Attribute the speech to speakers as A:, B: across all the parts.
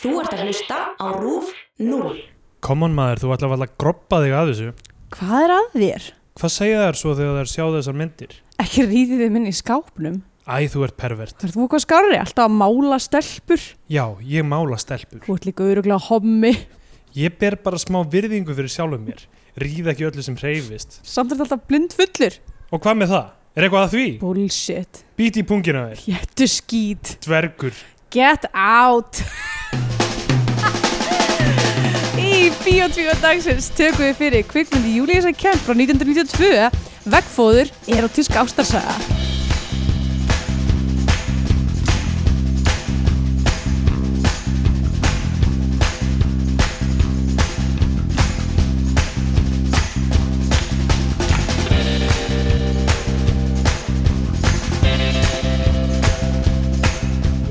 A: Þú ert að hlusta á RÚF 0.
B: Common maður, þú ætla að groppa þig að þessu
C: Hvað er að þér?
B: Hvað segja þær svo þegar þær sjá þessar myndir?
C: Ekki rýðið þið minni í skápnum.
B: Æ, þú ert pervert
C: Það er þú eitthvað skárri, alltaf að mála stelpur.
B: Já, ég mála stelpur
C: Þú ert líka öruglega hommi.
B: Ég ber bara smá virðingu fyrir sjálfum mér Ríð ekki öllu sem hreyfist
C: Samt er þetta alltaf blindfullur.
B: Og hvað með það? Er eitthvað að því?
C: Bullshit.
B: Bít í pungina þér
C: Getu skýt.
B: Dvergur
C: Get out. í Bíotvíu dagsins tökum við fyrir kvikmyndi Júlíus að kemp frá 1992 Vegfóður erotísk ástarsaga.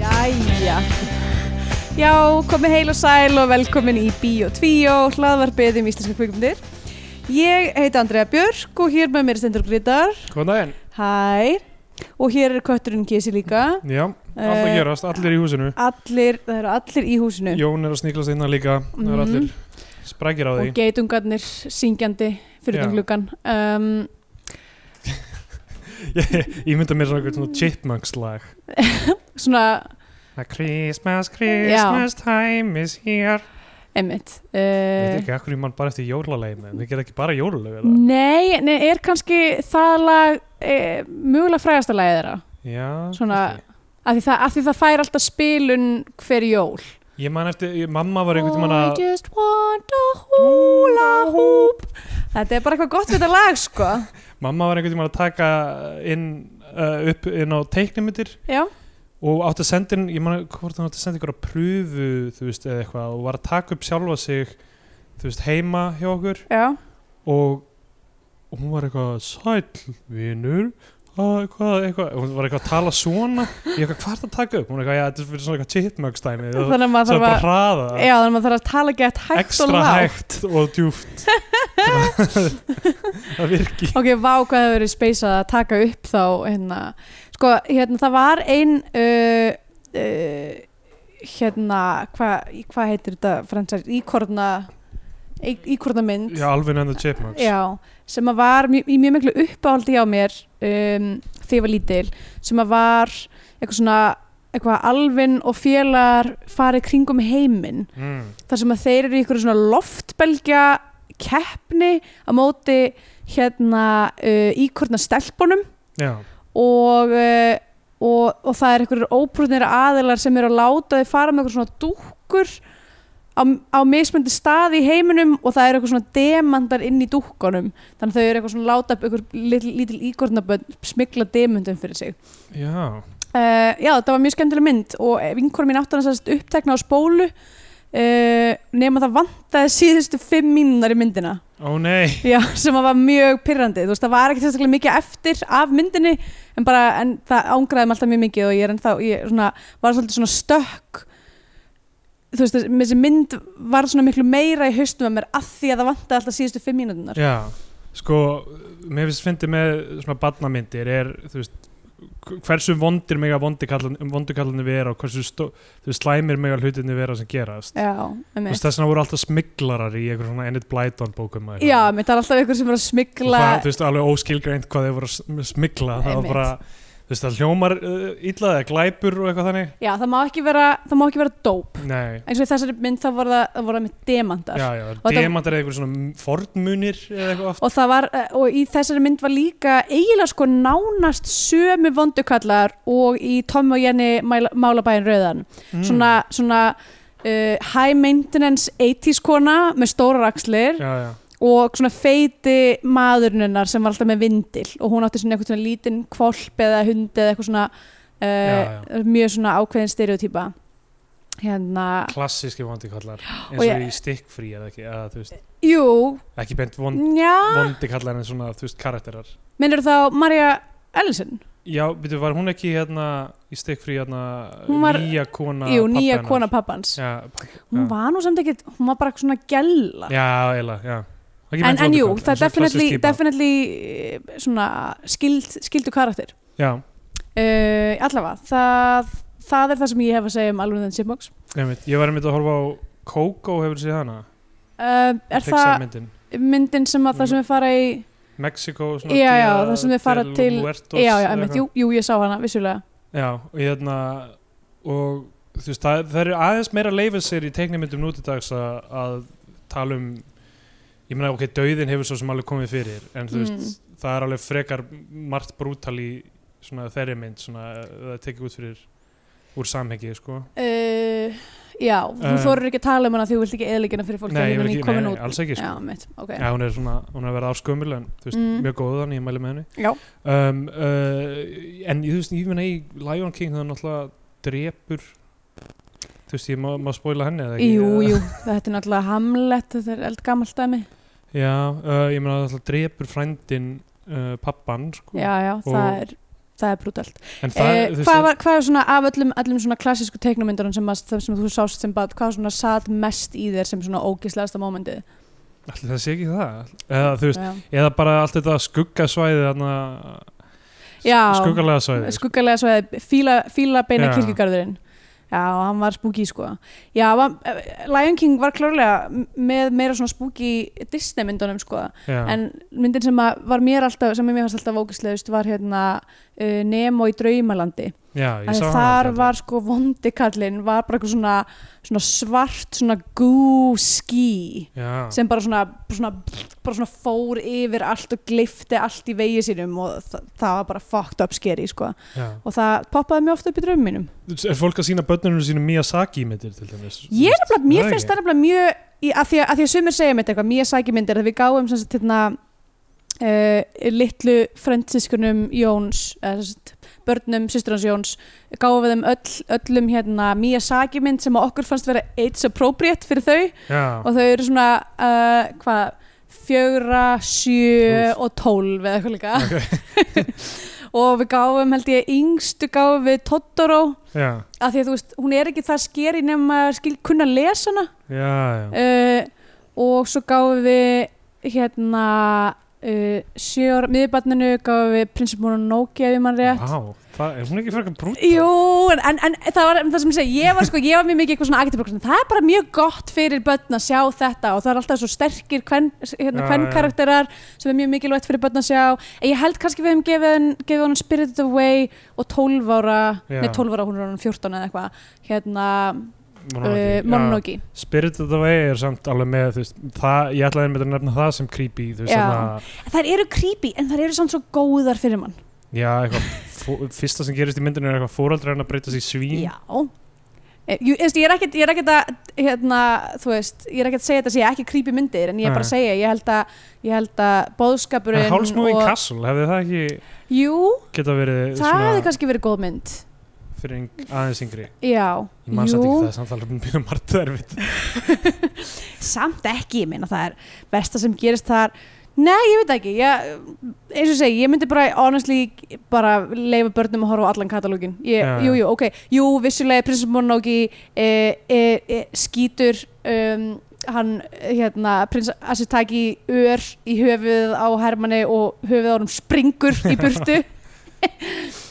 C: Jæja Já, komið heil og sæl og velkomin í Bíó 2 og hlaðvarpið um íslenska kvikmyndir Ég heiti Andrea Björk og hér með mér er Stendur Grytar
B: Góðan daginn
C: Hæ Og hér er kötturinn Kesi líka
B: Já, allt að
C: Eh,
B: gerast, allir í húsinu
C: Allir, það eru allir í húsinu
B: Jón er að sníklast innan líka Það eru allir sprækir á því
C: Og geitungarnir syngjandi fyrir
B: Já.
C: þann gluggan um,
B: Ég ég mynda mér svona eitthvað svona chipmunks lag
C: Svona,
B: A Christmas, Christmas time is here
C: emmitt
B: Ég
C: uh,
B: veit ekki, akkur ég mann bara eftir jólalegi Þau gera ekki bara jólalegi eða?
C: Nei, nei, er kannski það lag eh, mögulega frægasta lagið þeirra
B: Já,
C: Svona-
B: kannski.
C: af því, það, af því það fær alltaf spilun hver jól
B: Ég man eftir, ég, mamma var einhvern tímann að
C: I just want a hula hoop Þetta er bara eitthvað gott við þetta lag sko
B: Mamma var einhvern tímann að taka inn uh, upp inn á teiknumyndir
C: Já,
B: og átti að senda inn, ég man hvort hann átti að senda einhverja pröfu, þú veist, eða eitthvað og var að taka upp sjálfa sig þú veist, heima hjá okkur
C: já
B: og, og hún var eitthvað sæll, vinur að eitthvað, eitthvað, hún var eitthvað að tala svona ég eitthvað, hvað er það að taka upp? Hún var eitthvað, já, þetta er fyrir svona eitthvað chipmöggs dæmi það
C: Þannig að maður
B: það er
C: þarf
B: bara
C: að
B: að hraða það.
C: Já, þannig að maður þarf að tala gett hægt og
B: ekstra
C: lágt
B: hægt og djúft það virki
C: Ok, vá hvað það hefur verið speysað að taka upp þá hérna. Sko, hérna, það var ein uh, uh, hérna, hvað hva heitir þetta fransar, íkorna íkorna mynd
B: já, alveg nefnda chipmunks
C: Já, sem að var mjö, í mjög miklu uppáhaldi hjá mér um, þegar ég var lítil sem að var eitthvað svona eitthvað alvin og félagar farið kringum heiminn
B: mm.
C: þar sem að þeir eru í eitthvað svona loftbelgja keppni á móti hérna uh, íkorna stelpunum
B: já,
C: og, uh, og, og það er eitthvað óprúðnir aðilar sem eru að láta þau fara með eitthvað svona dúkkur á, á mismöndi staði í heiminum og það eru eitthvað svona demandar inn í dúkkunum þannig að þau eru eitthvað svona að láta eitthvað lítil, lítil íkornabönd smikla demundum fyrir sig
B: já
C: Uh, já, þetta var mjög skemmtileg mynd og vinkonum mín átti hann sérst upptekna á spólu uh, nema það vantaði síðustu fimm mínunar í myndina
B: ó nei,
C: já, sem að var mjög pyrrandi þú veist, það var ekkert sérstaklega mikið eftir af myndinni en bara, en það ángraði mig alltaf mjög mikið og ég er ennþá, ég svona, var svolítið svona stökk þú veist, þessi- þessi mynd var svona miklu meira í haustum að mér að því að það vantaði alltaf síðustu fimm mínunar
B: já sko, mér finnst fyndi með svona badnamyndir er, þú veist hversu vondir mega vondukallandi vera og hversu stó, þú veist, slæmir mega hlutinni vera sem gerast
C: já,
B: Þú
C: emmi
B: veist, þess vegna voru alltaf smiklarar í einhver svona Ennit Blyton bókum eða eitthvað.
C: já, mér það er alltaf ykkur sem er að
B: og
C: smikla
B: það, þú veist, alveg óskilgreint hvað þau voru að sm- smikla það var
C: Einmitt.
B: bara, þú veist, það hljómar uh, illa eða glæpur og eitthvað þannig
C: já, það má ekki vera, það má ekki vera dóp
B: nei,
C: eins og í þessari mynd þá voru það, það voru það með demandar
B: já, já,
C: Og þetta-
B: demantar eða eitthvað svona m- fornmunir eða eitthvað oft
C: og, það var, eh, og í þessari mynd var líka eiginlega sko nánast sömu vondukallar og í Tom og Jenny Mæla- Málabæinn Rauðan
B: Mm.
C: svona, svona uh, high maintenance 80s kona með stórar axlir
B: já, já,
C: og svona feiti maðurinnar sem var alltaf með vindil og hún átti svona eitthvað svona lítinn kvolp eða hund eða eitthvað svona
B: Já,
C: uh, mjög svona ákveðin stereotýpa hérna,
B: klassíski vondikallar eins
C: Og
B: og
C: ég-
B: í stikkfrí eða ekki, eða, þú veist,
C: jú,
B: ekki bent vond,
C: njá
B: vondikallar en svona, þú veist, karakterar
C: Minnur þá Marja Ellison?
B: já, byrju, var hún ekki hérna í stikkfrí hérna
C: Hún var-
B: nýja kona
C: Jú,
B: pabba
C: nýja
B: hennar?
C: kona pappans.
B: já, pabbi-
C: Hún
B: já.
C: var nú samt ekki, hún var bara svona gælla.
B: já, eiginlega, já Ekki
C: En,
B: beint
C: en jú,
B: vondukall,
C: það er
B: svona klassísk
C: definitely,
B: típa.
C: definitely eh, svona skild, skildu karakter.
B: já,
C: Uh, allavega, það, það er það sem ég hef að segja um alveg þenn Chipmunks
B: Einmitt, ég var einmitt að horfa á Coco hefur séð hana
C: uh, er
B: Pixar
C: það
B: myndin
C: myndin sem að það sem við fara í
B: Mexiko
C: Já, já, það sem þau fara til-
B: Huertos,
C: já, já,
B: eða
C: einmitt,
B: eitthvað.
C: jú, jú, ég sá hana, vissulega
B: já, og hérna og þú veist, það, það eru aðeins meira leifið sér í teiknimyndum nútidags að, að tala um ég meina, ok, dauðin hefur svo sem alveg komið fyrir en þú veist,
C: Mm.
B: það er alveg frekar margt brútal í svona þeirri mynd, svona, það er tekið út fyrir úr samhengi, sko
C: uh, já, þú
B: Um,
C: þorir ekki að tala um hana því þú vilt ekki eðlíkina fyrir fólk
B: Nei,
C: þegar
B: ég vil
C: hún er
B: ekki-
C: komin
B: nei, nei,
C: út.
B: alls ekki, sko.
C: já, mitt, ok
B: Já, hún er svona, hún er að verða áskömmul en þú veist,
C: Mm.
B: mjög góðan, ég mæli með henni
C: Já.
B: um, uh, En þú veist, ég meina í Lion King það er náttúrulega drepur Þú veist, ég má, má spóla henni eða ekki eh,
C: Jú,
B: Eða-
C: jú, þetta er náttúrulega hamlet, þetta er eldgamalt dæmi
B: Já, uh, ég meina náttúrulega drepur frændin uh, pappan, sko
C: Já, já,
B: Og-
C: það er, það er brutalt
B: En það,
C: eh,
B: þú veist,
C: hvað, var, hvað er svona af öllum, öllum svona klassísku teiknumyndunum sem, að- sem þú sást sem bad, hvað svona satt mest í þér sem svona ógislegasta mómentið
B: ætli það sé ekki það Eða, þú veist,
C: Já,
B: eða bara allt þetta skuggasvæði þarna
C: Já.
B: Skuggalega svæði sko.
C: skuggalega svo eða fíla, fíla beina
B: Já.
C: kirkjugarðurinn Já, hann var spooky sko Já, var, eh, Lion King var klárlega m- með meira svona spooky Disney myndunum sko
B: Já,
C: en myndin sem að var mér alltaf sem mér fannst alltaf ógislegust var hérna uh, Nemo í draumalandi
B: já, ég
C: Af
B: sá
C: því
B: hana
C: þar
B: aldrei.
C: var sko vondikallin var bara eitthvað svona, svona svart svona gú ský
B: Já,
C: sem bara svona, svona, bara svona fór yfir allt og glifti allt í vegi sínum og það, það var bara fucked up scary sko.
B: já
C: og það poppaði mjög oft upp í draumum mínum
B: Er fólk að sína börnunum sínum Miyazaki myndir til dæmis?
C: ég er nefnilega, mér
B: það ekki?
C: finnst það nefnilega mjög í, að, því að, að því að sumir segja mér þetta eitthvað, mér sækir myndir að við gáum sem sagt hérna uh, litlu fransiskunum Jóns eða sem sagt börnum, systur hans Jóns gáum við þeim öll, öllum hérna Miyazaki mynd sem að okkur fannst vera age appropriate fyrir þau
B: Já.
C: og þau eru svona uh, hvað, fjögra, sjö
B: Úff.
C: og tólf eða eitthvað líka og við gáum held ég yngstu gáum við Totoro
B: Já,
C: að því að þú veist, hún er ekki það skeri nema að skil kunna að lesa hana
B: já, já.
C: uh, og svo gáðum við hérna uh, sjóra, miðbarninu gáðum við prinsipmónu Nokia ef ég mann rétt
B: Vá, það, er hún ekki frekar brúta?
C: Jú, en, en, en það var það sem ég segi, ég var sko, ég var mjög mikið eitthvað svona agitbrokk, það er bara mjög gott fyrir börn að sjá þetta og það er alltaf svo sterkir kven, hérna,
B: Já,
C: kvenn sem er mjög mikilvægt fyrir börn að sjá en ég held kannski við hefum gefið, henn- gefið honum Spirited Away og 12 ára
B: Já.
C: nei 12 ára, hún er honum 14 eða eitthvað hérna, uh,
B: Mononoke,
C: Mononoke
B: já. Spirited Away er samt alveg með, þú veist, það, ég ætlaði einmitt að nefna það sem creepy, þú veist,
C: Já.
B: þannig
C: Þær eru creepy en þær eru samt svo góðar fyrir mann
B: já, eitthvað, fó- fyrsta sem gerist í myndinu er eitthvað fóraldra en að breytast í svín.
C: Já Eh, Jú, ég, ég er ekkert ég er ekkert að, hérna, þú veist, ég er ekkert að segja þetta sé ekki creepy myndir en ég er bara að
B: Nei.
C: segja, ég held að, ég held að bóðskapurinn
B: En Hálsmóðin og... Castle, hefði það ekki
C: Jú,
B: geta verið
C: það
B: svona
C: hefði kannski verið góð mynd
B: fyrir ein- aðeins yngri?
C: Já,
B: Ég man samt
C: jú,
B: ekki það, er samt alveg mjög margt erfitt.
C: samt ekki, ég meina það er besta sem gerist þar Nei, ég veit það ekki, ég, eins og ég segi, ég myndi bara honestly bara leifa börnum að horfa á allan katalógin ég,
B: Já, já.
C: Jú, jú, ok, jú, vissulega Prinsess Mononoke e, e, e, skýtur um, hann, hérna, prins Asitaki ör í höfuð á Hermanni og höfuð á honum springur í burtu,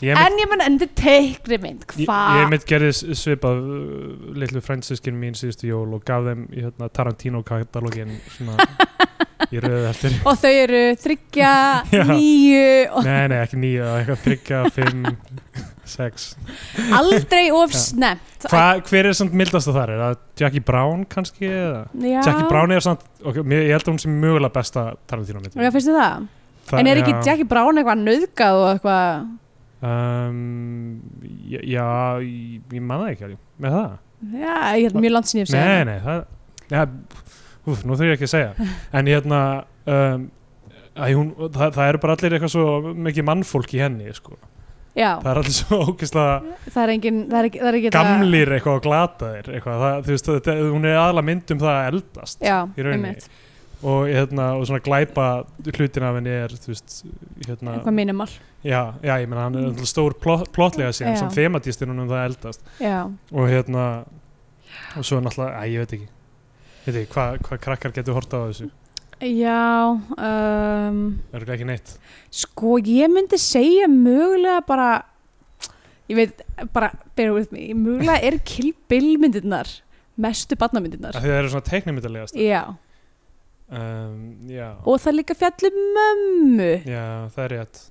B: Ég
C: en ég menn endur teikri mynd,
B: Ég, ég
C: hvað?
B: mitt gerði s- svipað uh, litlu fransiskin mín síðustu jól og gaf þeim í hérna, Tarantino katalógin svona í röðu eftir
C: Og þau eru þryggja,
B: Já.
C: nýju og
B: Nei, nei, ekki nýja, eitthvað þryggja, fimm, sex
C: aldrei of
B: Já.
C: snemmt
B: Hva, Hver er samt mildast að þar? Er það Jackie Brown kannski? Eða?
C: Já.
B: Jackie Brown er samt, ok, mér, ég held að hún sem mögulega besta Tarantino mynd
C: Já, finnst þið það? en er ekki Jackie Brown eitthvað nöðgað og eitthvað
B: Um, já, já, ég, ég man það ekki alveg, með það
C: Já, ég held mjög langt sinni ég hef
B: Nei,
C: segið
B: nei, það ja, úf, Nú þurf ég ekki að segja En hérna um, æ, hún, það, það eru bara allir eitthvað svo mikið mannfólk í henni sko.
C: Já,
B: Það er allir svo ókislega
C: það er engin það er ekki, það er ekki
B: gamlir eitthvað og glataðir eitthvað. Það, þú veist, þetta, hún er aðla mynd um það að eldast
C: Já,
B: í rauninni.
C: einmitt.
B: og, hérna, og svona glæpa hlutin af henni er þú veist, hérna,
C: eitthvað minimal
B: já, já, ég meina hann er mm. stór plot, plotlega síðan
C: Já.
B: samt þematístinn um það að eldast
C: Já,
B: og hérna og svo er náttúrulega, æ, ég veit ekki Veit ekki, hvað hva krakkar getur horta á þessu?
C: Já um,
B: Örgulega ekki neitt.
C: sko ég myndi segja mögulega bara ég veit, bara, bear with me mjögulega er Kill Bill myndirnar mestu barnamyndirnar
B: Af því það eru svona teiknumyndalegast
C: já,
B: um, Já
C: og það er líka fjallið mömmu
B: Já, það er rétt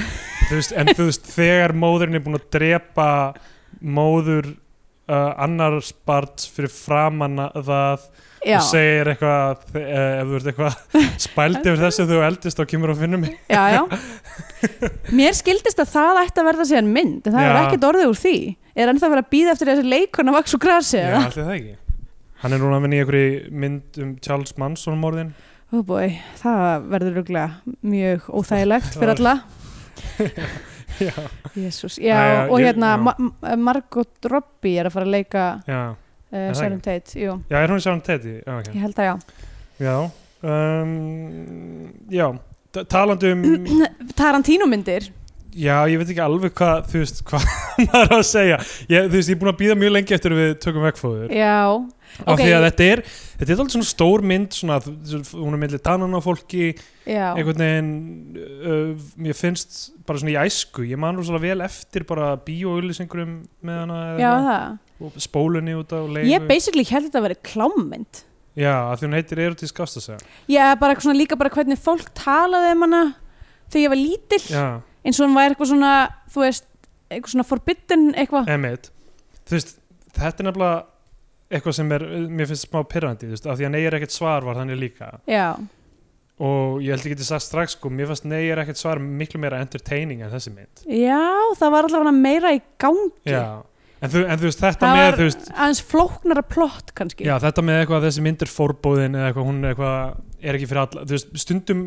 B: þú veist, En þú veist, þegar móðurinn er búin að drepa móður uh, annars barns fyrir framann að það
C: já,
B: og segir eitthvað uh, ef þú ert eitthvað spæld yfir þessu þegar þú eldist þá kemur og finnum mig
C: já, já mér skildist að það ætti að verða síðan mynd en það
B: Já.
C: er ekkert orðið úr því er ennþá verið að býða eftir þessi leikon að vaks og grasi
B: Já, allir það ekki Hann er núna að vinna í einhverju mynd um Charles Manson morðin
C: oh boy, það verður rúglega mjög óþægilegt fyrir alla
B: Já,
C: Jésús, já,
B: Æ, já,
C: og
B: ég-
C: hérna
B: já.
C: Ma Ma- Margot Robbie er að fara að leika
B: já,
C: uh,
B: það
C: Sharon Tate, jú,
B: já er hún í Sharon Teddy? Já, ok
C: ég held að já
B: Já, um, já Ta- Talandi um
C: Tarantino myndir,
B: Já, ég veit ekki alveg hvað, þú veist, hvað maður á að segja. Ég, þú veist, ég er búin að býða mjög lengi eftir að við tökum vegfóður.
C: já
B: Af
C: ok.
B: því að þetta er, þetta er alltaf svona stór mynd, svona, þú- hún er myndið tannan á fólki,
C: já,
B: einhvern veginn, uh, mér finnst bara svona í æsku, ég man rosalega vel eftir bara bíóauðlýsingurum með hana eða
C: já
B: eitthvað,
C: það
B: og spólunni út á leigu.
C: ég basically held þetta að vera klámmynd
B: Já, af því hún heitir erotísk ást að segja.
C: já, bara svona líka bara hvernig fólk talaði um hana þegar ég var lítil
B: Já,
C: eins og hún var eitthvað svona, þú veist eitthvað svona forbidden eitthvað
B: emitt. Þú veist, þetta er nefnilega eitthvað sem er, mér finnst smá pirrandi, þú veist, af því að neyjar ekkert svar var þannig líka.
C: já,
B: og ég held ég geti sagt strax sko, mér fannst nei er ekkert svar miklu meira entertaining en þessi mynd
C: já, það var allavega meira í gangi
B: já. en, þú, en þú veist þetta
C: það
B: með
C: var
B: þú veist,
C: aðeins flóknara plott kannski
B: já, þetta með eitthvað að þessi mynd er forbóðin eða eitthvað hún er eitthvað er ekki fyrir alla, þú veist, stundum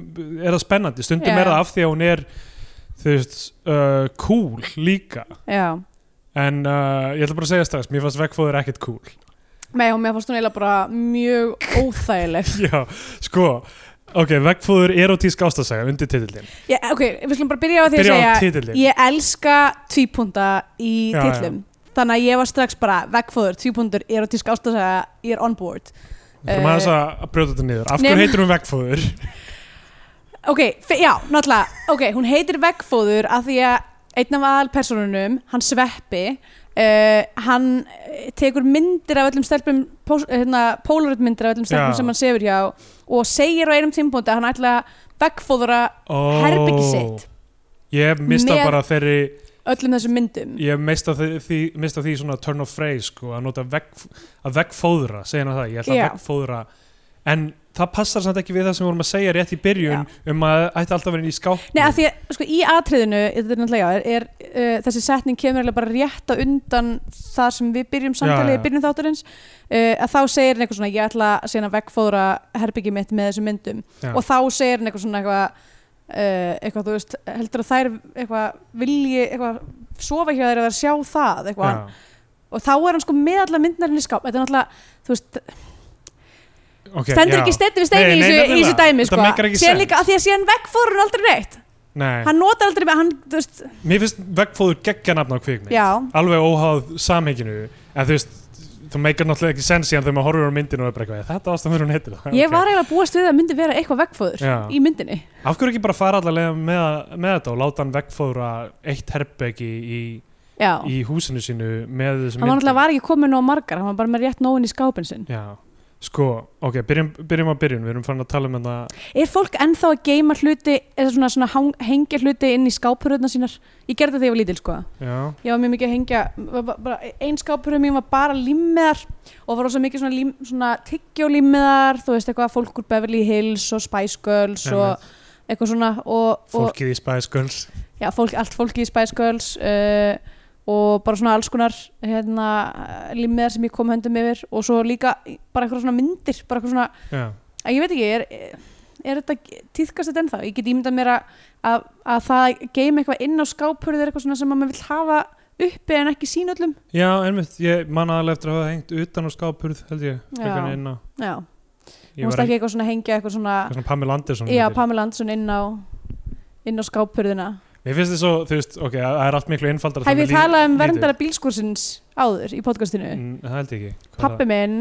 B: er það spennandi, stundum
C: Já.
B: er það af því að hún er þú veist, uh, cool líka
C: já.
B: en uh, ég ætla bara að segja strax, mér fannst vegfóður ekkert cool
C: Nei, og mér fannst hún eiginlega bara mjög óþægileg.
B: já, sko ok, vegfóður erotísk ástasaga undir titillin,
C: Já, ok, við slum bara byrja á því að
B: byrja á
C: segja,
B: titillin
C: ég elska tvípunta í
B: Já,
C: titlum. Þannig að ég var strax bara vegfóður, tvípuntur, erotísk ástasaga, ég er on board.
B: þú erum aðeins
C: uh,
B: að brjóta þetta niður af
C: Nema-
B: hverju heitir hún vegfóður
C: Ok, fe- já, náttúrulega, ok, hún heitir vegfóður af því að einn af aðalpersonunum, hann sveppi, uh, hann eh, tekur myndir af öllum stelpum, pós- eh, hérna, polaroidmyndir af öllum stelpum
B: Já.
C: sem hann sefur hjá og segir á einum tímpúndi að hann ætla að vegfóðura
B: oh.
C: herbergi sitt.
B: Ég mista
C: Með-
B: bara þeirri,
C: öllum þessum myndum.
B: ég mista því, því, mista því svona turn of phrase sko, að nota vegg, að veggfóðra, segja hana það, ég ætla
C: Já.
B: að veggfóðra, en það passar samt ekki við það sem við vorum að segja rétt í byrjun um að ætti alltaf að vera inn í skáp.
C: Nei, að því að sko, í atriðinu þetta er náttúrulega, já, er, er, uh, þessi setning kemur eiginlega bara rétt á undan þar sem við byrjum
B: Já,
C: samtalið,
B: já.
C: byrjum þátturins uh, að þá segir hann eitthvað svona, ég ætla síðan að vegfóðra herbyggi mitt með þessum myndum
B: Já.
C: og þá segir hann eitthvað svona eitthvað Uh, eitthvað, þú veist, heldur að þær eitthvað, vilji, eitthvað, sofa hjá þær eða þær sjá það, eitthvað,
B: Já,
C: og þá er hann sko með alla myndnarinn í skáp, þetta er náttúrulega, þú veist,
B: ok,
C: stendur
B: já.
C: ekki steinu við steinu
B: Nei,
C: í
B: nei,
C: þessu- í þessu
B: nefnilega.
C: dæmi,
B: Þetta
C: sko,
B: meikar ekki
C: síðan
B: sens.
C: líka, af því að síðan vegfóður hann aldrei neitt,
B: Nei,
C: hann notar aldrei með, hann, þú veist,
B: mér finnst veggfóður geggja nafn á kvikmynd,
C: já,
B: alveg óháð samhenginu, en þú veist, þú meikar náttúrulega ekki sens í hann þegar maður horfir á myndinu og er bara eitthvað, þetta ástæðan verður hún heitir það.
C: Ég
B: ok.
C: var eiginlega að búast við að myndi vera eitthvað vegfóður
B: Já.
C: í myndinni.
B: Af hverju ekki bara fara allavega með, með þetta og láta hann vegfóðra eitt herbeggi í,
C: Já.
B: í húsinu sínu með þessum
C: Hann var náttúrulega var ekki komin á margar, hann var bara með rétt nóin í skápin sinn.
B: Já, sko, ok, byrjum, byrjum á byrjun, við erum farin að tala um þetta
C: Er fólk ennþá að geima hluti, eða svona, svona hang, hengja hluti inn í skápuröðna sínar? Ég gerði það þegar ég var lítil, sko.
B: Já,
C: Ég var mjög mikið að hengja, var bara- bara, ein skápuröð mín var bara límmiðar og var rosa mikið svona, lím, svona tyggjólimmiðar, þú veist eitthvað, fólk úr Beverly Hills og Spice Girls og eitthvað svona. Og, og,
B: fólkið í Spice Girls
C: já, fólk, allt fólki í Spice Girls uh, og bara svona alls konar hérna, limmiðar sem ég kom höndum yfir og svo líka bara eitthvað svona myndir bara eitthvað svona,
B: Já,
C: að ég veit ekki er, er þetta, týðkast þetta ennþá ég get ímyndað mér að, að, að það geim eitthvað inn á skápurður eitthvað svona sem að maður vill hafa uppi en ekki sín öllum
B: Já einmitt, ég man aðalega eftir að hafa hengt utan á skápurð, held ég, frekar
C: Já.
B: en inn á
C: já,
B: Ég
C: hún
B: var
C: stakk
B: ekki,
C: eitthvað svona að hengja eitthvað svona,
B: eitthvað svona Pamela Anderson
C: já,
B: myndir.
C: Pamela Anderson inn á inn á skápurðina
B: Mér finnst þið svo, þú veist, ok, það er allt miklu einfaldar
C: hef ég talað um verndara bílskursins áður í podcastinu
B: Það Mm, held ég ekki Hvað
C: pappi minn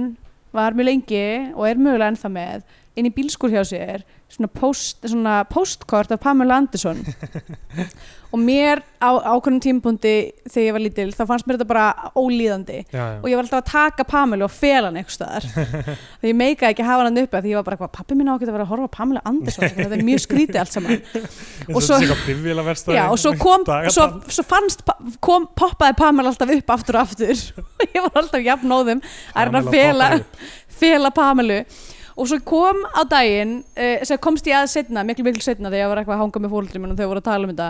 C: var mjög lengi og er mögulega ennþá með inn í bílskur hjá sér svona, post, svona postkort af Pamela Anderson og mér á ákveðnum tímpundi þegar ég var lítil þá fannst mér þetta bara ólíðandi
B: já,
C: og
B: já.
C: ég var alltaf að taka Pamela og fela hann eitthvað staðar þegar ég meikaði ekki að hafa hann uppi af því ég var bara eitthvað, pappi minn á ekki að vera að horfa á Pamela Anderson þetta er mjög skrítið allt saman
B: Eins
C: og
B: og þetta
C: svo-
B: sé eitthvað bifvélaverkstæði.
C: Já, og svo kom,
B: Dagatal.
C: svo, svo fannst, pa- kom, poppaði Pamela alltaf upp aftur og aftur og ég var alltaf jafnóðum að reyna að
B: Pamela
C: fela,
B: poppar
C: fela Pamelu og svo kom á daginn uh, sem komst ég að setna, miklu miklu setna þegar ég var eitthvað að hanga með fólundri minn og þau voru að tala um þetta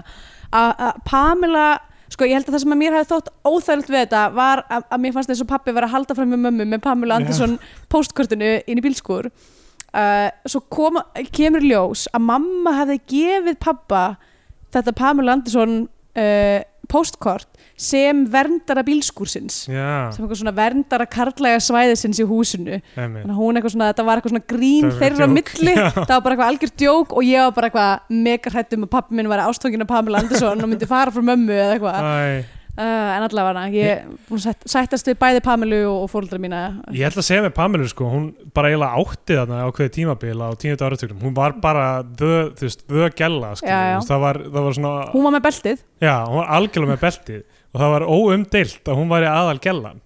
C: að- að Pamela, sko ég held að það sem að mér hefði þótt óþægilt við þetta var að, að mér fannst eins og pappi var að halda fram með mömmu með Pamela
B: Já.
C: Andersson postkortinu inn í bílskur uh, svo kom, kemur í ljós að mamma hefði gefið pappa þetta Pamela Andersson uh, postkort sem verndara bílskúrsins
B: já,
C: sem eitthvað svona verndara karlæga svæðisins í húsinu
B: einmitt.
C: þannig að hún eitthvað svona, þetta var eitthvað svona grín
B: Það var
C: þeirra á
B: djók,
C: milli,
B: já.
C: það var bara eitthvað algjör djók og ég var bara eitthvað mega hrætt um að pappi minn var ástóngin af Pamela Andersson og myndi fara frá mömmu eða eitthvað uh,
B: Æ,
C: en allavega, ég er búin að sætt- sættast við bæði Pamelu og, og fóruldra mína
B: ég ætla að segja með Pamelu sko, hún bara eiginlega átti þarna ákveði tímabil á tíundu áratögnum, hún var bara the, þú veist, the gella sko,
C: Já, já.
B: það var, það var svona,
C: hún var með beltið
B: já, hún var algjörlega með beltið og það var óumdeilt að hún væri aðal gellan,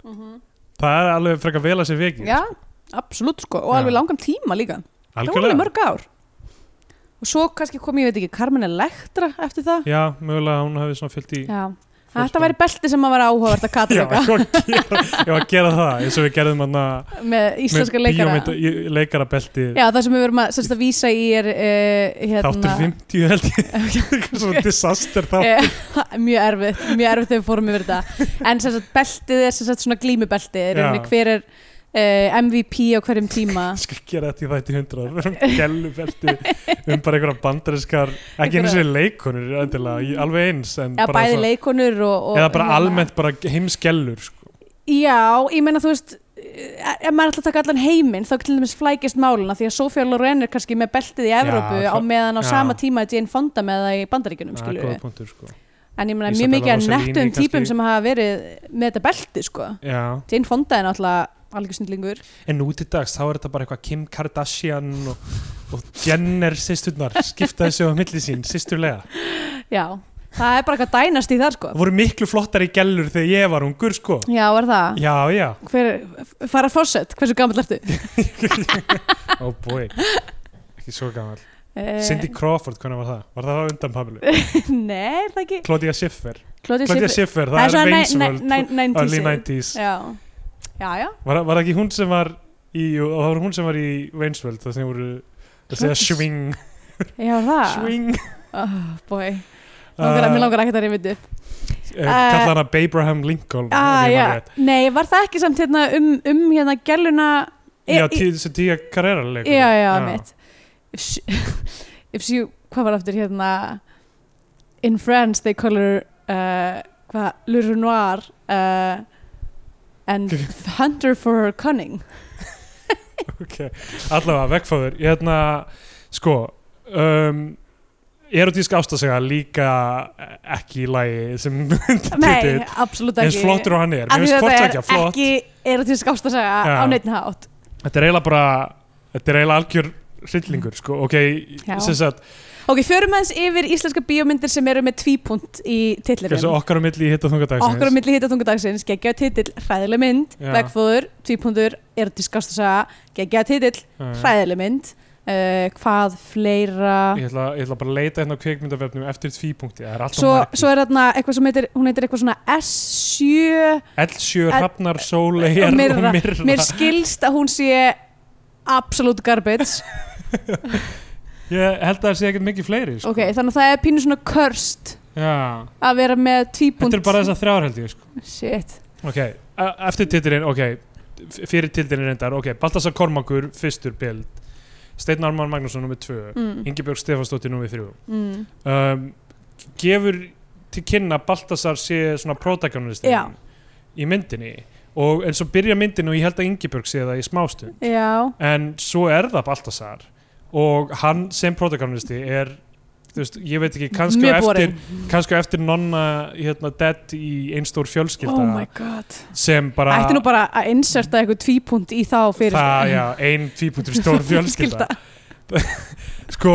B: það er alveg frekar vel að sér vikið,
C: Mhm. já, absolutt sko, og
B: Já.
C: alveg langan tíma líka Það voru alveg
B: algjörlega
C: mörg ár Og svo kannski kom, ég veit ekki, Carmen Electra eftir það
B: já, mögulega hún hefði svona fyllt í
C: Já,
B: Fólk
C: þetta væri belti sem að vera áhugavert að
B: já,
C: kalla
B: ég var að gera, ég var að gera það eins og við gerðum hann að
C: með íslenska leikara
B: leikara beltið
C: Já, það sem við verum að, semst að vísa í er uh, hérna,
B: þáttur 50 held ég Eitthvað svona disaster þá
C: Eh, mjög erfitt, mjög erfitt þegar við fórum yfir þetta en sem sagt beltið er sem sagt svona glímubeltið er
B: Já.
C: rauninni hver er uh, MVP á hverjum tíma
B: Ég skal gera þetta í þætti hundra við erum gælubelti um bara einhverja bandariskar ekki einu sinni leikonur endilega, í- alveg eins en
C: eða
B: bara
C: bæði
B: svo-
C: leikonur og, og
B: eða bara
C: hérna-
B: almennt bara heimsgellur sko.
C: Já, ég meina þú veist eh, ef maður ætla að taka allan heiminn þá til dæmis flækist máluna því að Sofía Loren er kannski með beltið í Evrópu
B: Já,
C: á meðan á
B: já.
C: sama tíma að Jane Fonda með það í bandaríkunum
B: það er
C: skilur
B: góð
C: við
B: punktur sko.
C: en ég meina mjög
B: Isabella
C: mikið að
B: Rossellini
C: nettum
B: kannski.
C: típum sem hafa verið með þetta belti sko
B: Já.
C: Jane Fonda er náttúrulega algjör snillingur
B: en nú til dags þá er þetta bara eitthvað Kim Kardashian og, og Jenner sýsturnar skipta þessu á milli sín sýsturlega
C: Já, það er bara eitthvað dænast í þar sko
B: það voru miklu flottari gellur þegar ég var ungur sko.
C: Já, er það
B: já já
C: Hver, fara fórsett, hversu gamall ertu?
B: oh boy ekki svo gammal
C: Eh,
B: Cindy Crawford hvernig var það? var það á undan Pamelu?
C: Nei, er það ekki
B: Claudia Schiffer
C: Claudia
B: Claudia Schiffer,
C: Schiffer
B: það,
C: svona
B: er
C: næ-
B: Wayne's
C: næ-
B: World
C: næ- 90s.
B: early 90s
C: Já, já, já
B: var, var það ekki hún sem var í og það var hún sem var í Wayne's World það sem voru það segja
C: Klaus.
B: swing
C: Já, er það
B: swing
C: Oh boy,
B: Ah.
C: langar, uh, mér langar ekkert að reyna þetta upp
B: kalla eh, hana Abraham Lincoln
C: ah,
B: ef ég man
C: já.
B: rétt.
C: Nei, var það ekki samt hérna um, um hérna gæluna
B: já, tí- þessu tíja karriera leikur
C: já, já, mitt If she, if she, hvað var aftur hérna In France they call her uh, hvað, Le Renoir uh, and hunt her for her cunning
B: allavega, vegfáður hérna, sko um, erotísk ástasega líka ekki í lagi sem
C: Nei,
B: titill,
C: absolutt
B: eins
C: ekki
B: flottur og hann er
C: Af
B: mér
C: því
B: finnst hvort
C: þetta
B: ekki
C: er
B: flott
C: ekki erotísk ástasaga
B: Já.
C: á neittn hátt
B: þetta er eiginlega bara þetta er eiginlega algjör hryllingur sko, ok,
C: Já.
B: sem sagt
C: Ok, förum aðeins yfir íslenska bíómyndir sem eru með tvípunt í titlinum
B: þessu okkar á milli í hitt og þungadagsins
C: Okkur á milli hitta þungadagsins, geggja titill, hræðileg mynd,
B: Já.
C: vegfóður, tvípundur, erotísk ástasaga, geggja titill,
B: milli
C: hræðileg mynd, uh, hvað fleira...
B: ég ætla, ég ætla bara að leita hérna á kveikmyndavefnum eftir tvípunkti, það er alltaf
C: Svo,
B: margir
C: svo er þarna eitthvað sem heitir, hún heitir eitthvað svona S7,
B: Eldsjö,
C: El-
B: Hrafnar, Sóleyjar
C: og
B: og
C: Myrra.
B: Myrra,
C: mér skilst að hún sé absolute garbage,
B: ég held að það sé ekkert mikið fleiri sko.
C: ok, þannig að það er pínu svona körst
B: Já.
C: að vera með tvípunt.
B: þetta er bara þess að þrjár held ég sko.
C: Shit,
B: ok, e- eftir titilinn, ok f- fyrir titilinn reyndar, ok, Baltasar Kormakur fyrstur bild, Steinn Armar Magnússon nummer 2,
C: mm,
B: Ingibjörg Stefánsdóttir nummer 3
C: mm.
B: um, gefur til kynna að Baltasar sé svona protagonist
C: Já.
B: í myndinni og en svo byrja myndin og ég held að Ingibjörg sé það í smástund
C: já,
B: en svo er það Baltasar og hann sem protagonisti er þú veist, ég veit ekki, kannski á
C: mjög
B: eftir,
C: boring.
B: kannski á eftir nonna hérna, dead í einn stór fjölskylda
C: Oh my god.
B: sem bara,
C: Ætti nú bara að sko. inserta eitthvað tvípunt í þá fyrir Mm.
B: það, já, ein tvípunktur stór fjölskylda sko,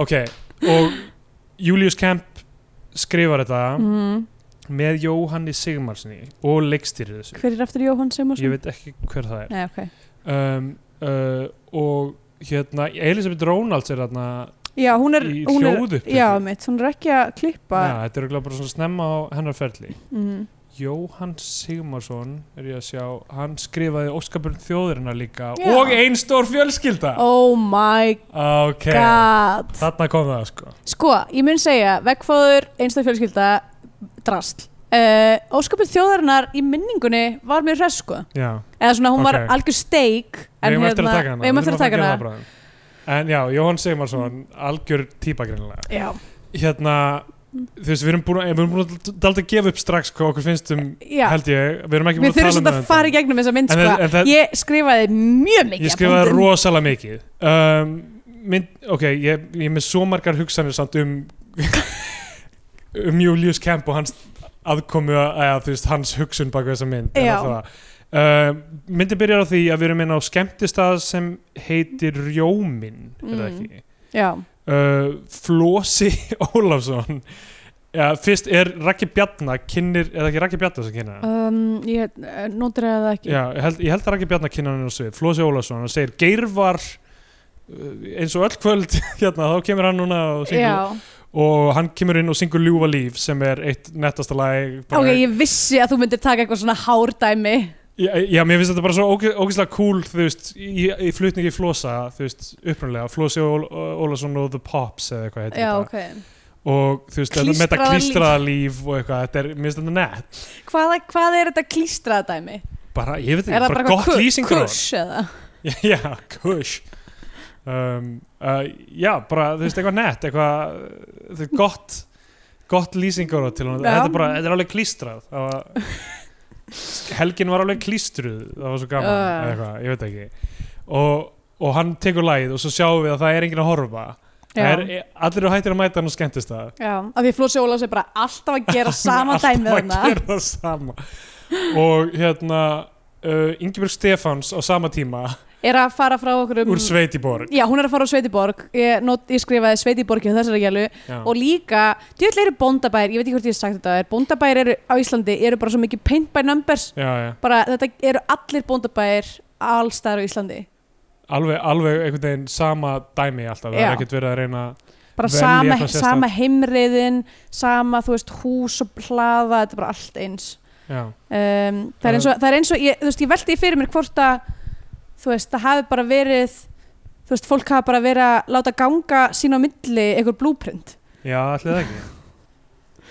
B: ok og Julius Kemp skrifar þetta
C: mm.
B: með Jóhanni Sigmarsni og leikstýrið þessu
C: hver er aftur Jóhann
B: ég
C: Sigmarsson?
B: veit ekki hver það er
C: Nei, ok.
B: um, uh, og hérna Elisabeth Rónalds er þarna
C: já, hún er,
B: í
C: hún er
B: hljóðu
C: já, mitt, hún er ekki að klippa
B: þetta er örugglega bara svona snemma á hennar ferli
C: mm.
B: Jóhann Sigmarsson er ég að sjá hann skrifaði Óskapurinn þjóðurinnar líka
C: Já.
B: og einn stór fjölskylda
C: oh my
B: ok,
C: god
B: þarna kom það sko
C: Sko, ég mun segja, veggfóður, einstæð fjölskylda, drasl. Uh, óskapin þjóðarinnar í minningunni var mjög hress sko.
B: já
C: Eða svona, hún
B: Ok.
C: var algjör steik.
B: Við eigum eftir að taka hana
C: Við erum hérna, eftir að taka hana.
B: hana En já, Jóhann Sigmarsson, algjör típa greinilega
C: Já.
B: Hérna, þú veist, við erum búin að, við erum búin að dalda að gefa upp strax hvað okkur finnst um,
C: Já.
B: held ég Við erum ekki
C: Við
B: búin að
C: þurfum
B: tala um
C: svona
B: það
C: að fara í gegnum þessa mynd
B: En
C: sko.
B: það- en það-
C: ég skrifaði mjög mikið.
B: Ég
C: af
B: skrifaði
C: punktum.
B: rosalega mikið um, mynd, Ok, ég, ég er með svo margar hugsanir samt um um Julius Kemp og hans aðkomu að, að þú veist, hans hugsun bak við þessa mynd en
C: Já.
B: allavega. Um, myndin byrjar á því að við erum inn á skemmtistað sem heitir Rjómin er það
C: Mm.
B: ekki?
C: Já.
B: uh, Flósi Ólafsson ja, fyrst er Raki Bjarna kynnir, eða ekki Raki Bjarna sem kynna hann
C: Um, ég notur það ekki.
B: Já, ég held, ég held að Raki Bjarna kynna hann á svið Flósi Ólafsson, hann segir Geirvar uh, eins og öll kvöld hérna, þá kemur hann núna og, syngur,
C: Já.
B: og hann kemur inn og syngur Ljúfa líf sem er eitt nettasta lag bara-
C: Ok, ég vissi að þú myndir taka eitthvað svona hárdæmi.
B: Já, já, mér finnst þetta bara svo óge- ógeðslega cool þú veist, í, í flutningi Flósa þú veist, upprunalega, Flósi Ól- Ólafsson og The Pops eða eitthvað heitir
C: Já,
B: þetta.
C: ok.
B: og þú veist, þetta með þetta
C: Klístraða líf.
B: klístraða líf og eitthvað, þetta er, mér finnst þetta nett
C: Hvað, hvað er þetta klístraða dæmi?
B: bara, ég veit
C: Er
B: ekki,
C: það
B: bara
C: bara
B: gott
C: eitthvað ku-
B: lýsingar
C: kush eða?
B: já, kush um, uh, já, bara, þú veist, eitthvað nett eitthvað, þetta er gott gott lýsingar til hann,
C: Já.
B: þetta er bara þetta er alveg klístrað það var, helgin var alveg klístruð það var svo gaman,
C: Uh.
B: eða eitthvað, ég veit ekki og, og hann tekur lagið og svo sjáum við að það er enginn að horfa
C: Já.
B: það er, allir eru hættir að mæta hann og skemmtist það
C: Já, af því að Flósi Ólafs er bara alltaf að gera sama um dæmið
B: Alltaf að
C: hana
B: gera það sama og hérna uh, Ingeborg Stefáns á sama tíma
C: er að fara frá okkur um
B: úr Sveitiborg
C: Já, hún er að fara á Sveitiborg ég, not, ég skrifaði Sveitiborg hjá þessari gælu
B: Já.
C: og líka, djöðlega eru bóndabæir ég veit ekki hvort ég hef sagt þetta, er bóndabæir eru á Íslandi eru bara svo mikið paint by numbers
B: já, já.
C: bara þetta eru allir bóndabæir allstæðar á Íslandi
B: Alveg, alveg einhvern veginn sama dæmi alltaf, það
C: Já.
B: er ekkert verið að reyna
C: bara
B: Velja
C: sama,
B: eitthvað sérstakt.
C: sama heimriðin sama, þú veist, hús og hlaða þetta er bara allt eins
B: já,
C: um, það, er eins og, það er eins og ég, þú veist, ég veldi fyrir mér hvort að þú veist, það hafi bara verið þú veist, fólk hafi bara verið að láta ganga sín á milli einhver blúprint
B: já allir það ekki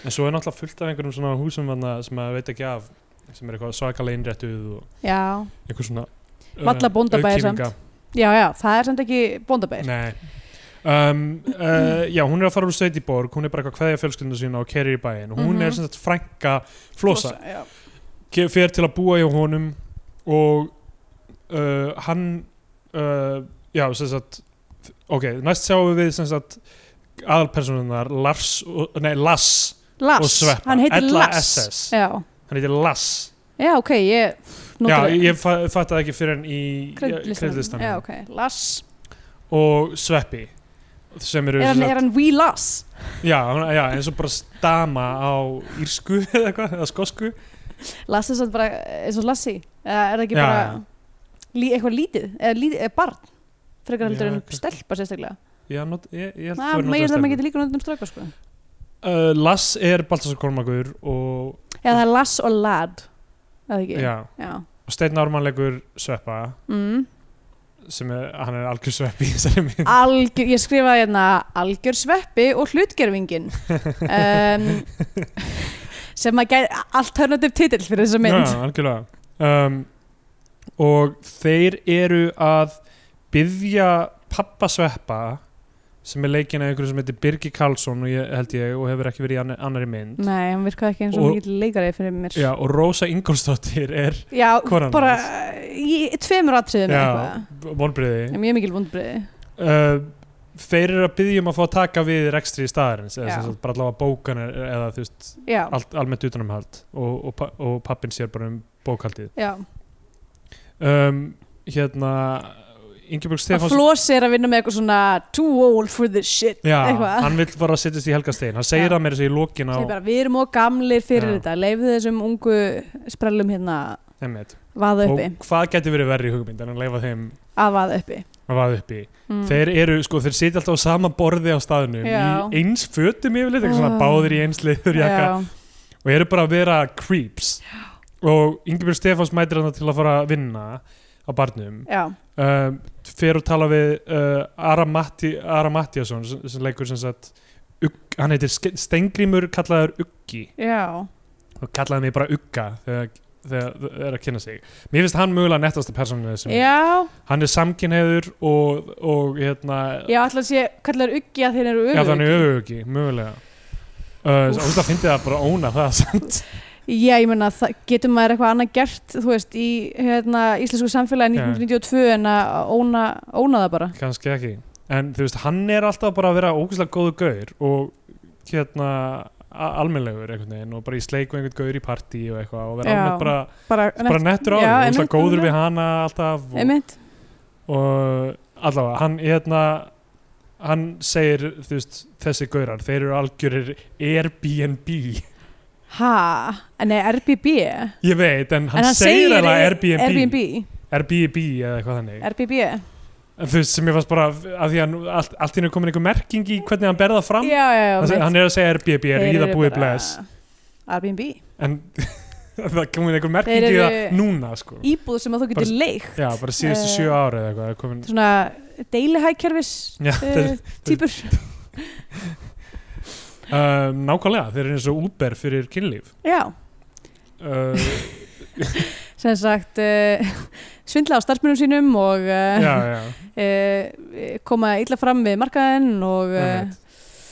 B: en svo er náttúrulega fullt af einhverjum svona húsum þarna sem að veit ekki af sem er eitthvað svakalega innréttuð og
C: já,
B: eitthvað svona uh,
C: Varla bóndabæir samt.
B: auðkýfinga.
C: já, já, það er samt ekki bóndabæðir
B: Nei um, uh, Já, hún er að fara úr Sveitiborg hún er bara eitthvað kveðja fjölskyldu sína og kerir í bæinn og hún
C: Mhm.
B: er sem sagt frænka Flosa,
C: já.
B: Flosa. fer til að búa hjá honum og uh, hann uh, já, sem sagt ok, næst sjáum við sem sagt aðalpersónunar Lars, og- nei, Lass og
C: Lass,
B: Sveppa,
C: hann heitir
B: LASS.
C: Lass já.
B: hann heitir Lass
C: já, ok, ég
B: Já,
C: notaði-
B: ég fa fattaði ekki fyrir hann í
C: Kreddlistanum.
B: kreddlistanum.
C: já, ok, Lass
B: og Sveppi sem eru
C: er
B: sem
C: hann,
B: sagt-
C: er hann We Lass
B: Já, hún- já, eins og bara stama á írsku eða eitthvað, eða skosku
C: Lass er samt bara eins og Lassi Eða er það ekki
B: Já,
C: bara
B: já.
C: Lí, eitthvað lítið, eða lítið, eða barn frekar heldur
B: Já,
C: en
B: kannski.
C: stelpa sérstaklega
B: Já, not, ég, ég held
C: Na,
B: þú
C: meir
B: verið
C: þar maður
B: notaði
C: getur líka náttúrulega um stráka sko.
B: uh, Lass er Baltasar Kormakur og,
C: Eða það er lass og lad Eða ekki
B: já,
C: Já.
B: og Steinn Ármann leikur Sveppa
C: Mm.
B: sem er, hann er algjör Sveppi í þessari
C: Ah,
B: mynd
C: Algjör, Ég skrifaði hérna algjör sveppi og hlutgerfingin um, sem að gæði alternativ titill fyrir þessa mynd
B: Já, algjörlega um, Og þeir eru að byðja pappa Sveppa sem er leikinn af einhverju sem heitir Birgi Karlsson og ég, held ég og hefur ekki verið í annar- annarri mynd
C: Nei, hann virkaði ekki eins og
B: Og-
C: mikill leikari fyrir mér
B: Já, og Rósa Ingolsdóttir er
C: Já,
B: Konan
C: bara í tveimur atriðum eða
B: Já,
C: eitthvað.
B: vonbriði
C: Ég er Mjög mikil vondbriði
B: uh, þeir eru að byggja um að fá að taka við rekstri í staðarins eða
C: Já.
B: sem sagt bara allavega bókan eða þú veist
C: Já,
B: allt, almennt utanumhald og, og, pa- og pappin sér bara um bókhaldið
C: já
B: um, hérna Ingeborg
C: að
B: Stefáns
C: Flósi er að vinna með eitthvað svona too old for this shit
B: já,
C: eitthvað.
B: hann vill bara setjast í Helga Stein hann segir
C: Já.
B: það mér þess að í lokin á
C: Segir bara, við erum og gamlir fyrir
B: Já.
C: þetta leifðu þessum ungu sprellum hérna
B: einmitt.
C: vaða
B: og
C: uppi,
B: hvað getur verið verri í hugmynd en að leifa þeim
C: að vaða uppi
B: að vaða uppi
C: mm.
B: þeir eru, sko, þeir sitja alltaf á sama borði á staðnum
C: Já.
B: í eins fötum yfirleitt eitthvað svona
C: Ah.
B: báðir í eins leiður jakka
C: Já.
B: og eru bara að vera creeps og Ingebjörg Stefáns mætir hann til að fara að vinna á barnum
C: Já.
B: uh, fer og tala við uh, Ara, Matti, Ara Mattiasson sem, sem leikur sem sagt Ugg, hann heitir Ske- Steingrímur kallaður Uggi
C: Já.
B: og kallaði mig bara Ugga þegar, þegar það er að kynna sig mér finnst hann mögulega nettasta persónu sem
C: Já.
B: hann er samkynheiður og, og hérna
C: Já, alltaf sé, kallar uggi að þeir eru
B: já þannig
C: uggi
B: öfugi, mögulega uh, og það finnst það bara að óna það samt
C: Já, ég meina, það- getur maður eitthvað annað gert þú veist, í hérna, íslensku samfélagi
B: Já.
C: 1992 en að óna, óna það bara
B: kannski ekki en þú veist, hann er alltaf bara að vera ógæslega góðu gaur og hérna a- almennilegur einhvern veginn og bara í sleik og einhvern gaur í partí og eitthvað og vera
C: Já.
B: almennt bara,
C: bara,
B: bara nettur á því,
C: Já,
B: ógæslega
C: einmitt,
B: góður
C: einmitt.
B: við hana alltaf og,
C: einmitt
B: og allavega, hann hérna hann segir þú veist, þessi gaurar, þeir eru algjörir Airbnb,
C: Ha, en nei, Airbnb Hann,
B: ég veit en hann,
C: en hann
B: segir
C: segir
B: eiginlega
C: Airbnb
B: Airbnb
C: Airbnb,
B: Airbnb eða eitthvað þannig
C: Airbnb.
B: en þú veist, sem ég fannst bara að því að nú- allt, allt í hennu komin einhver merking í hvernig hann berða fram
C: Já, já, já
B: Hann seg-
C: mitt.
B: hann er að segja Airbnb, er
C: Þeir
B: í það
C: eru
B: búið
C: bara
B: bless
C: Airbnb
B: en það komin einhver merking
C: Þeir
B: í
C: eru-
B: það núna sko.
C: Íbúð sem að þú getur
B: Bara-
C: leik
B: já, bara síðustu
C: Eh,
B: sjö ára eða eitthvað er komin...
C: Svona deilihækerfis
B: já, þeir,
C: uh, Týpur
B: uh, nákvæmlega, þeir eru eins og Uber fyrir kynlíf
C: Já,
B: uh,
C: sem sagt uh, Svindla á starfsmunum sínum Og
B: já,
C: uh,
B: já,
C: uh, koma illa fram við markaðinn Og uh,
B: einmitt.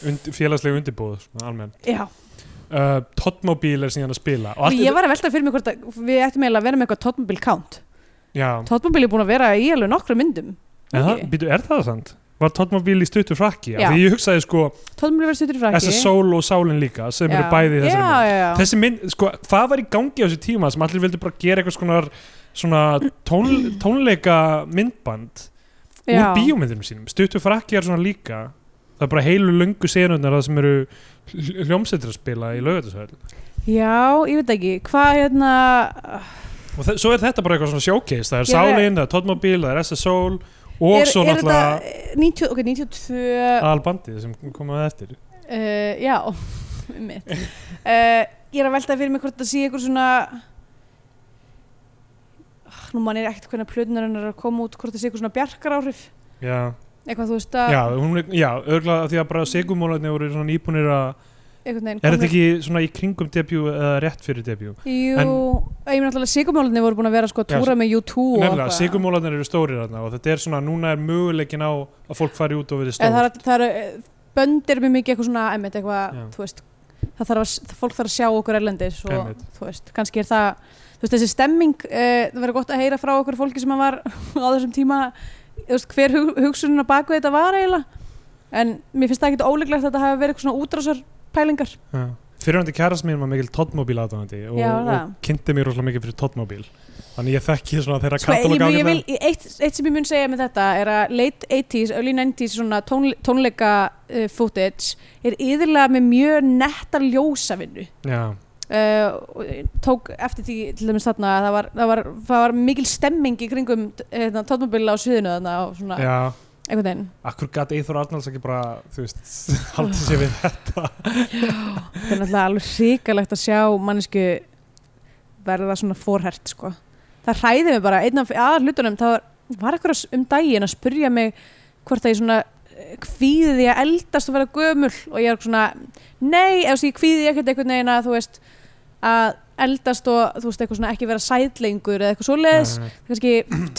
B: Und, félagslega undirbúð svona, almenn
C: já
B: uh, Totmobil er síðan að spila og
C: Og
B: allt
C: ég
B: þetta-
C: var að velta fyrir mig hvort að Við ættum eiginlega að vera með eitthvað Tottenbill count
B: já,
C: Tottenbill er búin að vera í alveg nokkru myndum
B: en það,
C: ekki?
B: býtu, er það sant? Var Totmobil í stuttu frakki?
C: Já.
B: Já. Því ég hugsaði sko,
C: Tottenbill verið stuttur fræki
B: þessi sól og sálin líka sem eru bæði í þessari mynd.
C: já, já, já.
B: þessi mynd, sko, hvað var í gangi á þessu tíma sem allir vildi bara gera eitthvað svona svona tón, tónleika myndband úr
C: Já.
B: bíómyndinum sínum, stuttu frakki er svona líka það er bara heilu löngu senundar það sem eru hljómsettir að spila í laugatisvæl
C: Já, ég veit ekki, hvað hérna
B: og þe- svo er þetta bara eitthvað svona showcase það er
C: Ég er-
B: Sálin, það er Todmobil, það er SS Soul og
C: er,
B: svo
C: er
B: náttúrulega Ah.
C: þetta, eh, 90, ok, 92 uh,
B: albandið sem komaði eftir
C: eh, Já, mitt uh, Ég er að velta fyrir mig hvort það sé eitthvað svona Ah, Nú mann er ekkert hvernig plöðunar hennar er að koma út hvort það sé eitthvað svona bjarkar áhrif
B: já,
C: eitthvað þú veist að
B: já, hún, er- já örgulega því að bara segumólarni voru svona nýbúnir að
C: einhvern veginn
B: er
C: komið-
B: þetta ekki svona í kringum debut eða rétt fyrir debut
C: Jú, ég meina alltaf að sigurmálinni voru búin að vera sko að
B: Já,
C: túra með U2 og
B: Nefnilega,
C: eitthvað.
B: sigurmólarnir eru stórir þarna og þetta er svona, núna er möguleikin á að fólk fari út og verið
C: En
B: stór.
C: það er- það er, böndir mjög mikið eitthvað svona, einmitt, eitthvað,
B: Já.
C: þú veist, það þarf að, það- fólk þarf að sjá okkur erlendis og,
B: Einmitt.
C: þú veist, kannski er það, þú veist, þessi stemming, uh, það verður gott að heyra frá okkur fólki sem að var á þessum tíma, þú veist, hver hug, hugsunin á baku þetta var eiginlega, en mér finnst það ekkit óleiklegt að það hafi verið eitthvað svona útrásar pælingar.
B: Já. Fyrirhandi kærast mín var mikil Toddmobil aðdánandi og,
C: Já, það.
B: og kynnti mér rosalega mikið fyrir Toddmobil. Þannig ég þekki svona þeirra
C: Sko, ég,
B: katalóg
C: ég, ég vil, ég- eitt, eitt sem ég mun segja með þetta er að late 80s, early 90s svona tónle, tónleika uh, footage er yfirlega með mjög netta ljósavinnu
B: Já,
C: uh, og ég tók eftir því til dæmis þarna að það var, það var, það var mikil stemming í kringum hérna, tónmobila á sviðinu þarna og svona
B: já.
C: einhvern veginn
B: Akkur gæti Eithor Arnalds ekki bara, þú veist, haldið sér við þetta.
C: það er náttúrulega alveg hrikalegt að sjá mannesku verða svona forhert sko. það hræði mig bara einn af aðal hlutunum það var, var eitthvað um daginn að spurja mig hvort að ég svona eh, kvíði því að eldast og vera gömul og ég er svona, nei, eða þú veist, ég kvíði því ekkert einhvern veginn að þú veist að eldast og þú veist eitthvað svona ekki vera sætlengur eða eitthvað svoleiðis
B: Nei,
C: kannski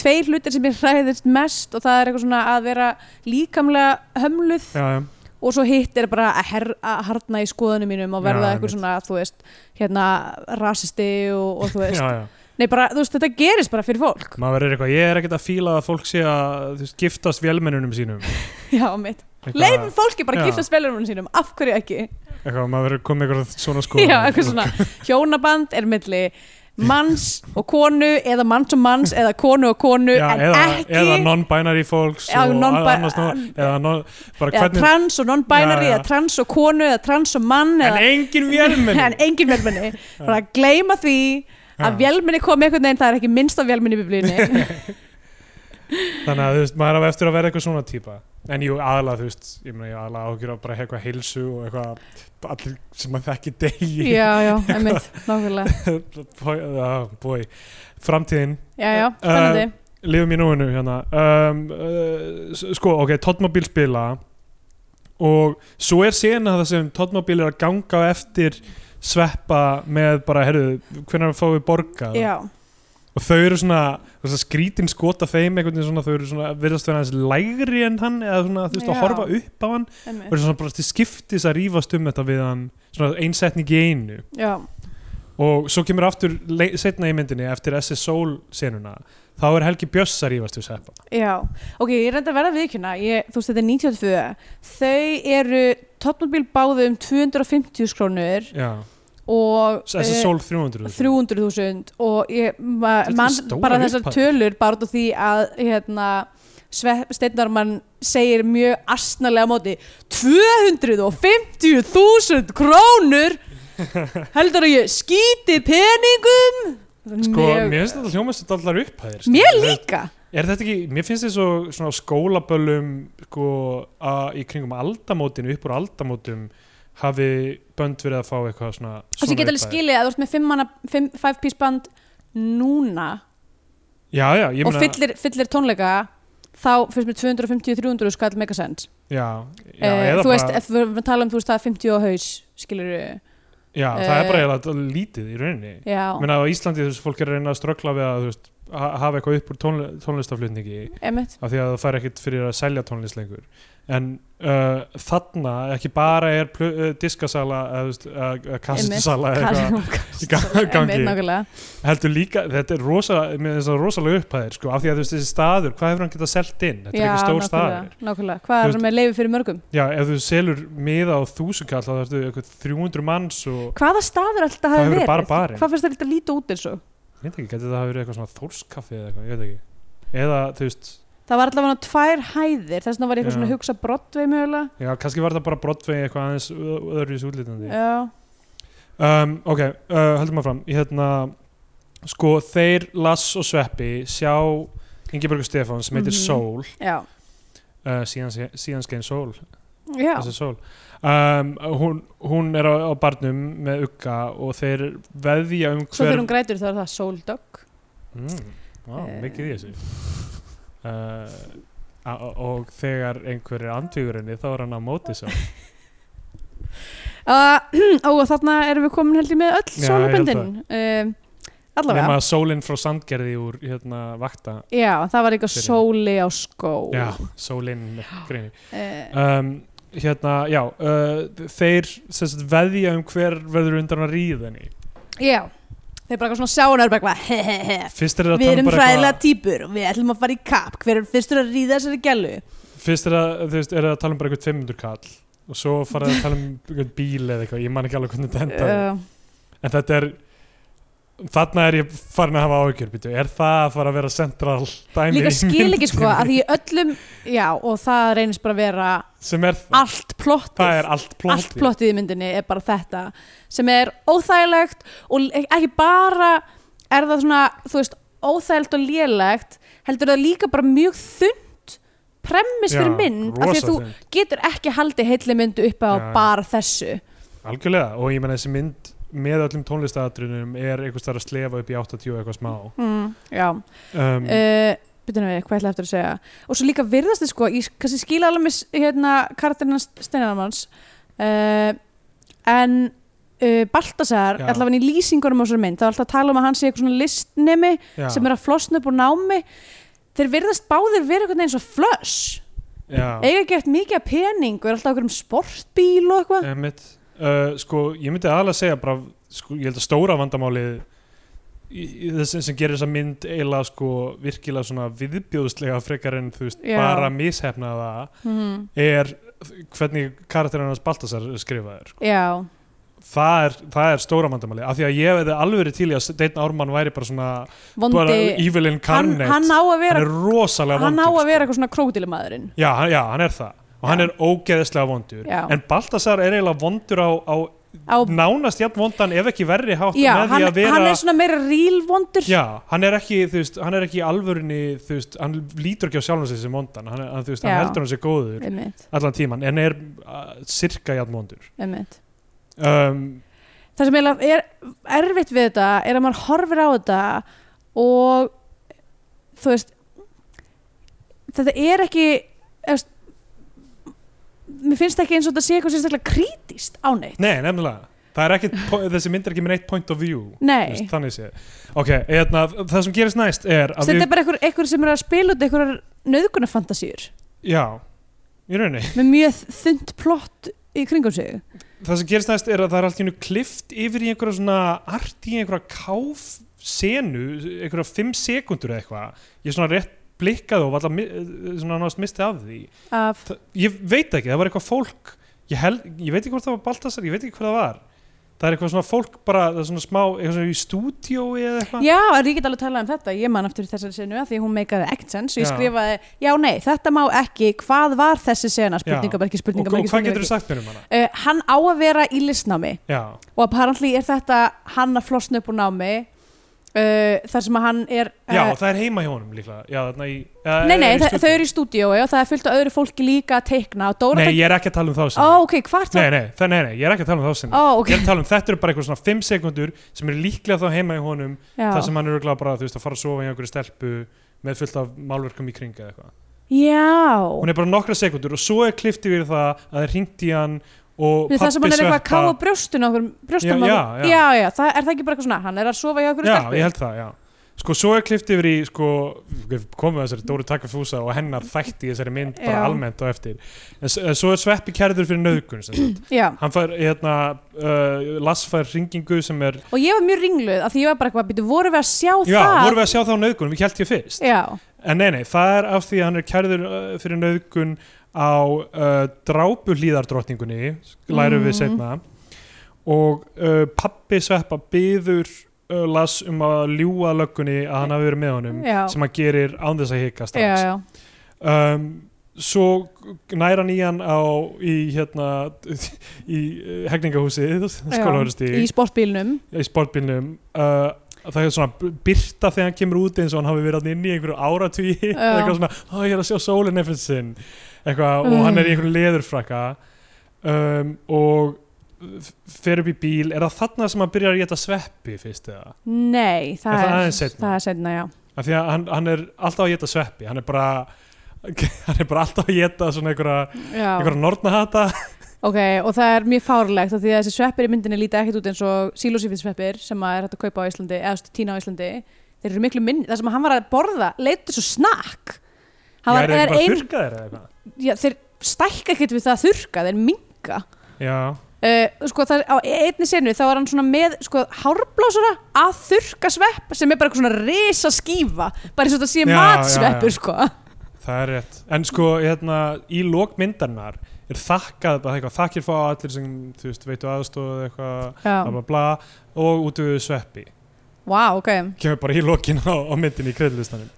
C: tveir hlutir sem ég hræðist mest og það er eitthvað svona að vera líkamlega hömluð
B: Já, já.
C: og svo hitt er bara að, her, að harna í skoðunum mínum og verða
B: Já, einmitt.
C: eitthvað svona, þú veist, hérna rasisti og, og þú veist
B: já, já.
C: nei bara, þú veist, þetta gerist bara fyrir fólk
B: Maður verður eitthvað, ég er ekkert að fíla að fólk sé að, þú veist, giftast vélmennunum sínum.
C: já, mitt,
B: Eitthvað-
C: leifum fólki bara
B: Já.
C: að gifta spilunum sínum, af hverju ekki
B: Eitthvað, maður verður komið eitthvað svona skoðum.
C: já, eitthvað svona, hjónaband er milli manns og konu eða manns og manns eða konu og konu
B: Já,
C: en
B: eða,
C: ekki
B: eða non-binary folks
C: Já,
B: og
C: non-bi-
B: annars nú eða non, bara
C: eða
B: hvernig
C: trans og non-binary
B: Já, já.
C: eða trans og konu eða trans og mann
B: en
C: eða,
B: engin vélmenni
C: en engin velmenni bara að gleyma því
B: Já.
C: að velmenni kom einhvern veginn það er ekki minnst af velmenni í biblíunni
B: þannig að þú veist, maður er á eftir að vera eitthvað svona típa en jú, aðalega, þú veist, ég meina ég aðalega ágjur á bara eitthvað heilsu og eitthvað allir sem maður þekki degi
C: já, já, einmitt, nákvæmlega
B: Boy, ah, boy. framtíðin,
C: já,
B: Eh,
C: já, spennandi
B: lifum í núinu hérna um, uh, s- sko, ok, Totmobil spila og svo er sena það sem Totmobil er að ganga á eftir sveppa með bara, herru, hvernig fáum við borgað
C: já,
B: og þau eru svona, svona skrítin skota þeim einhvern veginn svona, þau eru svona, virðast vera aðeins lægri en hann eða svona, þú veist, að
C: Já.
B: horfa upp á hann og
C: einmitt
B: eru svona bara til skiptis að rífast um þetta við hann, svona einsetning í einu
C: já,
B: og svo kemur aftur le- seinna í myndinni eftir SS Soul senuna þá er Helgi Björns að rífast við Seppa
C: já, ok, ég reyndi að verða viðkjöna ég, þú veist, þetta er 92 þau eru tóttmóbíl báðu um 250 skrónur
B: já,
C: og
B: SS
C: eh,
B: Soul 300
C: 300.000 og ég ma-
B: Þetta er
C: man
B: stórar
C: bara þessar
B: upphæðir.
C: tölur bara út af því að hérna, Steinarmann segir mjög astnalega á móti 250.000 krónur heldur að ég skíti peningum
B: sko,
C: mjög,
B: mér finnst þetta hljómast allar upphæðir sko.
C: mér líka
B: er þetta ekki, mér finnst þetta svo svona á skólaböllum sko, a, í kringum aldamótin, upp úr aldamótum hafi bönd verið að fá eitthvað svona,
C: og
B: svona
C: ég get
B: upphæðir.
C: alveg skilið að þú ert með 5 manna 5 piece band núna
B: já, já, ég
C: og
B: meina
C: fyllir, fyllir tónleika þá fyrst með 250-300 skall megasend
B: já, já,
C: Eh,
B: eða
C: þú veist,
B: bara,
C: ef við erum að tala um þú veist það er 50 og haus, skilur við
B: já, það er bara
C: eh,
B: eiginlega lítið í rauninni
C: já,
B: Ég meina á Íslandi þessu fólk er að reyna að ströggla við að þú veist, ha- hafa eitthvað upp úr tónle tónlistaflutningi
C: emitt
B: af því að það fær ekkit fyrir að selja tónlist lengur en uh, þarna ekki bara er plö- uh, diskasala eða uh, uh, kassetusala eða eitthvað í ga- gangi.
C: nákvæmlega
B: heldur líka, þetta er rosa, með þessar rosalega upphæðir sko, af því að þú veist, þessi staður, hvað hefur hann getað selt inn þetta er
C: Já,
B: ekki stór
C: nákvæmlega,
B: staður
C: nákvæmlega, hvað
B: Þú
C: er
B: veist-
C: með leifi fyrir mörgum
B: já, ef þú selur miða á þúsukall þá ertu eitthvað 300 manns og
C: hvaða staður alltaf
B: það
C: hafi
B: hefur
C: verið
B: bara barinn
C: hvað finnst þér þetta líta út eins og
B: ég veit ekki, geti það hafi verið eitthvað svona þórskaffi eða eitthvað, ég veit ekki eða þú veist,
C: það var allavega tvær hæðir þess vegna var ég
B: Já.
C: eitthvað svona að hugsa brotvei mögulega
B: já, kannski var það bara brotvegi eitthvað aðeins öðru í þessu útlítandi
C: já,
B: um, ok, uh, höldum maður fram hérna, sko þeir Lass og Sveppi sjá Ingeborg Stefán sem heitir
C: Mhm.
B: Sól
C: já,
B: uh, síðan, síðan skein Sól,
C: já,
B: þessi Sól um, hún, hún er á, á barnum með Ugga og þeir veðja um
C: svo
B: hver
C: þegar hún grætur þá er það sóldögg
B: mm, á,
C: Eh.
B: mikið í þessu uh, a- og- og þegar einhver er andvígurinni þá er hann á móti Sól
C: uh, og þarna erum við komin held ég með öll
B: Já, ég held
C: sóluböndin um, allavega
B: nema Sólinn frá Sandgerði úr hérna vakta
C: Já, það var eitthvað
B: Fyrir.
C: sóli á skó
B: já, Sólinn greini
C: Eh,
B: um, hérna, já uh, þeir sem sagt, veðja um hver verður undan að ríða henni
C: já. Þeir bara eitthvað svona sjá hann og er bara eitthvað he he he
B: fyrst er það um
C: Við erum hræðilega típur og við ætlum að fara í kapp Hver er fyrstur að ríða þessari gælu?
B: fyrst er það, þú veist, er það að tala um bara eitthvað 500 kall og svo fara að tala um eitthvað bíl eða eitthvað, ég man ekki alveg hvernig þetta endar
C: Uh,
B: en þetta er þarna er ég farin að hafa áhyggjur býtu, er það að fara að vera central dæmi
C: líka
B: í
C: skil ekki sko
B: myndinni?
C: að því í öllum Já, og það reynist bara að vera
B: sem er það,
C: allt plottið
B: það er allt plotti
C: Allt plottið í myndinni er bara þetta sem er óþægilegt og ekki bara er það svona, þú veist, óþægilegt og lélegt heldur það líka bara mjög þund premiss fyrir mynd af því að þú getur ekki haldið heilli myndu upp á
B: Já, já.
C: bara þessu
B: algjörlega, og ég menna þessi mynd með öllum tónlistadrunum er eitthvað starf að slefa upp í 80 eitthvað smá
C: mm, já
B: um,
C: uh, byrjunum við, hvað ætla eftir að segja og svo líka virðast þið sko, ég kannski skila alveg með hérna karakterina Steinarmanns uh, en uh, Baltasar,
B: Já.
C: allavega í lýsingunum á þessari mynd, það er alltaf að tala um að hann sé eitthvað svona listnemi
B: já,
C: sem er að flosna upp úr námi þeir virðast báðir vera einhvern veginn svo flöss
B: já.
C: eiga gett mikið af pening og er alltaf okkur um sportbíl og eitthvað
B: Einmitt, uh, sko, ég myndi aðalega segja bara, sko, ég held að stóra vandamálið í, í þess, sem gerir þessa mynd eiginlega sko virkilega svona viðbjóðslega frekar en þú veist
C: Já.
B: bara mishefnaða
C: mm.
B: er hvernig karakterinn hans Baltasar er skrifaður
C: já,
B: það er, það er stóra mandamali af því að ég hefði alveg verið til í að Deitn Ármann væri bara svona bara
C: vondi
B: evil
C: hann,
B: incarnate
C: hann á að vera
B: er rosalega
C: hann á
B: vondur,
C: að vera
B: sko.
C: eitthvað svona krókdýlimaðurinn
B: já, hann, já, hann er það og hann
C: Já.
B: er ógeðislega vondur
C: Já.
B: en Baltasar er eiginlega vondur á, á
C: á,
B: nánast jafn vondan ef ekki verri hátt
C: já,
B: með
C: hann,
B: því að vera
C: hann er svona meira rílvondur
B: Já, hann er ekki, þú veist, hann er ekki í alvörinni, þú veist, hann lítur ekki á sjálfum sig sem vondan, hann, er- hann, þú veist, hann
C: Já.
B: heldur hann sér góður
C: einmitt,
B: allan tíman, en er uh, sirka jafn vondur.
C: einmitt
B: Um,
C: það sem eiginlega er erfitt við þetta er að maður horfir á þetta og þú veist þetta er ekki eða, þú veist, mér finnst ekki eins og þetta sé eitthvað sérstaklega kritist á neitt
B: nei, nefnilega, það er ekki, þessi mynd er ekki með neitt point of view, þú
C: nei,
B: veist, þannig sé. Ok, eðna, það sem gerist næst er að
C: þetta er bara einhver, einhver sem er að spila út einhverjar nöðgunarfantasíur
B: já, í rauninni,
C: með mjög þund plott í kringum sig
B: það sem gerist næst er að það er allt í hennu klift yfir í einhverja svona art í einhverja káf senu, einhverja fimm sekundur eða eitthvað, ég svona rétt blikkaði og var alltaf eh, svona náttúrulega mistið af því
C: af,
B: það, ég veit ekki, það var eitthvað fólk ég, hel, ég veit ekki hvort það var Baltasar, ég veit ekki hvað það var það er eitthvað svona fólk bara, það er svona smá eitthvað svona í stúdíói eða eitthvað
C: já, en ég get alveg talað um þetta ég man aftur þessari senu að því hún meikaði ekkert sens og ég
B: Já.
C: skrifaði, já nei, þetta má ekki hvað var þessi sena,
B: Já.
C: spurningamarki
B: og, og,
C: spurningamarki,
B: hvað
C: spurningamarki
B: getur þú sagt mér um hana?
C: Uh, hann á að vera í listnámi
B: Já,
C: og apparently er þetta hann að flosna upp úr námi uh, þar sem að hann er
B: já
C: uh,
B: það er heima hjá honum líklega já, þarna í, eða,
C: Nei, nei,
B: eða í
C: þa-
B: stúdíói.
C: þau eru í stúdíói og það er fullt af öðru fólki líka að teikna og Dóra
B: Nei, ég er ekki að tala um þá
C: Ó,
B: sinni
C: ok, hvart
B: nei,
C: var
B: nei, það, nei, nei, ég er ekki að tala um þá sinni
C: Ó, ok,
B: Ég er að tala um, þetta eru bara eitthvað svona 5 sekundur sem eru líklega þá heima í honum
C: já
B: þar sem hann eru bara, þú veist, að fara að sofa í einhverju stelpu með fullt af málverkum í kringa eitthvað
C: Já,
B: hún er bara nokkra sekundur og svo er klift yfir það að það er hringt í hann og
C: það sem hann er eitthvað að káa
B: sveppa-
C: brjóstun okkur brjóstum
B: Já,
C: okkur,
B: já, já.
C: já, já, það er það ekki bara eitthvað svona hann er að sofa hjá okkur
B: já, ég held það, já sko, svo er klift yfir í, sko við komum að þessari Dóri Takafúsa og hennar þætti í þessari mynd bara
C: Já.
B: almennt og eftir en s- eh, svo er sveppi kærður fyrir nöðgun sem sagt.
C: Já,
B: hann fær, hérna uh, Lass fær hringingu sem er
C: og ég var mjög ringluð af því ég var bara eitthvað, býtu, vorum við að sjá
B: já,
C: það
B: vorum við að sjá það á nöðgunum, við kjælt ég fyrst
C: Já,
B: en nei, nei, það er af því að hann er kærður uh, fyrir nöðgun á uh, drápuhlíðardrottningunni lærum við
C: Mhm.
B: seinna og uh, pappi sveppa byður uh, Lass um að ljúga löggunni að hann hafi verið með honum
C: Já.
B: sem hann gerir án þess að hika
C: já,
B: strax
C: já
B: um, svo næra nýjan á í hérna í uh, hegningahúsið skólaugurusti
C: Í sportbílnum
B: í sportbílnum uh, að það er svona byrta þegar hann kemur út eins og hann hafi verið þarna inni í einhverju áratví
C: Já.
B: eitthvað svona, ó ég er að sjá sólinn eftir sinn eitthvað og
C: Mm.
B: hann er í einhverju leðurfrakka um, og f- fer upp í bíl er það þarna sem hann byrjar að geta sveppi fyrst eða,
C: Nei, það
B: Er það
C: er,
B: aðeins seinna?
C: það er setna, já.
B: af því að hann, hann er alltaf að geta sveppi, hann er bara hann er bara alltaf að geta svona einhverja,
C: já.
B: einhverja nornahata
C: Ok, og það er mjög fárlegt af því að þessi sveppir í myndinni líta ekkert út eins og sílósífins sveppir sem að er hægt að kaupa á Íslandi eða þú veist, tína á Íslandi. Þeir eru miklu minni, það sem hann var að borða leitur svo snakk. Hann
B: já, er
C: Var,
B: það
C: er
B: bara ein...
C: ein,
B: þurrkaðir eða eitthvað
C: já, þeir stækka ekkert við það að þurrka, þeir minga.
B: já,
C: Uh, sko, það, á einni senu þá var hann svona með sko, hárblásara að þurrka svepp sem er bara eitthvað svona risa skífa bara eins og þetta sé
B: Já, já,
C: matsveppur
B: já.
C: sko.
B: Það er rétt. En sko, hérna, í lókmyndarnar er þakkað, bara eitthvað, þakkir fá allir sem, þú veist, veitu aðstóð eitthvað,
C: Já,
B: bla bla bla, og út við sveppi.
C: vá, ok
B: Kemur bara í lókin á, á myndinni í kreðlistanum.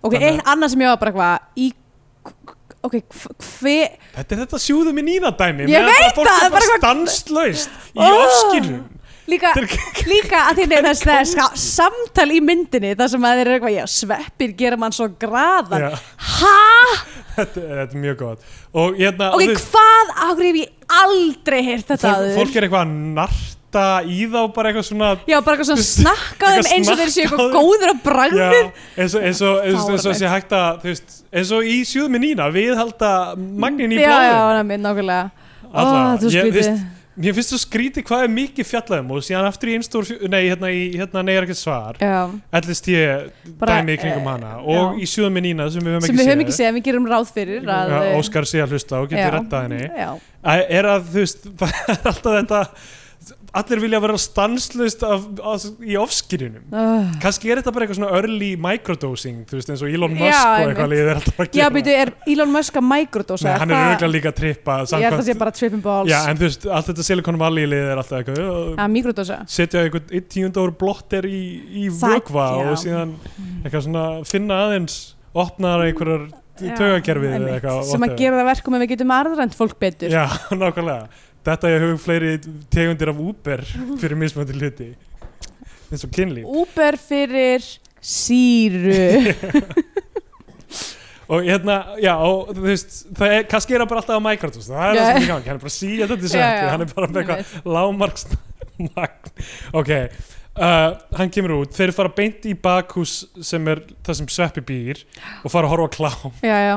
C: Ok,
B: Þannig að-
C: eitt annað sem ég var bara eitthvað í, ok, hv- hver
B: Þetta er þetta sjúðu minn ína dæmi.
C: Ég
B: veit það! Fólk
C: það
B: er
C: er bara
B: bara
C: eitthvað-
B: stanslaust í
C: Oh!
B: öskirum.
C: líka, líka að því að það er ska- samtal í myndinni þar sem að þeir eru eitthvað, já, sveppir gera mann svo graðan,
B: Já,
C: hæ?
B: þetta, þetta er mjög gott. Og hérna,
C: Ok,
B: þú veist,
C: hvað, áhrif hef ég aldrei heyrt þetta
B: fólk,
C: aður?
B: fólk er eitthvað að narta í þá bara eitthvað svona
C: Já, bara eitthvað svona snakka á
B: Eitthvað
C: þeim eins og þeir
B: snakka
C: séu
B: á
C: eitthvað
B: þeim.
C: góður á bragðið
B: um- Já, eins og eins og eins og- eins og sé hægt að þú veist, eins og í sjöðu minn ína við halda magnin í
C: Já, já,
B: blóðum
C: hana minn, nákvæmlega Ó,
B: Alla,
C: Ah, þú
B: ég-
C: skrítið
B: veist- Mér finnst þú skrítið hvað er mikið fjallaðum og síðan aftur í einstór, fjú- nei, hérna í hérna neyjar ekkert svar,
C: Já,
B: ellist ég
C: Bara,
B: dæmi í kringum
C: eh,
B: hana og
C: já.
B: í sjöðum minn ína sem við höfum
C: sem
B: ekki
C: við höfum ekki séð, við gerum ráð fyrir að eh,
B: Já, Óskar sé að hlusta og getur rettað henni
C: Já,
B: Æ, er að þú veist það er alltaf þetta allir vilja vera stanslust af, af, í ofskynjunum
C: Uh.
B: kannski er þetta bara eitthvað svona early microdosing þú veist eins og Elon
C: Já,
B: Musk og
C: einmitt.
B: eitthvað liðið er alltaf að
C: Já,
B: gera
C: býtu, er Elon Musk að microdosa?
B: Nei, hann er
C: Það-
B: auðvitað líka að trippa
C: Ég held að
B: samkvæmt-
C: það sé bara tripping balls
B: Já, en þú veist, allt þetta Silicon Valley liðið er alltaf eitthvað "Ö,
C: að mikrodosa
B: setja eitthvað einn tíundóru blotter í, í
C: Það-
B: vökva
C: já.
B: og síðan
C: Mm.
B: eitthvað svona finna aðeins opnar einhverjar taugakerfið eða eitthvað
C: sem að
B: whatever.
C: gera það verkum að við getum aðrænt fólk betur
B: Já, nákvæmlega Þetta ég hug fleiri tegundir af Uber fyrir mismöndi hluti eins og kynlíf
C: Uber fyrir síru
B: og hérna, já, og þú veist það er, kannski er hann bara alltaf á Microsoft það er
C: Já.
B: það sem er í gangi, hann er bara að síja þetta til
C: Já, já.
B: sætti hann er bara með eitthvað lágmarksmagn ok, uh, hann kemur út þeir fara beint í bakhús sem er það sem sveppi býr og fara að horfa á klám
C: Já, já,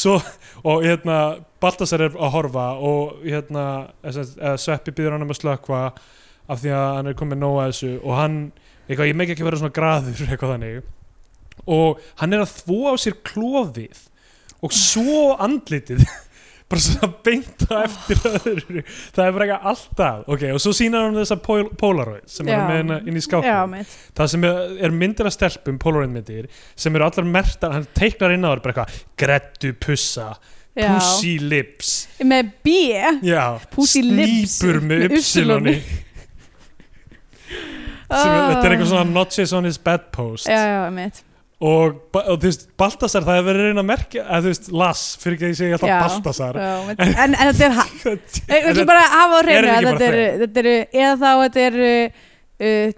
B: svo, og hérna Baltasar er að horfa og hérna eða sem sagt, eða Sveppi býður hann um að slökva af því að hann er komið nóg að þessu og hann, eitthvað, ég megi ekki vera svona graður eitthvað þannig og hann er að þvó á sér klofið og svo andlitið bara svona beinta eftir öðru það er bara eitthvað alltaf ok, og svo sínar hann þessa pól Polaroid sem
C: Já.
B: hann er með hérna inn í skápnum
C: já, mitt
B: það sem er er myndir af stelpum Polaroid myndir sem eru allar mertar hann teiknar inn á þar bara eitthvað grettu pussa,
C: já.
B: pussy lips
C: Með B
B: já,
C: Pussy lips
B: snípur með
C: með
B: ypsiloni sem er, þetta er eitthvað svona notches on his bedpost
C: Ah. Já, já, mitt
B: og, ba- og þú veist, Baltasar það hefur verið að reyna að merkja, að þú veist, Lass fyrir ekki að ég segi alltaf
C: Já.
B: Baltasar
C: En, en þetta er ha- Ég
B: En
C: vil
B: þetta-
C: bara hafa á
B: Er
C: reyna
B: þetta ekki
C: þetta
B: bara
C: er, þetta er, eða þá þetta er uh,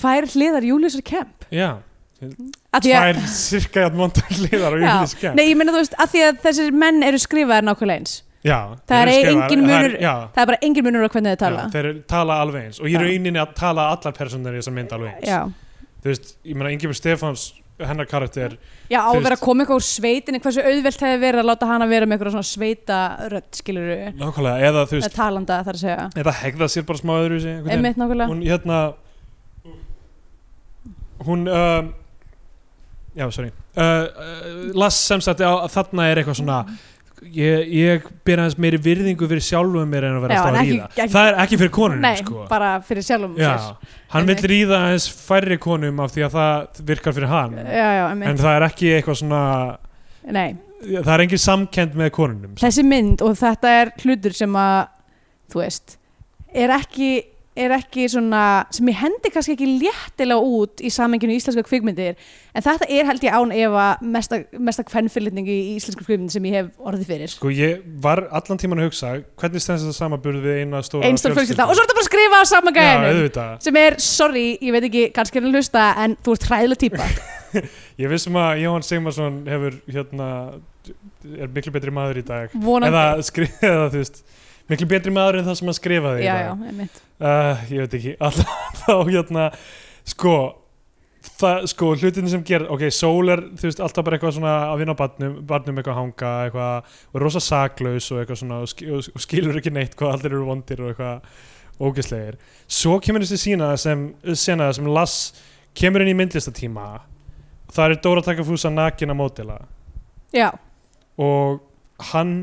C: tvær hliðar Júliusar Kemp
B: já,
C: Af því að-
B: tvær cirka jætt montar hliðar og
C: Já.
B: Július Kemp
C: Nei, ég meina þú veist, af því að þessir menn eru skrifaðir nákvæmlega eins
B: já,
C: Það er
B: þeir eru
C: engin
B: skrifaðar- það
C: munur-
B: er- já,
C: Það er bara engin munur á hvernig þau tala
B: Já, þeir tala alveg eins og ég er
C: Já.
B: rauninni að tala allar personar í þessar mynd alveg eins
C: Já,
B: þú veist, ég meina Ingemar Stefáns hennar karakter,
C: já á
B: Þú
C: að vera
B: veist-
C: að koma eitthvað úr sveitinni hversu auðvelt hefði verið að láta hana vera með eitthvað svona sveita rödd, skilur við
B: nákvæmlega, eða þú
C: eða
B: veist,
C: talanda þar að segja
B: eða hegða sér bara smá öðru
C: Einmitt nákvæmlega
B: hún hérna hún um, já, sorry uh, uh, Lass sem sagt á, þarna er eitthvað svona ég, ég byrja aðeins meiri virðingu fyrir sjálfum mér en að vera
C: Já,
B: alltaf
C: en
B: að
C: ekki-
B: ríða
C: ekki-
B: það er ekki fyrir konunum
C: Nei,
B: sko
C: bara fyrir sjálfum sér
B: já, hann vil
C: Einmitt.
B: ríða aðeins færri konum af því að það virkar fyrir hann
C: Já, já,
B: en
C: einmitt
B: það er ekki eitthvað svona
C: Nei,
B: það er engin samkend með konunum
C: þessi mynd og þetta er hlutur sem að þú veist, er ekki er ekki svona, sem ég hendi kannski ekki léttilega út í samenginu íslenska kvikmyndir, en þetta er held ég án efa mesta, mesta kvennfyrlitning í íslenska kvikmyndir sem ég hef orðið fyrir
B: Sko ég var allan tíman að hugsa hvernig stendst þetta samaburð við eina stóra
C: einstaklega fjölskylda og svo ertu bara að skrifa á sama
B: Já,
C: gæðinu
B: auðvitað.
C: sem er, sorry, ég veit ekki kannski er hann að hlusta, en þú ert hræðilega típa
B: Ég vissum að Jóhann Sigmarsson hefur hérna er miklu betri maður í dag
C: vonandi
B: eða, skri, eða þú veist miklu betri maður en það sem hann skrifaði
C: já,
B: í
C: já,
B: dag
C: einmitt.
B: uh, Ég veit ekki alltaf þá hérna sko það, sko hlutin sem ger ok, sól er þú veist alltaf bara eitthvað svona að vinna á barnum, barnum eitthvað að hanga eitthvað og er rosa saklaus og eitthvað svona og, sk og, og skilur ekki neitt hvað allir eru vondir og eitthvað ógeðslegir svo kemur þessi sína sem, sena sem Lass kemur inn í myndlistatíma það er Dóra Takafúsa nakin að mótila
C: já,
B: og hann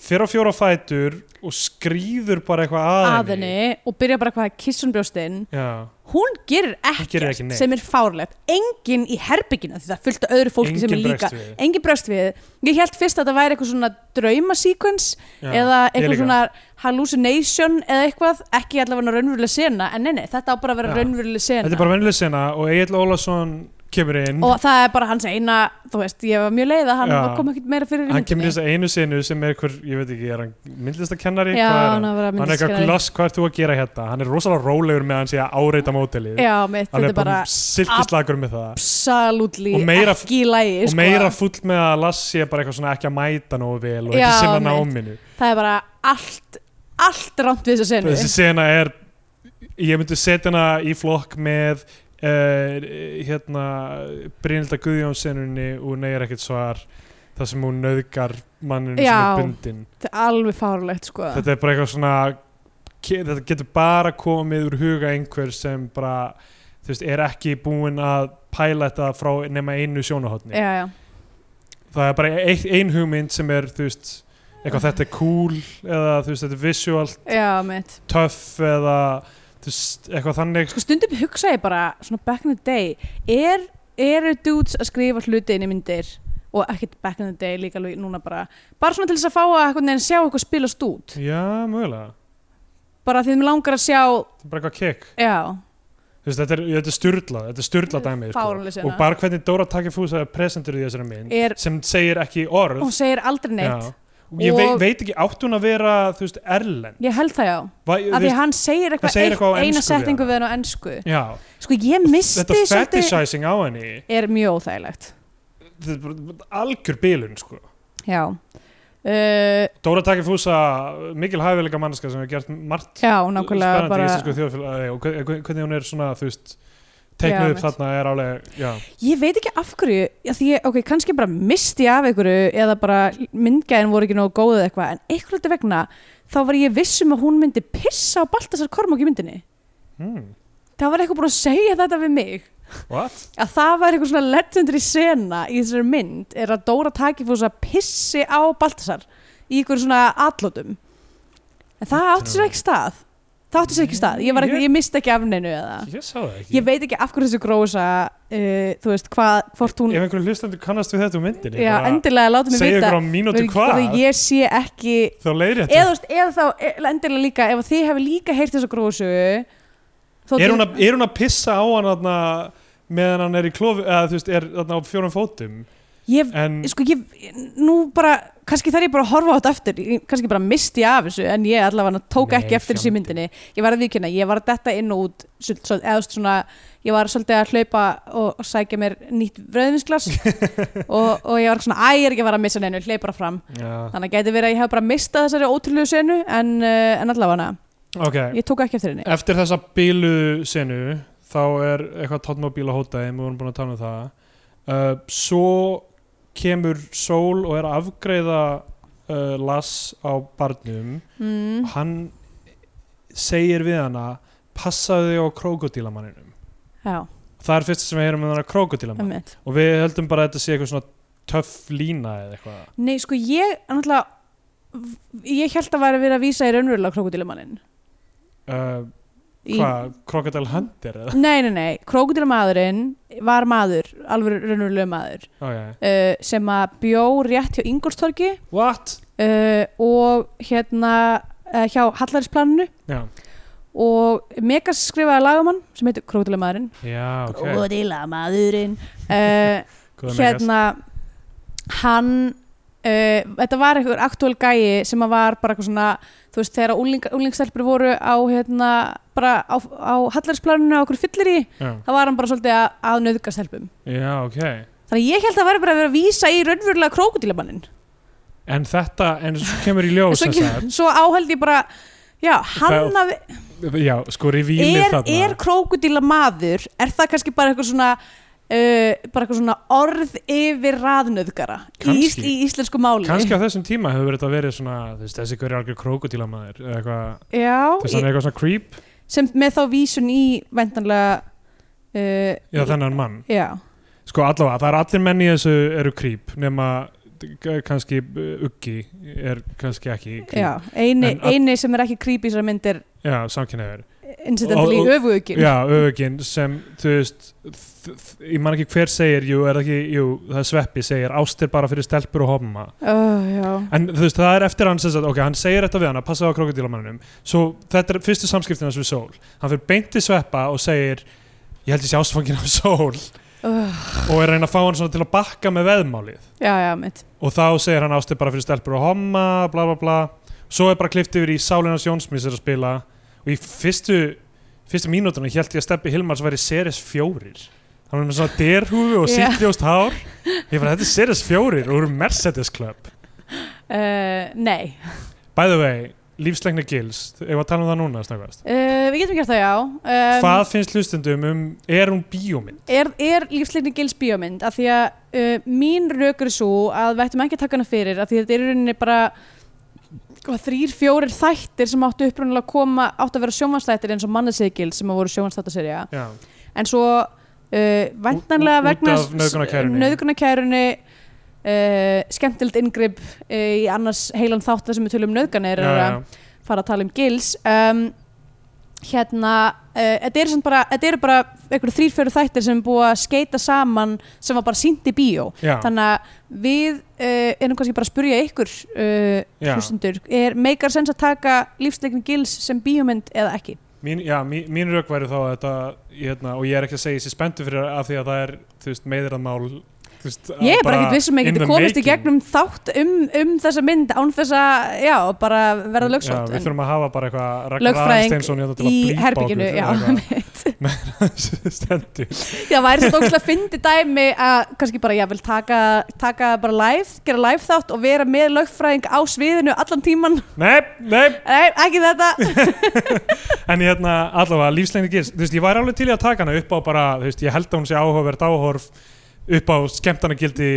B: fer á fjóra fætur og skrýður bara eitthvað að
C: að henni og byrja bara hvað að kissa hún brjóstinn
B: Já,
C: hún gerir
B: Hún
C: ekkert
B: gerir ekki neitt.
C: sem er fárlegt engin í herbygginu, því það er fullt af öðru fólki sem er
B: enginn
C: líka,
B: bregst við.
C: engin bregst við ég held fyrst að þetta væri eitthvað svona draumasíkvens
B: Já,
C: e- eða
B: ég
C: eitthvað
B: líka.
C: svona hallucination eða eitthvað, ekki allavega raunveruleg sena en nei, nei, þetta á bara að vera
B: Já.
C: raunveruleg sena
B: Þetta er bara vennileg sena og Egil Ólafsson kemur inn
C: og það er bara hans eina þú veist, ég var mjög leið að hann
B: Já.
C: kom ekkert meira fyrir í
B: hann kemur í
C: myndinni.
B: þess að einu senu sem er hver, ég veit ekki, er hann myndlistakennari?
C: já,
B: Hvað er
C: hann
B: hann?
C: var
B: Hann er eitthvað
C: myndlistakennari.
B: glass, hvað ert þú að gera hérna? Hann er rosalega rólegur með að hann sé að áreita mótilið
C: já, mitt,
B: Hann
C: þetta
B: er
C: er bara
B: bara silkislagur með það
C: absolutely
B: Og meira-
C: ekki í sko. lægi
B: og meira full með að Lass sé bara eitthvað svona ekki að mæta nógu vel og
C: Já,
B: ekki sinna
C: mitt.
B: náminu
C: það er bara allt allt rámt við þessa senu
B: þessi sena er ég myndi setja hana í flokk með uh, hérna Brynilda Guðjónssenunni og Nei er ekkert svar þar sem hún nöðgar manninu sem
C: Já.
B: er bundin
C: þetta er alveg fárlegt sko
B: þetta er bara eitthvað svona ke- þetta getur bara komið úr huga einhver sem bara þú veist, er ekki búin að pæla þetta frá nema einu sjónahotni
C: já, já.
B: e-, það er bara ein, ein hugmynd sem er þú veist eitthvað þetta er cool eða þú veist þetta er visual
C: já, mitt
B: tough eða þú veist eitthvað þannig
C: sko stundum hugsa ég bara, svona back in the day er, eru dudes að skrifa hluti inn í myndir og ekkert back in the day líka alveg núna bara bara svona til þess að fá að einhvern veginn sjá eitthvað spilast út
B: já mögulega
C: bara því þeim langar að sjá,
B: þetta er bara eitthvað kick
C: já,
B: þú veist þetta er, þetta er styrla þetta er styrla dæmi
C: Fáránleg sena.
B: og bara hvernig Dóra Takifús er presentur í þessari mynd
C: Er-
B: sem segir ekki orð
C: hún segir aldrei neitt
B: Já. ég
C: Og-
B: veit, veit ekki átt hún að vera þú veist erlend
C: ég held það já,
B: Va,
C: af því að hann segir eitthvað,
B: segir eitthvað á
C: eitt- eina
B: ensku við
C: setningu
B: hana.
C: við hann á ensku
B: já,
C: sko ég misti
B: þetta
C: svolítið-
B: fetishizing á henni
C: er mjög óþægilegt
B: þetta er bara algjör bilun sko
C: já uh,
B: Dóra Takifúsa, mikil hæfileika manneska sem hefur gert margt
C: já,
B: spennandi sko,
C: nákvæmlega
B: í
C: bara,
B: íslensku þjóðfélagi og hve- hve- hvernig hún er svona, þú veist teiknuð
C: Já,
B: upp
C: mitt.
B: þarna er alveg, já,
C: ég veit ekki af hverju já, því ég, ok, kannski bara misti ég af einhverju eða bara myndgæðin voru ekki nógu góð eða eitthvað, en einhverju hluti vegna þá var ég vissum að hún myndi pissa á Baltasar Kormák í myndinni
B: hmm,
C: það var eitthvað búin að segja þetta við mig
B: what?
C: að það var eitthvað svona legendary sena í þessari mynd er að Dóra Takifús að pissi á Baltasar í einhverju svona atlótum en það átti sér ekki stað það átti sér ekki stað, ég, var ekki, ég misti ekki af neinu eða
B: Ég sá það ekki
C: Ah. ég veit ekki af hverju þessu grósa uh, þú veist, hvað, hvort hún
B: Ef einhverjum hlustandi kannast við þetta um myndinni
C: já, endilega láta mig
B: Segja
C: vita
B: ykkur á mínútu
C: Veit-
B: hvað
C: bara ég sé ekki
B: Þá leiðir
C: eða,
B: þetta
C: þú veist, eða þá e- endilega líka ef þið hefur líka heyrt þessa grósu þó
B: er
C: þið-
B: hún, að, er hún að pissa á hann þarna meðan hann er í klofi eða þú veist, er þarna á fjórum fótum
C: ég,
B: en
C: sko ég, nú bara kannski þarf ég bara að horfa á þetta eftir ég- kannski bara misti ég af þessu en ég allavega tók
B: Nei,
C: ekki eftir þessu í
B: fjandi.
C: myndinni ég var að viðkynna, ég var að detta inn og út svol- svol- eða þú veist, svona, ég var svolítið að hlaupa og, og sækja mér nýtt bröðvinsglas og, og ég var svona, æ, ég er ekki að vera að missa neinu, hlaupa bara fram
B: já,
C: þannig að gæti verið að ég hef bara mistað þessari ótrúlegu senu en, uh, en allavega
B: ok
C: ég tók ekki eftir henni
B: Eftir þessa bílu senu þá er eitthvað tóttmóbíl að hóta þeim við vorum búin að tala um það uh, svo kemur Sól og er að afgreiða uh, Lass á barnum
C: mm.
B: hann segir við hana passaðu þig á krókodílamanninum
C: já,
B: það er fyrst sem við heyrum um hana krókodílamann
C: emmitt
B: og við höldum bara að þetta sé eitthvað svona töff lína eða eitthvað
C: nei, sko ég, náttúrulega v- ég held að væri að vera að vísa í raunverulega krokodílamannin
B: uh,
C: Í-
B: hvað, krokodil hundir eða
C: nei, nei, nei, krokodílamaðurinn var maður, alveg raunverulega maður
B: okay.
C: uh, sem að bjó rétt hjá Ingolstorgi
B: what?
C: uh, og hérna uh, hjá Hallarinsplaninu
B: já,
C: og Megas skrifaði lagamann sem heitir krokodílamaðurinn
B: já ok
C: krokodílamaðurinn uh,
B: Góða Megas.
C: hérna hann uh, þetta var einhver aktúal gæi sem að var bara eitthvað svona þú veist þegar úling, úlingstelpur voru á hérna bara á, á hallarinsplaninu á okkur fyllir í
B: já.
C: þá var hann bara svolítið að, að nöðga stelpum
B: já, ok
C: þannig að ég held að það væri bara að vera að vísa í raunverulega krókudílamannin
B: En þetta, en svo kemur í ljós
C: svo,
B: sem sagt,
C: svo áheld ég bara já, hann að
B: Já, sko revílið
C: er,
B: þarna
C: er krókudílamaður er það kannski bara eitthvað svona Uh, bara eitthvað svona orð yfir raðnöðgara í,
B: Kannski.
C: ísl, í íslensku máli
B: Kannski á þessum tíma hefur þetta verið svona þú veist, þessi hverju algjör krókudílamaður eða eitthvað,
C: Já,
B: þess að hann er eitthvað svona creep
C: ég- sem með þá vísun í væntanlega uh,
B: Já, þennan mann
C: já,
B: Sko allavega, það er allir menn í þessu eru creep nema eh, kannski eh, Uggi er kannski ekki creep
C: já. Eini,
B: En að-
C: eini sem er ekki creepy í þessari mynd er
B: Já, samkynnaður
C: incidentally
B: Og- og-
C: öfuguggin
B: Já, öfuginn sem, þú veist þ- þ- ég man ekki hver segir, jú, er það ekki jú, það er sveppi, segir, ást er bara fyrir stelpur og homma
C: oh, já.
B: En þú veist, það er eftir hann sem sagt, ok, hann segir þetta við hann að passa á krokodílamanninum svo þetta er fyrstu samskiptin hans við Sól hann fyrir beint til sveppa og segir ég held ég sé ástfangin af Sól
C: Oh,
B: og er að reyna að fá hann svona til að bakka með veðmálið
C: já, já, mitt
B: og þá segir hann ástu bara fyrir stelpur og homma bla bla bla, svo er bara klift yfir í Sálinas Jónsmís er að spila og í fyrstu, fyrstu mínútunum held ég að Steppi Hilmars væri Seres fjórir hann var með svona derhúfu og
C: Já.
B: síkljóst hár ég bara, þetta er Seres fjórir og eru Mercedes Club
C: Uh, nei,
B: By the way, lífslengni gils ef að tala um það núna snakast
C: uh, við getum gert það já um,
B: Hvað finnst hlustendum um, er hún bíómynd?
C: er, er lífsleikni gils bíómynd af því að uh, mín rökur er svo að við ættum ekki að taka hana fyrir af því að þetta er í rauninni bara hvað, þrýr, fjórir þættir sem áttu upprunalega að koma áttu að vera sjónvansþættir eins og mannesegils sem að voru sjónvansþættaserja
B: Já,
C: en svo uh,
B: Ú-
C: væntanlega
B: ú- út
C: vegna
B: af nauðgunarkærunni.
C: nauðgunarkærunni uh, skemmtild inngrip uh, í annars heilan þátt þar sem við tölum nöðganir er að fara að tala um gils um, hérna uh, þetta eru samt bara, þetta eru bara einhverju þrýrfjöru þættir sem er búið að skeita saman sem var bara sínt í bíó
B: já, já,
C: þannig að við uh, erum kannski bara að spurja ykkur uh,
B: já.
C: hlustundur, er meikar sens að taka lífsleikni gils sem bíómynd eða ekki?
B: Mín, já, mín, mín rauk væri þá að þetta, hérna, og ég er ekki að segja þessi spenntu fyrir að því að það er, þú veist, meðirðanmál þú veist, að
C: Ég er bara ekkert vissum að ég
B: in
C: geti
B: the
C: komist í
B: making.
C: gegnum þátt um, um þessa mynd án þess að, já, bara verða
B: Já,
C: lögsótt
B: við
C: en
B: þurfum að hafa bara eitthvað Ragnar
C: Lögfræðing
B: Aðalsteinsson hérna til
C: í
B: að blípa
C: herbygginu,
B: okkur
C: já,
B: eða
C: mitt
B: eitthvað stendur
C: Já, væri svo tókslega fyndi dæmi að kannski bara, já, vil taka, taka bara live, gera live þátt og vera með lögfræðing á sviðinu allan tíman
B: Nei, nei,
C: Nei, ekki þetta
B: en hérna allavega lífslegni gils, þú veist, ég væri alveg til í að taka hana upp á bara, þú veist, ég held að hún sé áhugavert áhorf upp á skemmtanagildi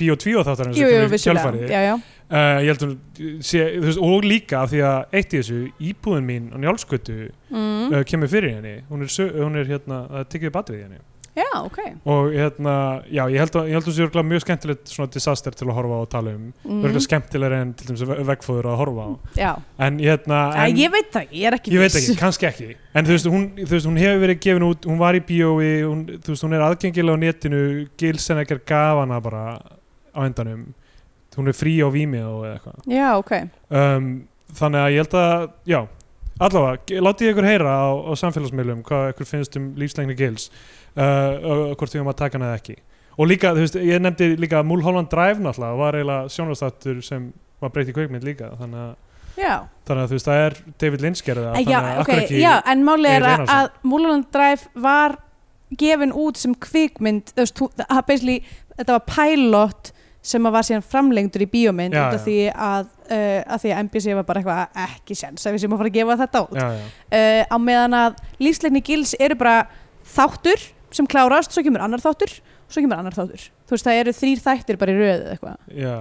B: Bíó 2 þáttarins
C: Jú, jú, vissulega Já, já,
B: uh, ég held að hún sé, þú veist, og líka af því að eitt í þessu, íbúðin mín á njálskötu
C: mm.
B: uh, kemur fyrir henni hún er, sö- hún er hérna, það tekið upp atvið í henni
C: já ok
B: og hérna, já, ég held að, ég held að hún sé örugglega mjög skemmtilegt svona disaster til að horfa á og tala um, mm.
C: mm.
B: örgulega skemmtilegur en til dæmis ve- veggfóður að horfa á
C: Já,
B: en hérna,
C: en,
B: en,
C: ég veit það, ekki, ég er ekki
B: ég veit
C: viss.
B: ekki, kannski ekki en þú veist, hún, þú veist, hún hefur verið gefin út hún var í bíói, hún, þú veist, hún er aðgengilega á netinu, gilsen ekkert gafana bara á endanum hún er frí á vímið og eitthvað
C: Já, ok
B: um, þannig að ég held að já, allavega, ge- látið ykkur heyra á, á samfélagsmiðlum hvað ykkur finnst um lífslegni gils uh, og- og hvort því um að taka hana eða ekki og líka, þú veist, ég nefndi líka að Mulholland Drive náttúrulega var eiginlega sjónvastáttur sem var breytt í kveikmynd líka þannig að,
C: Já,
B: þannig að þú veist, það er David Lynch gerði það,
C: já,
B: þannig að
C: ok,
B: akkur ekki
C: já, en máli er
B: Egill
C: að,
B: Einarsson?
C: að Múlaland Drive var gefin út sem kvikmynd þú veist, þú- það basically, þetta var pilot sem að var síðan framlengdur í bíómynd
B: Já,
C: út
B: já.
C: af því að, uh, að því að NBC var bara eitthvað ekki sens að við séum að fara að gefa þetta út
B: já, já,
C: uh, á meðan að lífsleikni gils eru bara þáttur sem klárast, svo kemur annar þáttur svo kemur annar þáttur, þú veist það eru þrýr þættir bara í röðu eitthvað,
B: já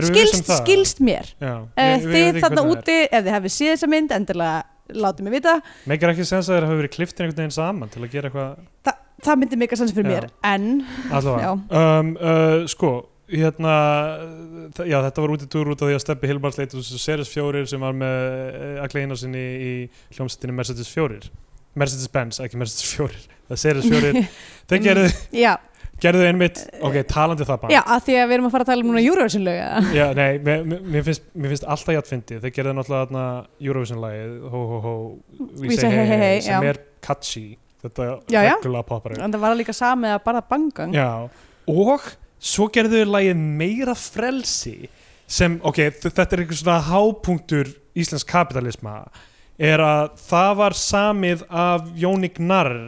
B: Erum við viss um
C: skilst,
B: það?
C: skilst mér
B: Já,
C: uh,
B: ég- ég veit
C: þið
B: ekki
C: þarna
B: hvernig það er.
C: úti, ef þið hefði séð þessa mynd endilega látið mig vita
B: Meikar ekki sens að þeir hafa verið kliftin einhvern veginn saman til að gera eitthvað
C: það myndi mega sanns fyrir
B: Já.
C: mér en
B: Allavega, um, uh, sko hérna, þ- já þetta var út í túr út af því að Steppi Hilmars leitur þessu Series 4 sem var með eh, að kleina sinni í hljómsettinni Mercedes 4 Mercedes-Benz, ekki Mercedes 4 það er Series 4, þeir gerðu,
C: já,
B: gerðu einmitt ok, talandi um það bara
C: Eh, já, að því að við erum að fara að tala um núna Eurovision lög eða?
B: Já, nei, mér, mér- mér, finnst, mér finnst alltaf jættfindi þeir gerðu náttúrulega þarna Eurovision-lagið Hó, hó, hó,
C: We say hey, hey, hey,
B: sem
C: já.
B: er catchy þetta
C: Já, já.
B: reglulega poppar upp
C: en það var líka samið að bara bangang
B: Já, og svo gerðu þau lagið meira frelsi sem, ok, þ- þetta er einhver svona hápunktur íslensk kapitalisma er að það var samið af Jónik Narr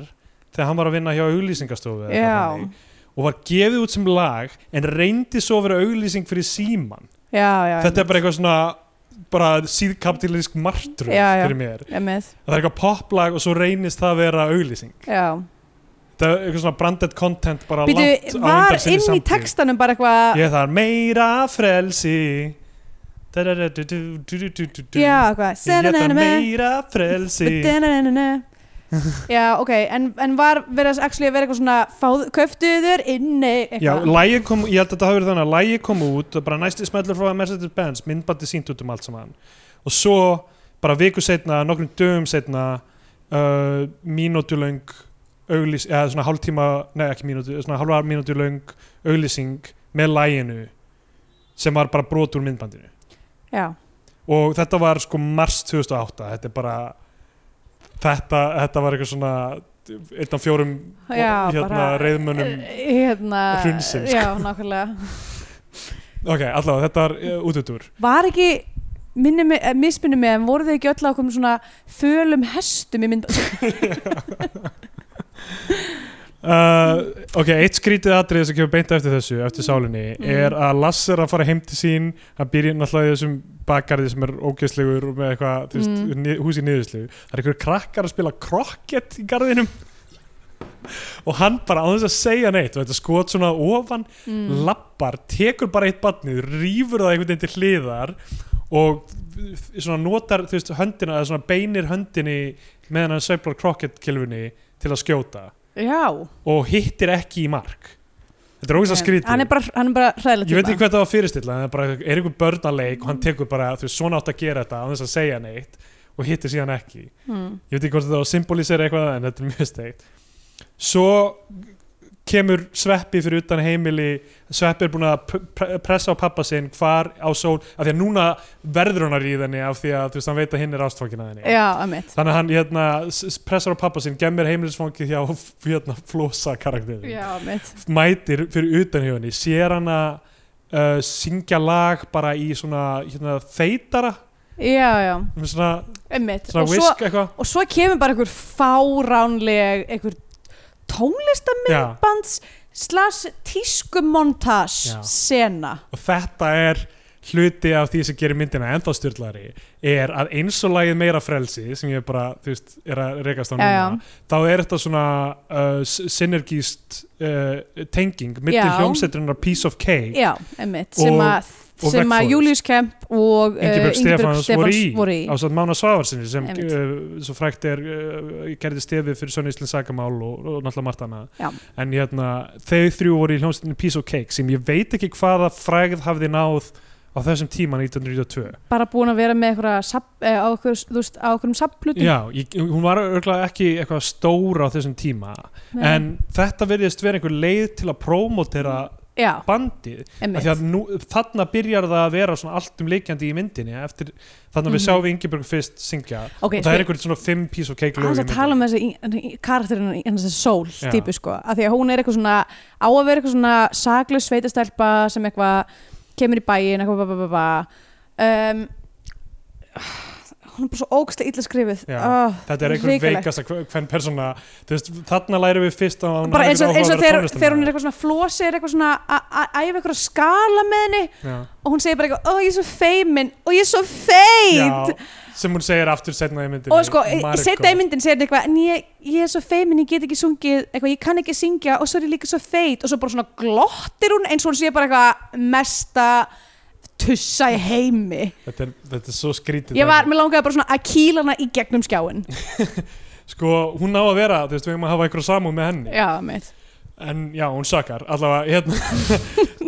B: þegar hann var að vinna hjá auglýsingastofu eða eitthvað
C: já,
B: þannig, og var gefið út sem lag en reyndi svo að vera auglýsing fyrir síman
C: já, já
B: þetta er bara eitthvað svona bara síðkapitalísk martröð
C: Já, já.
B: fyrir mér
C: er með,
B: það er eitthvað poplag og svo reynist það að vera auglýsing
C: já
B: þetta er eitthvað svona branded content bara langt á
C: Býtu, var
B: undan sinni
C: inn í
B: samtíð.
C: textanum bara eitthvað
B: Ég þarf meira frelsi Da-da-da-du-du-du-du-du-du.
C: já, eitthvað
B: Ég þarf
C: Senanana.
B: meira frelsi
C: Da-na-na-na-na. Já, ok, en, en var verið að actually að vera eitthvað svona fáð, köftuður inni eitthvað?
B: Já, lægið kom, ég held að þetta hafi verið þannig að lægið kom út og bara næsti smellur frá Mercedes-Benz myndbandi sínt út um allt saman og svo bara viku setna, nokkrum dögum setna uh, mínútulöng auglýs, eða svona hálftíma nei ekki mínútu, svona hálfar mínútulöng auglýsing með læginu sem var bara brot úr myndbandinu
C: Já,
B: og þetta var sko mars 2008 þetta er bara þetta, þetta var eitthvað svona einn af fjórum
C: Já,
B: hérna,
C: bara-
B: reyðmönnum
C: hérna
B: Hrunsins, sko.
C: Já, nákvæmlega
B: ok, allavega, þetta var uh, út út úr
C: Var ekki, minni mig, eh, misminni mig en voru þið ekki öll á okkur svona fölum hestum í mynd
B: Uh, ok, eitt skrítið atrið sem kemur beint eftir þessu, eftir sálinni
C: Mm.
B: er að Lass er að fara heim til sín hann býr í náttúrulega í þessum bakgarði sem er ógeðslegur og með eitthvað þú veist,
C: Mm.
B: mm. hús í niðurslegu, það er einhver krakkar að spila krokket í garðinum og hann bara á þess að segja neitt og þetta skot svona ofan
C: mm.
B: lappar, tekur bara eitt barnið rýfur það einhvern veginn til hliðar og f- svona notar þú veist, höndina, eða svona beinir höndinni meðan hann sveiflar krokketkilfunni til að skjóta
C: Já,
B: og hittir ekki í mark þetta er ógæst að skrítið
C: hann er bara, hann er bara hræðilega
B: ég veit ekki
C: típa.
B: hvað það var að fyrirstilla en það er bara, er einhver börn að leik og hann tekur bara, þú veist, svona átt að gera þetta án þess að segja neitt og hittir síðan ekki ég
C: Mm.
B: veit ekki hvort þetta var að symbolisera eitthvað en þetta er mjög steikt svo kemur sveppi fyrir utan heimili sveppi er búin að p- p- pressa á pappa sinn hvar á sól, af því að núna verður hann að ríða henni af því að þú veist, hann veit að hinn er ástfókin að henni
C: já, að mitt
B: þannig að hann hérna, s- s- pressar á pappa sinn gemmir heimilisfóngið hjá hérna, flosa karakterin
C: já, að mitt
B: mætir fyrir utan hjá henni sér hana uh, syngja lag bara í svona hérna, þeitara
C: já, já,
B: með svona,
C: að mitt
B: svona
C: og svo,
B: whisk eitthvað
C: og svo kemur bara einhver fáránleg einhver tónlistabands
B: Já,
C: slags tískumontas
B: Já.
C: sena
B: og þetta er hluti af því sem gerir myndina ennþá styrlari er að eins og lagið meira frelsi sem ég bara, þú veist, er að rekast á núna
C: Já, já.
B: þá er þetta svona uh, synergist uh, tenging millir
C: Já.
B: hljómsetturinnar Piece of Cake
C: já, einmitt, sem
B: Og-
C: að
B: og
C: sem
B: Vegforest.
C: að Július Kemp og uh,
B: Ingibjörg Stefáns voru í,
C: voru í.
B: á satt Mána Svavarsinni sem
C: Einmitt.
B: uh, svo frækt er uh, gerði stefið fyrir Sönni Íslens sakamál og, og náttúrulega margt
C: Já.
B: annað en hérna, þau þrjú voru í hljómsveitinu Piece of Cake sem ég veit ekki hvaða frægð hafði náð á þessum tíma 1992
C: bara búin að vera með einhverja sab, eh, á okkur, þú veist, á okkur um sapplutum
B: Já, ég, hún var örgulega ekki eitthvað stóra á þessum tíma en þetta verðist vera einhver leið til að prómótera
C: já,
B: bandið Af því
C: einmitt,
B: að nú, þarna byrjar það að vera svona allt um leikjandi í myndinni eftir þarna við
C: Mhm.
B: sjáum við Ingeborg fyrst syngja
C: ok,
B: og það er einhvern svona fimm piece of cake
C: aðeins
B: lög í
C: að tala um
B: myndinni.
C: þessi í- í- karakterinn í- hennar þessi sól
B: Já.
C: típu sko, af því að hún er eitthvað svona á að vera eitthvað svona saklaus sveitastelpa sem eitthvað kemur í bæin eitthvað ba ba ba ba um, hún er bara svo ógstlega illa skrifið
B: Já.
C: oh,
B: þetta er einhver
C: hrikalegt.
B: veikasta hve- hvern persóna þú veist, þarna lærum við fyrst að hún
C: bara eins og, eins og þegar, þegar hún er
B: eitthvað
C: eitthvað svona flosi er eitthvað svona að- að æfa eitthvað skala með henni og hún segir bara eitthvað, ó ég er svo feimin og ég er svo feit
B: sem hún segir aftur setna í myndinni
C: og sko,
B: Margot.
C: setja í myndin segir þetta eitthvað en ég, ég er svo feimin, ég get ekki sungið eitthvað, ég kann ekki syngja og svo er ég líka svo feit og svo bara svona glottir hún eins og hún sé bara eitthvað mesta tussa í heimi
B: þetta er, þetta er svo skrítið
C: ég var, mér langaði bara svona að kýla hana í gegnum skjáin
B: sko, hún á að vera, þú veist, við erum að hafa einhverja samú með henni
C: já, mitt,
B: en já, hún sakar, allavega hérna,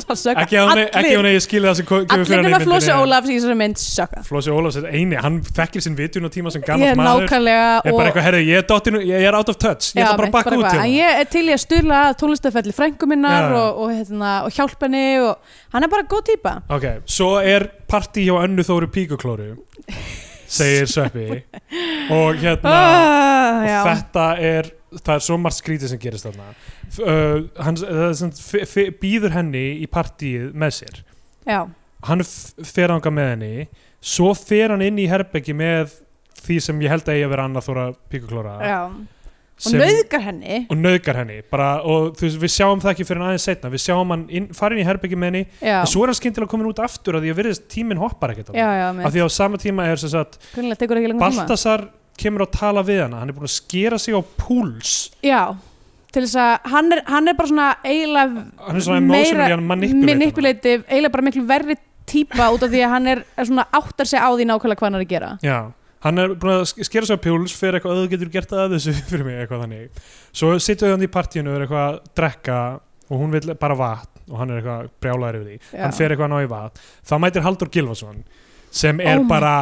C: það sökka
B: ekki að hún- e- ekki að hún eigi skilið það sem ko- kemur
C: allir
B: fyrir
C: nema
B: henni í
C: Flósi
B: myndinni
C: Ólafs í þessari mynd sökka
B: Flósi Ólafs er eini, hann þekkir sinn vitun og tíma sem
C: ég
B: gammal
C: er
B: maður
C: nákvæmlega
B: er
C: og-
B: bara eitthvað, herri, ég er, dottinu, ég er out of touch ég
C: Já,
B: ætla bara
C: mitt,
B: að bakka út
C: eitthvað.
B: hérna.
C: En ég er til í að stuðla að tónlistafælli frængu minnar
B: Já.
C: og, og, hérna, og hjálpa henni og hann er bara góð típa
B: Ok, svo er partí hjá önnu Þóru Píkuklóru segir Sveppi og hérna
C: Ah,
B: og
C: já.
B: þetta er það er svo margt skrítið sem gerist þarna F- uh, hann uh, býður henni í partíið með sér
C: já,
B: hann f- fer ánga með henni svo fer hann inn í herbeggi með því sem ég held að ég að vera Anna Þóra Píkuklóra
C: já. og
B: sem-
C: nauðgar henni
B: og nauðgar henni bara, og þú veist, við sjáum það ekki fyrir en aðeins setna við sjáum hann inn, farin í herbeggi með henni
C: já,
B: en svo er hann skyndilega komin út aftur að því að virðist tíminn hoppar ekkert á
C: já, já,
B: af
C: með
B: því á sama tíma er sem sagt
C: grunlega tekur ekki langan tíma
B: Baltasar kemur að tala við hana hann er búin að skera sig á púls
C: já, til þess að hann er, hann er bara svona eiginlega
B: hann er svona emotionally manipulator
C: manipulative eiginlega bara miklu verri típa út af því að hann er, er svona áttar sig á því nákvæmlega hvað hann er að gera
B: já hann er búin að sk- skera sig á púls fyrir eitthvað "Ö, þú getur gert að þessu fyrir mig eitthvað þannig svo situr hann í partíinu og er eitthvað að drekka og hún vil bara vatn og hann er eitthvað brjálæður yfir því
C: Já.
B: hann fer eitthvað að ná í vatn þá mætir Haldur Gilvason sem er
C: Oh my
B: bara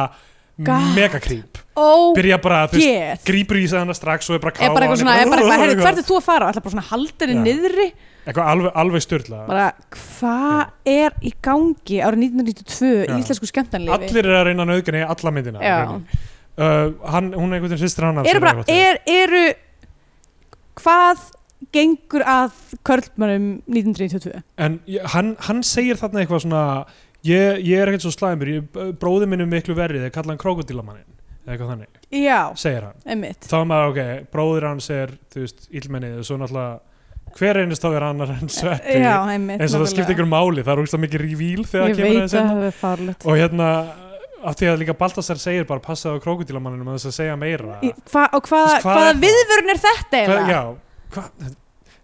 C: God.
B: megakrýp
C: oh,
B: byrja bara þú veist
C: yeah.
B: grýpur í sig hana strax og er bara að
C: er
B: káfa
C: bara
B: hann,
C: eitthvað svona, er bara eitthvað, herri,
B: eitthvað-
C: hvert er þú að fara? Það er bara svona haldinni
B: Já.
C: niðri
B: eitthvað alveg, alveg styrla
C: bara hvað er í gangi árið 1992
B: Já.
C: í íslensku skemmtanlífi
B: allir eru að reyna að nauðgani alla myndina
C: Já.
B: rauninni. uh, hann, hún er einhvern veginn sýstir hann
C: eru bara, er, eru hvað gengur að körlmönnum 1992
B: en ég- hann, hann segir þarna eitthvað svona ég, ég er ekkert svo slæmur ég, bróði minn er miklu verrið þegar kalla hann krokodílamannin eða eitthvað þannig,
C: já,
B: segir hann
C: einmitt
B: þá er maður ok, bróðir hans er þú veist, illmennið og svo náttúrulega hver einist þá er annar en sveppi
C: já,
B: eins
C: einmitt
B: og það
C: nákvæmlega.
B: skiptir ykkur máli það er úrst mikið revíl þegar það
C: ég
B: kemur
C: veit að
B: aðeins hérna.
C: það er farlegt
B: og hérna, af því að líka Baltasar segir bara passaði á krokodílamanninum að þess að segja meira
C: Í- hva, og hvaða,
B: Þú veist, hvað
C: hvaða
B: er það?
C: viðvörun er þetta
B: Hvað-
C: eiginlega?
B: já, hvað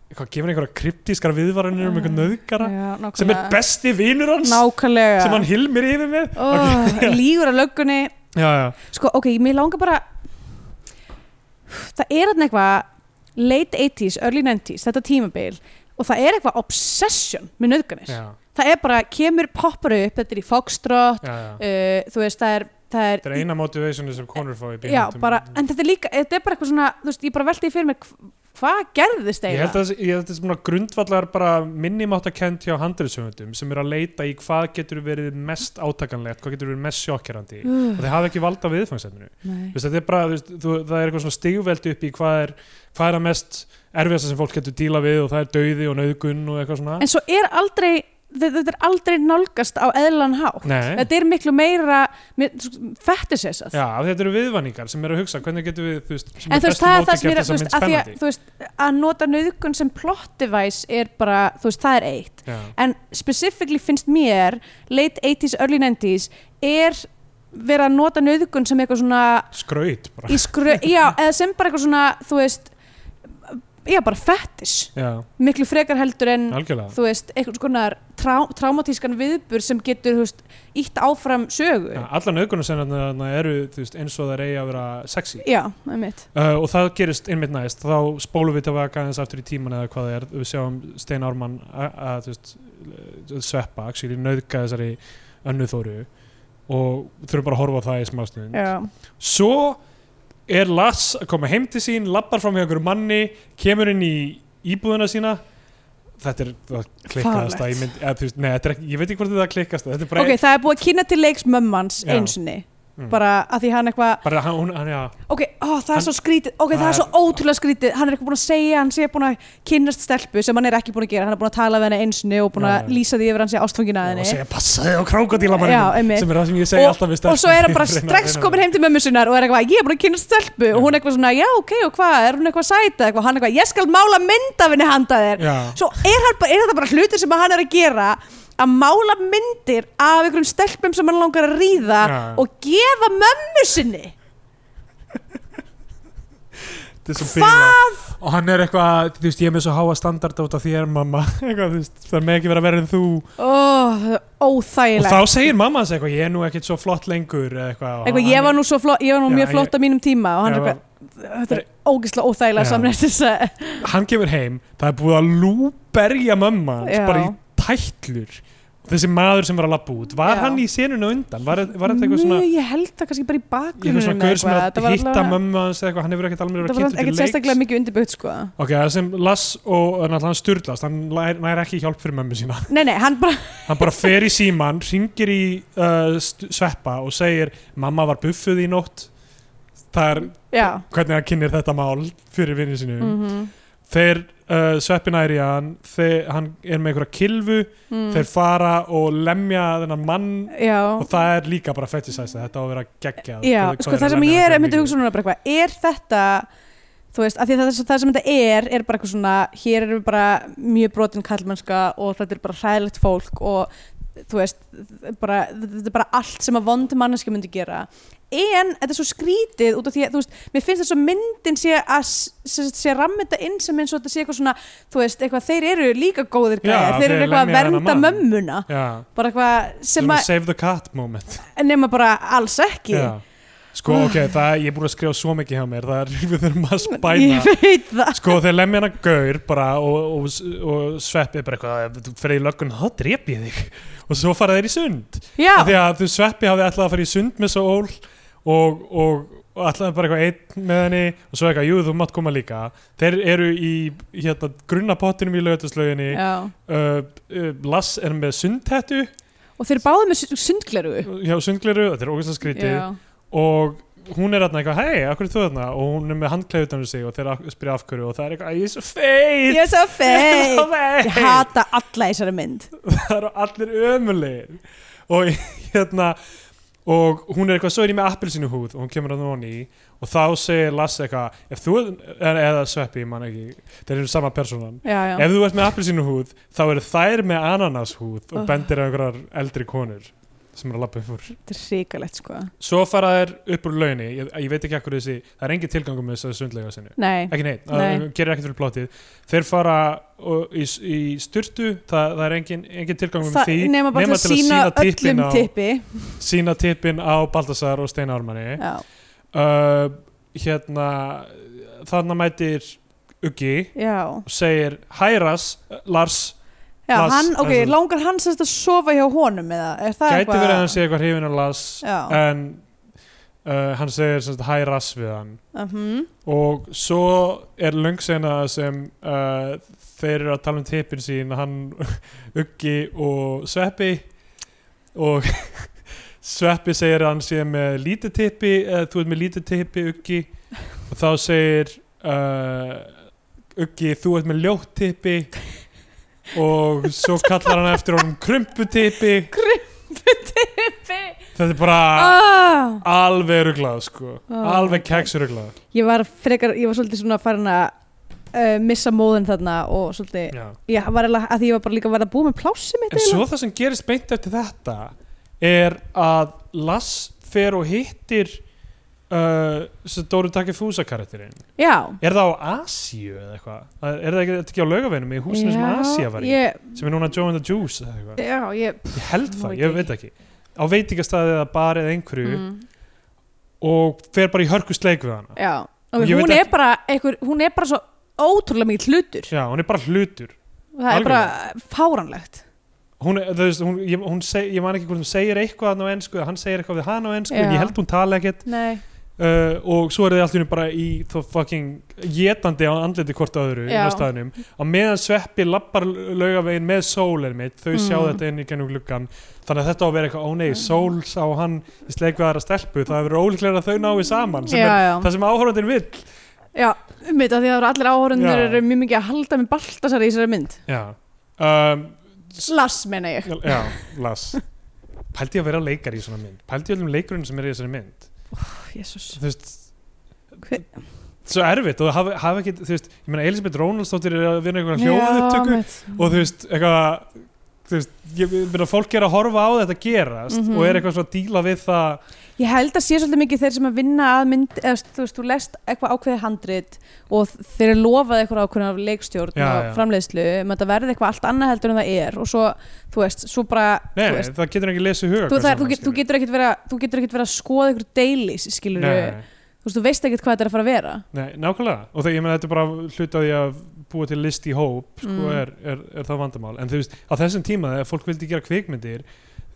B: hvað gefur einhverja kryptískar viðvaranir um einhvern nöðgara
C: já,
B: sem er
C: nákvæmlega.
B: besti vinur hans
C: nákvæmlega
B: sem hann hilmir yfir með
C: oh, lígur að löggunni
B: já, já,
C: Sko, ok, mér langar bara Það er þarna eitthvað late 80s, early 90s, þetta tímabil og það er eitthvað obsession með nöðganir
B: já,
C: það er bara, kemur poppar upp þetta er í Foxtrot
B: já, já.
C: uh, þú veist, það er, það er,
B: Þetta er eina motivationu sem konur fá í
C: já,
B: bíómyndum.
C: bara, en þetta er líka þetta er bara eitthvað svona, þú veist, ég bara velti því fyrir mér hv- hvað gerðist
B: Ég held
C: eiginlega
B: að þessi- ég held að þetta er svona grundvallar bara minnimáttakent hjá handriðsöfundum sem eru að leita í hvað getur verið mest átakanlegt, hvað getur verið mest sjokkerandi og þeir hafa ekki valda viðfangsefninu
C: Nei.
B: Þú veist, þetta er bara, þú veist, þú, það er eitthvað svona stigveldi upp í hvað er, hvað er að mest erfiðasta sem fólk getur díla við og það er dauði og nauðgun og eitthvað svona
C: en svo er aldrei þe- þetta er aldrei nálgast á eðlan hátt
B: Nei,
C: þetta er miklu meira fettisessað
B: já, þetta eru viðvanningar sem eru að hugsa hvernig getur við, þú veist, sem
C: en þú veist,
B: bestu
C: það er
B: móti
C: það sem er
B: gert
C: þú
B: þessa
C: veist,
B: mynd
C: að, því að,
B: spennandi
C: þú veist, að nota nöðgun sem plottivæs er bara, þú veist, það er eitt
B: Já,
C: en specifically finnst mér late 80s, early 90s er verið að nota nöðgun sem eitthvað svona
B: skraut bara
C: í skru, já, eða sem bara eitthvað svona þú veist, já, bara fettis
B: Já,
C: miklu frekar heldur en
B: algjörlega
C: þú veist, eitthvað svona trá, traumatískan viðbur sem getur, þú veist, ítt áfram sögu,
B: Já, Allar nauðgunum sem eru þú veist, eins og það reyja að vera sexy
C: já, einmitt
B: Uh, og það gerist einmitt næst þá spólum við tilbaka aðeins aftur í tíman eða hvað það er, við sjáum Stein Ármann að, að þú veist, uh, sveppa actually, nöðga þessari önnuþóru og þurfum bara að horfa á það í smástund
C: já.
B: svo er Lass að koma heim til sín labbar fram hjá einhverju manni kemur inn í íbúðuna sína þetta er það klikkast
C: Fáránlegt.
B: ég, mynd, að, veist, nei, þetta er ekki, ég veit ekki hvort þetta klikkast þetta er bara,
C: ok, það er búið að kynna til leiks mömmans
B: Já.
C: einsinni,
B: Mm.
C: bara að því hann eitthvað
B: bara hann, hún, hann, já,
C: ok, ó, það er
B: Hann-
C: svo skrítið, ok, það
B: það
C: er svo
B: er-
C: ótrúlega skrítið hann er eitthvað búin að segja, hann sé búin að kynnast stelpu sem hann er ekki búin að gera, hann er búin að tala við henni einsinni og búin
B: Já,
C: að
B: já.
C: lýsa því yfir hann sé ástfangin að
B: og
C: henni
B: segja passaði á krákadílamanninum
C: Já, einmitt.
B: sem er það sem ég segi
C: Og-
B: alltaf við
C: og svo er hann bara
B: stelpur. Reyna-
C: strax
B: reyna-
C: komin heim til mömmu sinnar og er eitthvað, ég er búin að kynnast stelpu og hún er eitthvað svona, já, ok, og hvað, er hún eitthvað sæta eitthvað, hann eitthvað, ég skal mála mynd af henni handa þér
B: Já.
C: svo er, hann, bara- er þetta bara hlutir sem hann er að gera að mála myndir af einhverjum stelpum sem hann langar að ríða
B: Já.
C: og gefa mömmu sinni
B: Þetta er svo bílað og hann er eitthvað, þú veist, ég er með svo háa standarda út af þér mamma, eitthvað, þú veist, það með ekki vera verið en þú
C: oh, það er
B: og
C: óþægilegt
B: þá segir mamma hans eitthvað, ég er nú ekkit svo flott lengur eða eitthvað,
C: eitthvað, ég var nú, svo flott, ég var nú
B: Já,
C: mjög
B: ég-
C: flott á mínum tíma og hann
B: Já,
C: er eitthvað þetta er ógeðslega óþægilega
B: Já.
C: samnæst þess að
B: hann kemur heim, það er búið að lúberja mamma hans
C: Já.
B: bara í tætlur þessi maður sem var að labba út, var
C: Já.
B: hann í senuna undan var, var þetta eitthvað svona
C: Nú, ég held það kannski bara í
B: eitthvað
C: bakgrunnum
B: svona gaur sem er að hitta mömmu hans eða eitthvað, hann hefur ekkert alveg
C: það
B: verið
C: var
B: að
C: ekkert
B: kynna til
C: sérstaklega
B: leiks
C: mikið undirbyggt sko
B: ok, það sem Lass og eh, náttúrulega hann styrlast, hann nær, nær ekki hjálp fyrir mömmu sína
C: nei, nei, hann bara
B: hann bara fer í síman, ringir í uh, st- sveppa og segir mamma var buffuð í nótt það er
C: já,
B: hvernig hann kynir þetta mál fyrir vinnir sínum
C: mm
B: þeir uh, sveppina er í hann þeir, hann er með einhverja kilfu
C: mm,
B: þeir fara og lemja þennan mann
C: já
B: og það er líka bara fetisæsa þetta á að vera geggjað
C: Já,
B: Hvað- hvað
C: sko
B: að
C: það sem
B: lemja
C: ég
B: hann
C: er
B: svona
C: myndi að
B: mikið?
C: hugsa um núna bara eitthvað, er þetta þú veist, af því að það, það sem þetta er er bara eitthvað svona, hér erum við bara mjög brotin kallmennska og þetta er bara hræðilegt fólk og þú veist bara, þetta er bara allt sem að vond manneski myndi gera en þetta er svo skrítið út af því að, þú veist, mér finnst þetta svo myndin sé að sé, sé rammeta inn sem eins og þetta sé eitthvað svona, þú veist, eitthvað þeir eru líka góðir
B: Já,
C: gæjar,
B: þeir
C: þeir eru eitthvað að
B: lemja þennan
C: vernda
B: mann.
C: mömmuna
B: Já,
C: bara eitthvað sem
B: sem að
C: að,
B: save the cat moment
C: nema bara alls ekki Ah.
B: Já. sko ok, það, ég er búin að skrifa svo mikið hjá mér það er, við þurfum að spæna
C: ég veit það
B: sko þeir lemja hana gaur bara og, og, og sveppi er bara eitthvað "Ef þú ferði í löggun þá drep ég þig og svo fara þeir í sund
C: Já,
B: af því að þú sveppi hafði alltaf að fara í sund með svo ól og, og, og alltaf bara eitthvað einn með henni og svo eitthvað, jú þú mátt koma líka þeir eru í hérna, grunnapottinum í lögutaslauginni uh,
C: Já.
B: uh, Lass er með sundhettu
C: og þeir báðu með sund- sundgleru
B: hjá sundgliru, þetta er ógæsta skrítið
C: Já.
B: og hún er þarna eitthvað, hei, akkur er þú þarna og hún er með handklæði utan um sig og þeir af- spyrja af hverju og það er eitthvað, "Æ, ég er svo feit
C: ég er svo
B: Ég er svo
C: feik
B: feit.
C: ég hata alla í þessari mynd
B: það eru allir ömulegir og hérna og hún er eitthvað, svo er ég með appelsinu húð og hún kemur að hún í og þá segir Lasse eitthvað, ef þú er, eða sveppi, mann ekki, þeir eru sama persónan
C: já, já.
B: ef þú ert með appelsinu húð þá eru þær með ananas húð og
C: Oh.
B: bendir á einhverjar eldri konur sem eru að lappa upp úr
C: þetta er ríkalegt sko
B: svo fara þær upp úr launni ég, ég veit ekki akkur þessi, það er engin tilgangum með þessu sundlega sinu
C: nei,
B: ekki neitt, það
C: Nei.
B: gerir ekkert fyrir plottið þeir fara og, í, í styrtu það, það er engin, engin tilgangum
C: það
B: um því
C: nema bara til að sína
B: tippin
C: öllum
B: á,
C: tippi
B: sína tippin á Baltasar og Steina Ármanni
C: já,
B: uh, hérna þarna mætir Uggi
C: já,
B: og segir Hæras, Lars
C: já
B: Las-
C: hann, ok,
B: Las-
C: langar hann semst að sofa hjá honum eða er það
B: gæti verið að hann sé eitthvað hrifin af Lars
C: já,
B: en uh, hann segir sem sagt, Hæras við hann
C: uh
B: og svo er löngsena sem uh, þeir eru að tala um tippin sín hann Uggi og Sveppi og Sveppi segir að hann sé með lítið tippi eða þú ert með lítið tippi Uggi og þá segir uh, Uggi þú ert með ljótt tippi og svo kallar hann eftir honum krumputippi þetta er bara
C: ah.
B: alveg ruglað sko
C: Ah,
B: alveg
C: ok.
B: keksuruglað
C: ég var frekar, ég var svolítið svona farin að uh, missa móðin þarna og svolítið,
B: já
C: ég var eða að því ég var bara líka að vera að búa með plássi mitt
B: En
C: eiginlega.
B: svo það sem gerist beint eftir þetta er að Lass fer og hittir uh, sem Dóru Takifusa karakterinn.
C: já,
B: Er það á Asíu eða eitthvað? Það- Er það ekki, þetta ekki á laugaveginum í húsinu sem Asía var í?
C: ég,
B: Sem er núna Joe and the Juice eða eitthvað?
C: já, ég
B: Ég held
C: Nú
B: það,
C: veit
B: ég
C: ég
B: veit ekki. Á veitingastæði eða bar eða einhverju
C: mm,
B: og fer bara í hörkusleik við hana.
C: já, ok,
B: Ég veit
C: hún er
B: ekki-
C: bara einhver, hún er bara svo ótrúlega mikið hlutur
B: Já, hún er bara hlutur.
C: það er bara fáranlegt
B: Hún, er- þú veist, hún, ég, hún seg, ég man ekki hvort hún segir eitthvað hann á ensku, eða hann segir eitthvað við hann á ensku, en
C: Já.
B: ég held hún tala ekkert.
C: nei,
B: uh, og svo er þið alltaf bara í þó fucking jetandi á andliti hvort öðru inn á
C: Já.
B: staðnum á meðan sveppi lappar laugavegin með sól er mitt, þau sjá
C: Mm.
B: þetta inn í gennum gluggan þannig að þetta á að vera eitthvað, ó nei, sól sá hann í sleik við aðra stelpu, það hefur ólíklega að þau náu saman, sem
C: já,
B: er
C: já
B: það sem áhorfandinn vill
C: Já, um þetta því að það eru allir áhörundir
B: Já.
C: eru mjög mikið að halda með Baltasar í þessari mynd
B: já, um,
C: Lass meina ég
B: já, las pældi ég að vera leikar í svona mynd pældi ég öllum leikurinn sem er í þessari mynd
C: Jésus
B: þú veist
C: Hve-
B: svo erfitt og hafa, hafa ekki, þú veist ég meina Elisabeth Rónaldsdóttir er að vinna einhverja hljóðupptöku og þú veist, eitthvað þú veist, ég meina fólk er að horfa á þetta gerast
C: Mhm.
B: og er eitthvað svona að díla við það
C: Ég held að sé svolítið mikið þeir sem að vinna að mynd eða, þú veist, þú lest eitthvað ákveðið handrit og þeir eru lofað eitthvað ákveðið af leikstjórn
B: Já,
C: og
B: já.
C: framleiðslu um að það verði eitthvað allt annað heldur en það er og svo, þú veist, svo bara
B: nei,
C: þú,
B: nei,
C: veist,
B: það getur ekki lesið huga
C: þú,
B: hvers
C: það, er-
B: annars,
C: þú, get, þú
B: skilur.
C: getur ekkert verið að- þú getur ekkert verið að skoða ykkur deilis skilur
B: nei, nei,
C: þú veist, þú veist ekkert hvað þetta er að fara að vera
B: nei, nákvæmlega og það, ég meina þetta er bara hluti af því að búa til list í hóp sko,
C: Mm.
B: er, er, er það vandamál en þú veist, á þessum tíma þegar fólk vildi gera kvikmyndir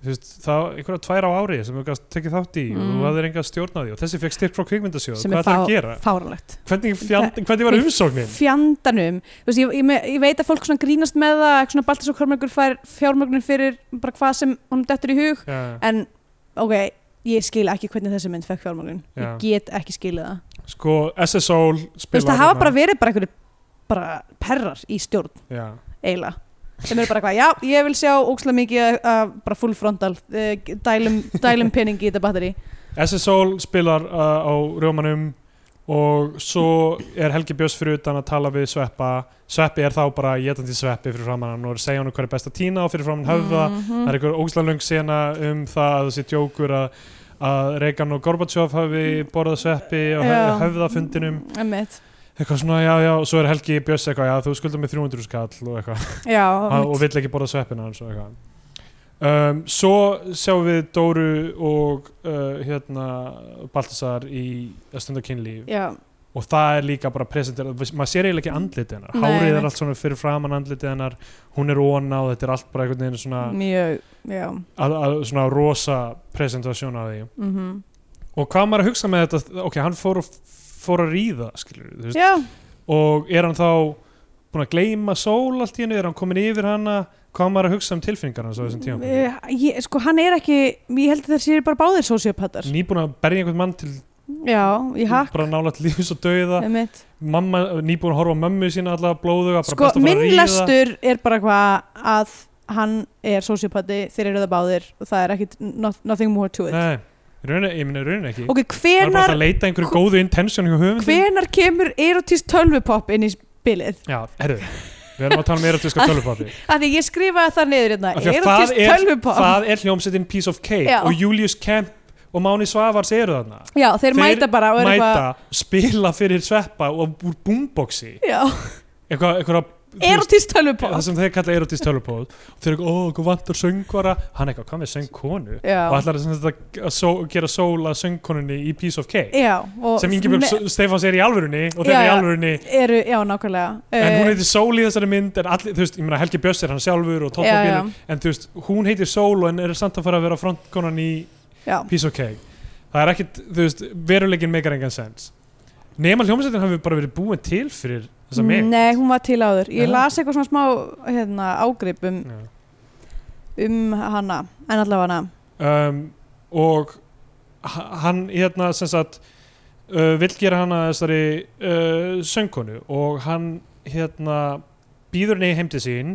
B: þú veist, það einhverja tvær á ári sem þú gast tekið þátt í og
C: Mm.
B: þú hafðir enga stjórn á því og þessi fekk styrk frá kvikmyndasjóð
C: sem
B: hvað
C: er
B: er það að
C: fá,
B: gera?
C: fáralegt
B: Hvernig, fjand, hvernig var umsóknin?
C: fjandanum Þú veist, ég, ég, me- ég veit að fólk svona grínast með það eitthvað svona Baltasar Kormöggur fær fjármögnun fyrir bara hvað sem honum dettur í hug
B: Já,
C: en ok, ég skil ekki hvernig þessi mynd fekk fjármögnun
B: Já.
C: ég get ekki skilið það
B: sko, SSOL
C: Þú veist, það
B: hérna?
C: hafa bara verið bara einhverju bara perrar í stjórn
B: já.
C: eiginlega sem eru bara eitthvað, já, ég vil sjá ókslega mikið að bara full frontal eh, dælum, dælum peningi í þetta batteri
B: SSOL spilar uh, á Rjómanum og svo er Helgi Björns fyrir utan að tala við Sveppa Sveppi er þá bara getandi Sveppi fyrir framann hann og er að segja hann hvað er best að tína og fyrir framann höfða það er einhver ógæslega löng sena um það að þessi djókur að, að Reagan og Gorbachev hafi borðað Sveppi og
C: Já.
B: höfða fundinum
C: Einmitt.
B: eitthvað svona já já og svo er Helgi Björns eitthvað já þú skuldar mig 300 skall og eitthvað
C: Já,
B: Ha- og
C: einmitt.
B: vill ekki borða sveppina hans og eitthvað um, svo sjáum við Dóru og uh, hérna Baltasar í að stunda kynlíf
C: já,
B: og það er líka bara presenterað maður sér eiginlega ekki andlitið hennar
C: Nei,
B: hárið
C: einmitt.
B: er allt svona fyrir framan andlitið hennar hún er óna og þetta er allt bara einhvern veginn
C: Mm.
B: svona,
C: mjög já,
B: að, að, svona rosa presentasjón af því
C: mhm
B: og hvað maður að hugsa með þetta ok, hann fór, og- fór að ríða skilur, þú veist,
C: já,
B: og er hann þá búin að gleyma sól allt í hennu, er hann komin yfir hana hvað maður að hugsa um tilfinningar hans á þessum tíma
C: Eh, ég, sko hann er ekki ég held að þeir séu bara báðir sociopatar
B: nýbúin að berja einhvern mann til
C: já,
B: Mm.
C: í hakk
B: bara nála til lífs og dauða
C: einmitt.
B: mamma, nýbúin að horfa á mömmu sína alla blóðuga, bara
C: sko
B: best að fara
C: minn
B: að ríða
C: lestur er bara hvað að hann er sociopati þeir eru það báðir og það er ekki not, nothing more to it
B: nei, raunin, ég minna raunin ekki maður
C: ok,
B: er bara alltaf
C: hvenar,
B: að leita einhverju góðu intention hjá höfundi
C: hvenar kemur erotist tölvupopp inn í spilið
B: já, herðu, við erum að tala um erotíska tölvupappi
C: af því ég skrifaði það niður hérna
B: Af því að
C: erotist
B: það er-
C: tölvupopp
B: það er hljómsettin Piece of Cake
C: Já.
B: og Julius Kemp og Máni Svavars eru þarna
C: já, þeir,
B: þeir
C: mæta bara og er
B: mæta,
C: eitthvað
B: spila fyrir sveppa og úr boomboxi
C: já,
B: eitthvað, eitthvað
C: erotist tölvupót
B: það sem þeir kalla erotist tölvupóð og þeir eru eitthvað, ó, hvað vantar söngvara hann eitthvað, hvað með söngkonu
C: Já.
B: og ætlar sem þetta að só, gera sól að söngkonunni í Piece of Cake
C: já, og
B: sem Ingeborg
C: me-
B: me... Stefáns er í alvörunni og þeir
C: Já,
B: eru í
C: já.
B: alvörunni
C: eru, já, nákvæmlega
B: en
C: Eh,
B: hún heitir Sól í þessari mynd en allir, þú veist, ég meina Helgi Bjöss er hann sjálfur og
C: já, já,
B: toppabílu, en þú veist, hún heitir Sól en er samt að fara að vera frontkonan í
C: já,
B: Piece of Cake það er ekkit, þú veist, veruleikin meikar engan sens nema hljómsveitin hafi bara verið búin til fyrir þessa mynd
C: nei, hún var til áður ég
B: Já.
C: las eitthvað svona smá hérna, ágrip um,
B: Já.
C: um hana en allavega hana
B: um, og h- hann hérna sem sagt uh, vill gera hana þessari uh, söngkonu og hann hérna býður henni heim til sín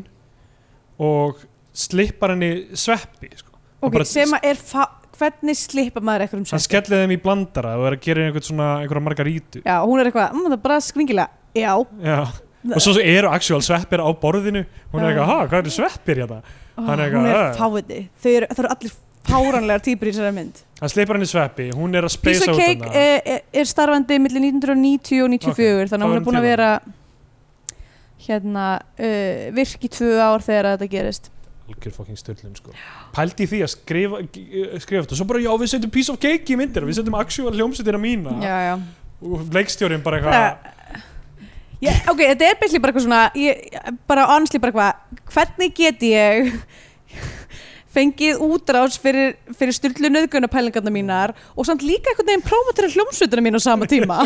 B: og slippar henni sveppi sko. Hann
C: ok,
B: bara-
C: sem að er fa- hvernig slippa maður eitthvað um
B: hann
C: sveppi
B: skellir þeim í blandara og er að gera henni einhvern svona einhverja margarítu
C: já, og hún er eitthvað, mmm, það er bara skringilega já,
B: Já. og svo eru actual sveppir á borðinu hún er
C: Já.
B: eitthvað, ha, hvað eru sveppir hérna
C: Ó,
B: Hann er eitthvað,
C: hún er
B: "Eh."
C: fáiði þau eru, það eru allir fáranlegar týpur í þessari mynd
B: hann slippar henni sveppi, hún er að
C: Piece
B: speysa
C: of
B: út
C: Cake
B: hana
C: er, er, er starfandi millir 1990 og
B: þá
C: 94 þannig að
B: erum
C: hún er búin að
B: við til
C: vera hérna uh, virk í tvö ár þegar þetta gerist
B: algjör fucking stöldun sko. pældi í því að skrifa, g- eh, skrifa þetta og svo bara já við setjum piece of cake í myndir við setjum actual hljómsettina mína
C: já, já.
B: og leikstjórin bara eitthvað
C: Bara, já, ok, þetta er byrli bara eitthvað svona ég, bara honestly bara eitthvað hvernig get ég fengið útrás fyrir, fyrir styrlu nöðgunapælingarna mínar og samt líka einhvern veginn prófatera hljómsveitina mín á sama tíma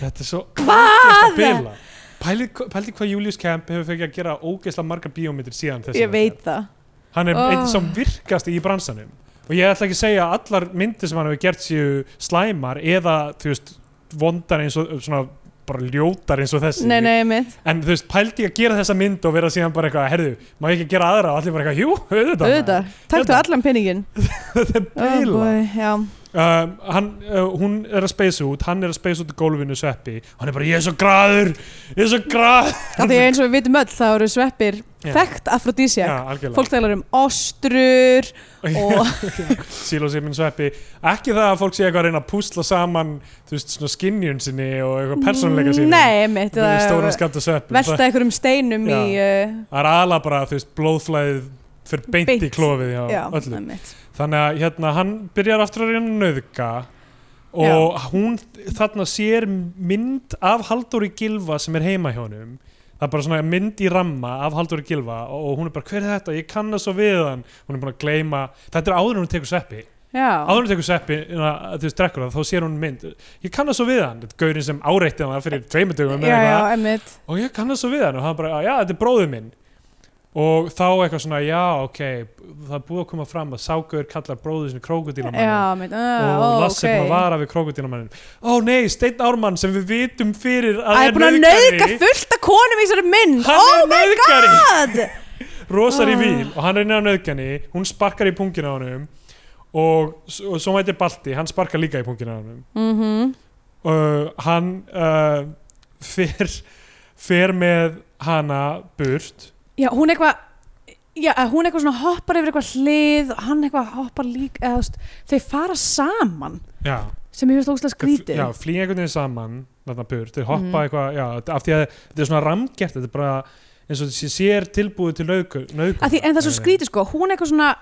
B: þetta er svo ógeðslega
C: hvað?
B: bilað. pældi, pældi hvað Julius Kemp hefur fengið að gera ógeðslega margar bíómyndir síðan þessi
C: ég veit það
B: hann er
C: Oh.
B: einn sem virkast í bransanum og ég ætla ekki að segja að allar myndir sem hann hefur gert séu slæmar eða þú veist vondar eins og svona bara ljótar eins og þessi
C: nei, nei, mitt
B: en þú veist pældi ég að gera þessa mynd og vera síðan bara eitthvað herðu, má ég ekki gera aðra og allir bara eitthvað, jú, auðvitað maður."
C: auðvitað, taktu
B: Hérna.
C: allan penningin
B: þetta er bila
C: boy, já,
B: um, hann, uh, hún er að speysa út hann er að speysa út í gólfinu sveppi hann er bara ég er svo graður ég er svo graður
C: af því að eins og við vitum öll þá eru sveppir
B: Já.
C: þekkt
B: já,
C: afrodísiak
B: algjörlega
C: fólk talar um ostrur og
B: síl og síminn sveppi ekki það að fólk sé eitthvað að reyna að púsla saman þú veist svona skinnjun sinni og eitthvað persónleika sinni
C: nei, mitt
B: það er stóran
C: velta
B: skamt af sveppum það
C: einhverjum steinum
B: Já.
C: í uh,
B: það er aðla bara þú veist blóðflæðið fyrir beint, í
C: Beint.
B: klófið hjá
C: já,
B: öllum
C: einmitt.
B: þannig að hérna, hann byrjar aftur að reyna að nauðka og hún þarna sér mynd af Halldóri Gilva sem er heima hjá honum það er bara svona mynd í ramma af Halldóri Gilva og og hún er bara hver er þetta, ég kannast svo við hann hún er búin að gleyma, þetta er áður en hún tekur sveppi
C: já,
B: áður en hún tekur sveppi, inna, þú veist, drekkur það þá sér hún mynd, ég kannast svo við hann þetta er gaurinn sem áreitti hann fyrir tveimur dögum eða
C: já, já,
B: eitthvað
C: einmitt
B: og ég kannast svo við hann og hann bara, já, þetta er bróður minn og þá eitthvað svona, já, ok það er búið að koma fram að ságur kallar bróður sinni krókudílamann
C: já, einmitt,
B: og
C: uh,
B: Lasse okay. búið að vara við krókudílamannin ó nei, Steinn Ármann sem við vitum fyrir að
C: Æ,
B: er
C: búin að nauðka fullt af konum í þessari mynd
B: Hann
C: oh
B: er nauðgari.
C: my god
B: rosar í
C: Ah.
B: víl og hann reynir að nöðgani hún sparkar í pungina á hann og, s- og svo mætir Balti, hann sparkar líka í pungina á hann
C: mm
B: uh, hann uh, fer, fer með hana burt
C: Já, hún eitthvað Já, að hún eitthvað svona hoppar yfir eitthvað hlið og hann eitthvað hoppar líka eða, þú veist, þau fara saman
B: já
C: sem ég finnst
B: Þau
C: ógustlega
B: fl-
C: skrítið
B: já, flýja einhvern veginn saman þarna burt, þeir hoppa
C: Mhm.
B: eitthvað já, þetta- af því að þetta er svona ramgert þetta er bara eins og þessi sér tilbúið til nauðgum
C: Af því, en það er svo skrítið sko, hún eitthvað svona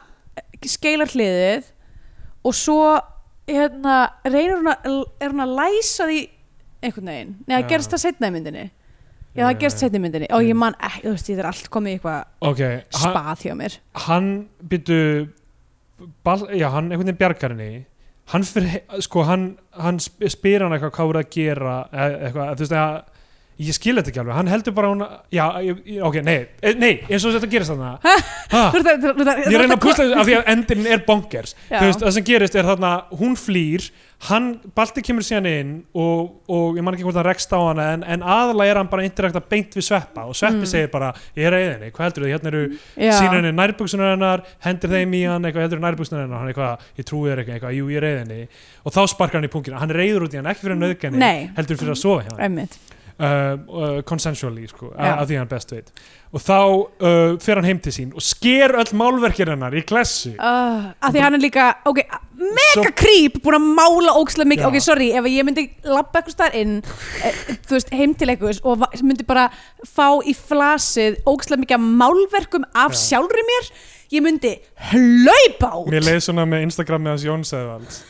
C: skeilar hliðið og svo hérna, reynir hún að er hún að læsa því einhvern veginn, neða
B: Já.
C: gerst það setna í myndinni já, það gerst setna í myndinni og ég man ekki, þú veist, ég er allt komið í eitthvað
B: ok, ha,
C: spað hjá mér
B: hann byttu bal, já, hann einhvern veginn bjargar henni hann fyrir, sko, hann, hann sp- spyr hann eitthvað hvað voru að gera eða eitthvað, þú veist að ég skil þetta ekki alveg, hann heldur bara hún að- já, ég, ég- ok, nei, eh, nei, eins og þetta gerist þarna ha,
C: Þú ert að- þú ert að-
B: ég reyna að púsla þessu af því að endin er bonkers
C: Já.
B: Þú veist, það sem gerist er þarna, hún flýr hann, Balti kemur síðan inn og, og ég man ekki hvort hann rekst á hana en, en aðalega er hann bara interakta beint við Sveppa og Sveppi
C: Mm. þú
B: segir bara, ég er að eðinni hvað heldur þið, hérna eru
C: Já.
B: sína henni nærbuksunar hennar hendir þeim í hann, eitthvað heldur nærbuksunar hennar hann eitthvað, ég trúi þér eitthvað, eitthvað, jú ég er að eðinni og þá sparkar hann í punkina, hann reyður út í hann, ekki fyrir að nauðgani
C: Nei.
B: heldur fyrir að sofa hjá hann
C: Einmitt.
B: uh, uh, consensually sko, að
C: Já.
B: að því hann best veit og þá uh, fer hann heim til sín og sker öll málverkir hennar í klassu
C: Uh, að því hann er líka, ok,
B: Svo-
C: mega creep búin að mála ókslega mikið,
B: Já.
C: ok, sorry ef ég myndi labba eitthvað staðar inn e, þú veist, heim til eitthvað og va- myndi bara fá í flasið ókslega mikið af málverkum af
B: Já.
C: sjálfri mér ég myndi hlaupa út
B: Mér leið svona með Instagram með hans Jón Sæðvalds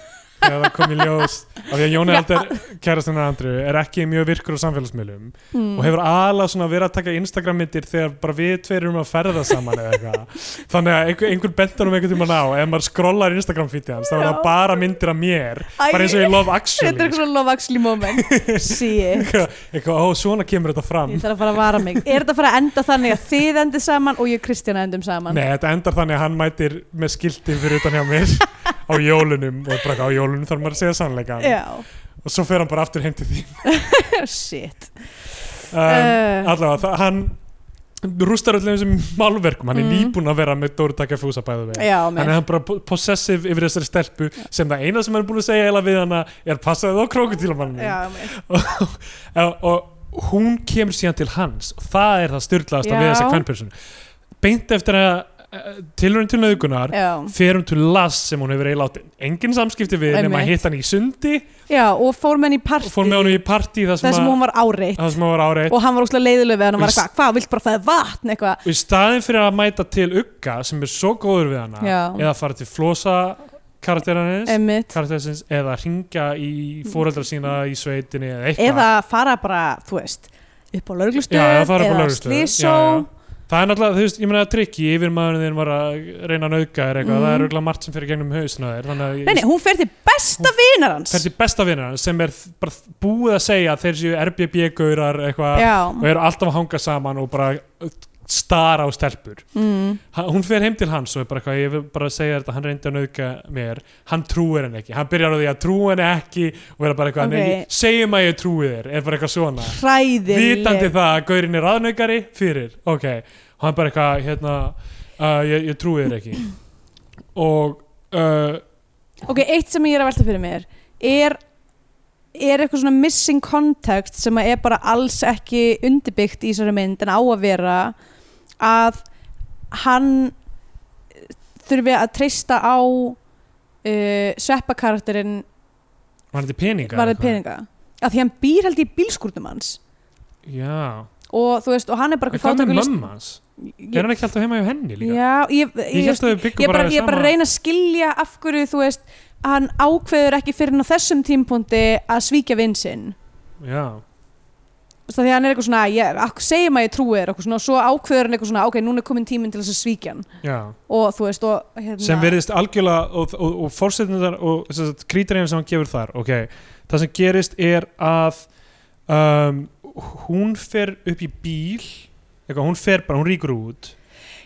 B: þegar það kom í ljós af því að Jón Elder, kærast hennar Andru er ekki mjög virkur á samfélagsmiðlum
C: Hmm.
B: og hefur aðalega svona verið að taka Instagram myndir þegar bara við tveir erum að ferða saman eða eitthvað, þannig að einhver, einhver bentar um einhvern tímann á, ef maður skrollar Instagram fítið hans, þá er það
C: Já.
B: bara myndir af mér bara eins og ég love actually
C: þetta er eitthvað svona love actually moment shit,
B: eitthvað, eitthvað, ó, svona kemur þetta fram
C: ég þarf að fara að vara mig er þetta að fara að enda þannig að þið endið saman og ég og Kristjana endum saman
B: Nei, þetta endar þannig að hann mætir með skilti fyrir utan hjá mér á jólunum og bara eitthvað, á jólunum þarf maður að segja sannleikan
C: já,
B: og svo fer hann bara aftur heim til því
C: shit Eh.
B: um, allavega, það- hann rústar öllum þessum málverkum hann er
C: Mm.
B: nýbúinn að vera með Dóri Takja Fúsa bæðu veginn
C: já,
B: hann er
C: mér
B: hann bara po- possessive yfir þessari stelpu sem það eina sem hann er búin að segja eða við hana er passaðið á krokodílamanninu
C: já, mér
B: og, og hún kemur síðan til hans og það er það styrlaðasta við
C: Já.
B: þessa kvennpersonu beint eftir að tilhörun til nöðgunar
C: já.
B: fer hún til Lass sem hún hefur eiginlega átt engin samskipti við nema
C: Einmitt.
B: að hitta hann í sundi
C: Já, og fór með henni í partí
B: og fór með honum í partí þar
C: þar
B: sem,
C: sem
B: að-
C: hún var áreitt
B: þar sem hún var áreitt
C: og hann var óslega leiðileg við hann og var
B: Víst.
C: eitthvað, hvað, vilt bara það er vatn eitthvað
B: og í staðin fyrir að mæta til Ugga sem er svo góður við hana
C: Já.
B: eða fara til Flosa karakterarins
C: Einmitt.
B: karakterarins eða ringja í foreldra sína í sveitinni eða eitthvað
C: eða fara bara, þú veist upp á lauruglustöð
B: Já, eða fara upp á lögreglustöð.
C: slísó
B: Já, já. Það er náttúrulega, þú veist, ég meina að trikki yfir maðurinn þinn var að reyna að nauðga þér eitthvað,
C: Mhm.
B: það er auðvitað margt sem fyrir gegnum hausna þér, þannig að
C: Nei, nei, hún fer til besta vinar hans
B: fer til besta vinnar hans sem er þ- bara þ- búið að segja að þeir séu RBB-gaurar eitthvað og
C: Já,
B: eru alltaf að hanga saman og bara uh, stara á stelpur.
C: mm,
B: Ha- hún fer heim til hans og er bara eitthvað, ég vil bara segja þetta, hann reyndi að nauðka mér hann trúir henni ekki, hann byrjar á því að trúi henni ekki og er bara eitthvað,
C: Ok.
B: okay. segjum að ég trúi þér er bara eitthvað svona, vitandi um
C: hræðileg
B: það að gaurinn er aðnaukari fyrir, ok og hann bara eitthvað, hérna uh, ég, ég trúi þér ekki og uh,
C: Ok, eitt sem ég er að velta fyrir mér er er eitthvað svona missing context sem að er bara alls ekki undirbyggt í þessari mynd en á að vera að hann þurfi að treysta á uh, sveppakarakterinn
B: var þetta peninga?
C: varðið peninga að því hann býr held í bílskúrnum hans
B: Já,
C: og þú veist, og hann er bara
B: en hvað með
C: fátækur list-
B: mömmu hans? Er hann ekki alltaf heima hjá henni líka?
C: Já, ég, ég,
B: Ég held að þau
C: ég
B: byggum
C: er bara,
B: bara
C: ég er bara að
B: saman-
C: reyna að skilja af hverju þú veist hann ákveður ekki fyrir hann á þessum tímpúndi að svíkja vinsinn
B: Já,
C: því að hann er eitthvað svona, ég, akkur segjum að ég trúi þér eitthvað svona, og svo ákveður hann eitthvað svona ok, núna er komin tíminn til þess að svíkja hann
B: já
C: og þú veist, og hérna
B: sem verðist algjörlega og, og, og fórsetundar og krítarinn sem hann gefur þar ok, það sem gerist er að um, hún fer upp í bíl eitthvað, hún fer bara, hún ríkur út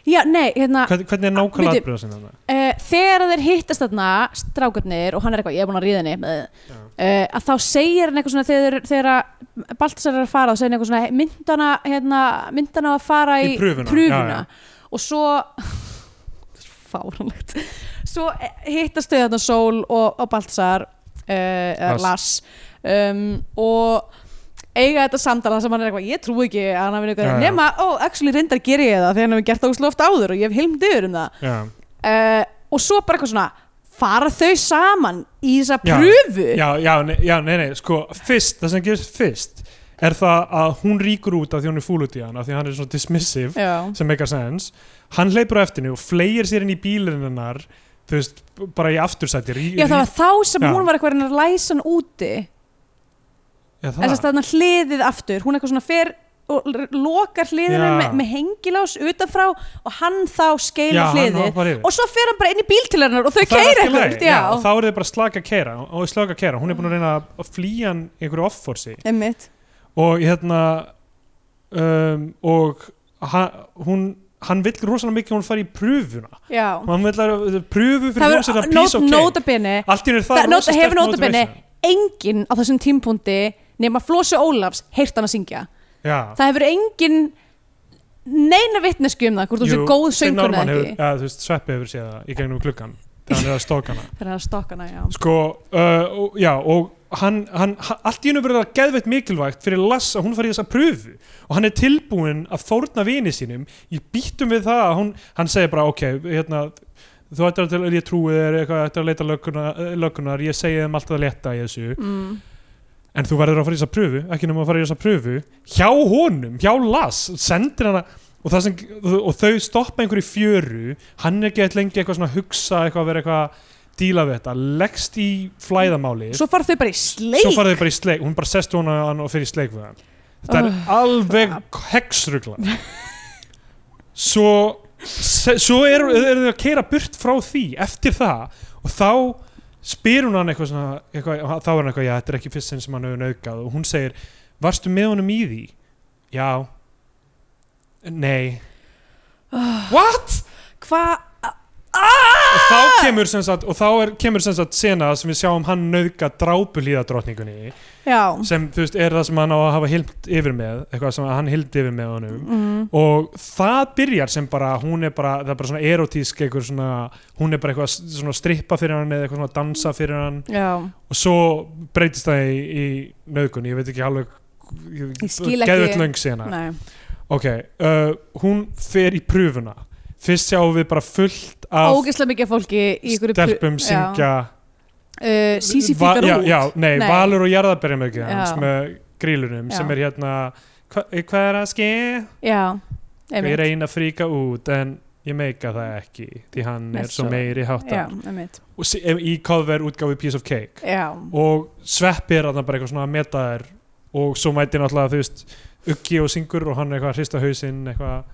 C: já, nei, hérna,
B: Hvern, hvernig er nákvæmlega
C: Bíddu.
B: atbyrða sinna það?
C: uh, þegar þeir hittast þarna strákarnir og hann er eitthvað, ég er búin að ríða henni uh, að þá segir hann eitthvað svona þegar, þegar að Baltasar er að fara þá segir hann eitthvað svona myndana, hérna, myndana að fara í,
B: Í prufuna, já,
C: og svo fáranlegt svo eh, hittast þau þarna Sól og, og Baltasar uh,
B: Lars.
C: Lars um, og eiga þetta samtala sem hann er eitthvað, ég trú ekki að hann hafi
B: Já,
C: eitthvað,
B: já.
C: nema, ó, actually reyndar ger ég það þegar hann hefur gert það óslu oft áður og ég hef hilmdiður um það
B: Já.
C: uh, og svo bara eitthvað svona fara þau saman í þessa
B: Já.
C: pröfu
B: Já, já, nei, já, nei, nei, sko fyrst, það sem gerist fyrst er það að hún ríkur út af því hún er fúl út í hann af því hann er svona dismissive
C: Já.
B: sem make a sense hann hleypur á eftirni og fleir sér inn í bílinn hennar þú veist, bara í aftursæti rí,
C: Já, það var þá sem
B: Já.
C: hún var eitthvað að reyna að læsa hann úti
B: já, það
C: þess að staðna hliðið aftur hún eitthvað svona fer og l- lokar hliðinu
B: Já.
C: með, með hengilás utanfrá og hann þá
B: já,
C: skeilir
B: hann
C: hliðið
B: hoppar yfir
C: og svo fer hann bara inn í bíl til hennar og þau
B: Og það er
C: keira
B: allt í lagi,
C: eitthvað
B: já, og þá eru þið bara slaka að keira og slaka að keira, hún er búin að reyna að flýja hann í einhverju offorsi
C: Einmitt.
B: og hérna um, og hann, hún hann vill rosalega mikið að hún fari í pröfuna
C: Já.
B: og hann vill að pröfu fyrir
C: það
B: hún sem það
C: verður
B: pís
C: nót-
B: og keik
C: nótabene
B: allt í henni er það
C: það nota,
B: rosa sterk
C: hefur nótabene
B: motivation.
C: enginn á þessum tímpúndi nema Flósi Ólafs heyrt hann að syngja
B: já,
C: það hefur engin neina vitnesku um það hvort þú séu
B: Jú,
C: góð
B: Steinn
C: söngur
B: Ármann
C: eða
B: hefur-
C: ekki
B: já, þú veist, Sveppi hefur séð það í gegnum klukkan þegar hann er að stóka hana
C: þegar það er stokkana, já
B: sko, uh, og- já, og hann, hann, hann, allt í hennu verður það geðveitt mikilvægt fyrir Lass að hún fari í þessa pröfu og hann er tilbúin að þórna vini sínum ég býttum við það að hún, hann segir bara ok, hérna þú ættir að, ég trúi þér, eitthvað, ættir að leita löggunar, löggunar ég segi þeim alltaf að leta í þessu
C: mm.
B: en þú verður að fara í þessa pröfu, ekki nema að fara í þessa pröfu hjá honum, hjá Lass sendir hana og, það sem, og þau stoppa einhverju í fjöru hann er ekki eitthvað lengi eitthvað svona að hugsa eitthvað að vera eitthvað að díla við þetta leggst í flæðamáli
C: svo fara þau bara í sleik
B: svo farið þau bara í sleik hún bara sest hún hann og fyrir sleik við hann þetta
C: Oh.
B: er alveg heksrugla svo se- svo eru er þau að keira burt frá því eftir það og þá spyr hún hann eitthvað, svona, eitthvað og þá er hann eitthvað, já þetta er ekki fyrst sinn sem hann hefur naukað og hún segir, varstu með honum í því? já nei what?
C: hvað
B: og þá kemur sem sagt, og þá er, kemur sem sagt sena sem við sjáum hann nauka drápulíðadrottningunni
C: já
B: sem þú veist er það sem hann á að hafa hild yfir með eitthvað sem hann hild yfir með honum
C: mm.
B: og það byrjar sem bara hún er bara, það er bara svona erotísk einhver svona, hún er bara eitthvað s- svona að strippa fyrir hann eða eitthvað svona að dansa fyrir hann
C: já
B: og svo breytist það í, í nöðgun, ég veit ekki alveg
C: Ég skil ekki-
B: geðveitt löng sena
C: nei
B: ok, uh, hún fer í pröfuna fyrst sjáum við bara fullt af
C: ógeðslega mikið af fólki í ykkur
B: stelpum syngja
C: uh, Sisi
B: Va-
C: fíkar
B: já,
C: út
B: já, nei,
C: Nei.
B: Valur og jarðaberjamökið
C: Já.
B: hans með grílunum sem
C: Já.
B: er hérna hva, hvað er að ske?
C: já
B: Ég
C: einmitt
B: reyna að fríka út en ég meika það ekki því hann
C: Nei,
B: er svo
C: svo-
B: meiri
C: já,
B: hátta
C: einmitt
B: og sí- em- í cover útgáfi Piece of Cake
C: já
B: og sveppi er þarna bara eitthvað svona að meta þær og svo mæti náttúrulega þú veist Uggi og syngur og hann er eitthvað að hrista hausinn eitthvað,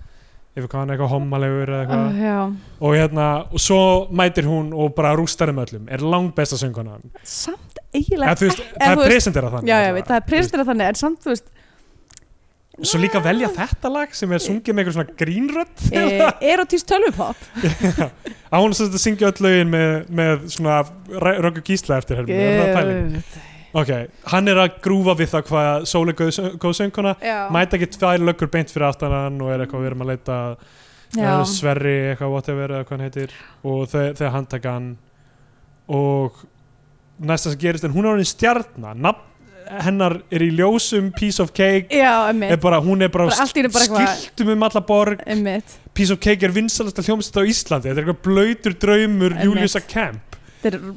B: yfir hvað hann er eitthvað hommalegur eða eitthvað
C: Uh, já,
B: og hérna, og svo mætir hún og bara rústar um öllum, er langbesta söngunan
C: samt
B: Eða,
C: eiginlega
B: þú veist,
C: eða
B: það
C: þú
B: er
C: veist-
B: presentera þannig
C: já, já,
B: allavega.
C: veit, það er pristera þannig en samt, þú veist
B: Svo líka velja þetta lag sem er sungið með einhver svona grínrödd
C: e erotís tölvupop
B: að hún sem þetta syngja öll lögin með, með svona röggu gísla eftir hermi er það pæling?
C: Guð.
B: Ok, hann er að grúfa við það hvað Sól er góð, góð sönguna
C: Já.
B: mæta ekki tvær löggur beint fyrir aftan hann og er eitthvað við erum að leita að
C: Já.
B: Sverri eitthvað whatever eða hvað hann heitir og þe þegar hann taka hann og næsta sem gerist en hún er orðin stjarnar nafn hennar er í ljósum piece of cake
C: já,
B: er
C: emmitt
B: bara, hún er bara,
C: Bara allt í einu bara eitthvað-
B: skiltum um alla borg
C: emmitt,
B: Piece of Cake er vinsalasta hljómsveit á Íslandi þetta er eitthvað blöytur draumur
C: Einmitt.
B: Juliusa Kemp
C: þetta er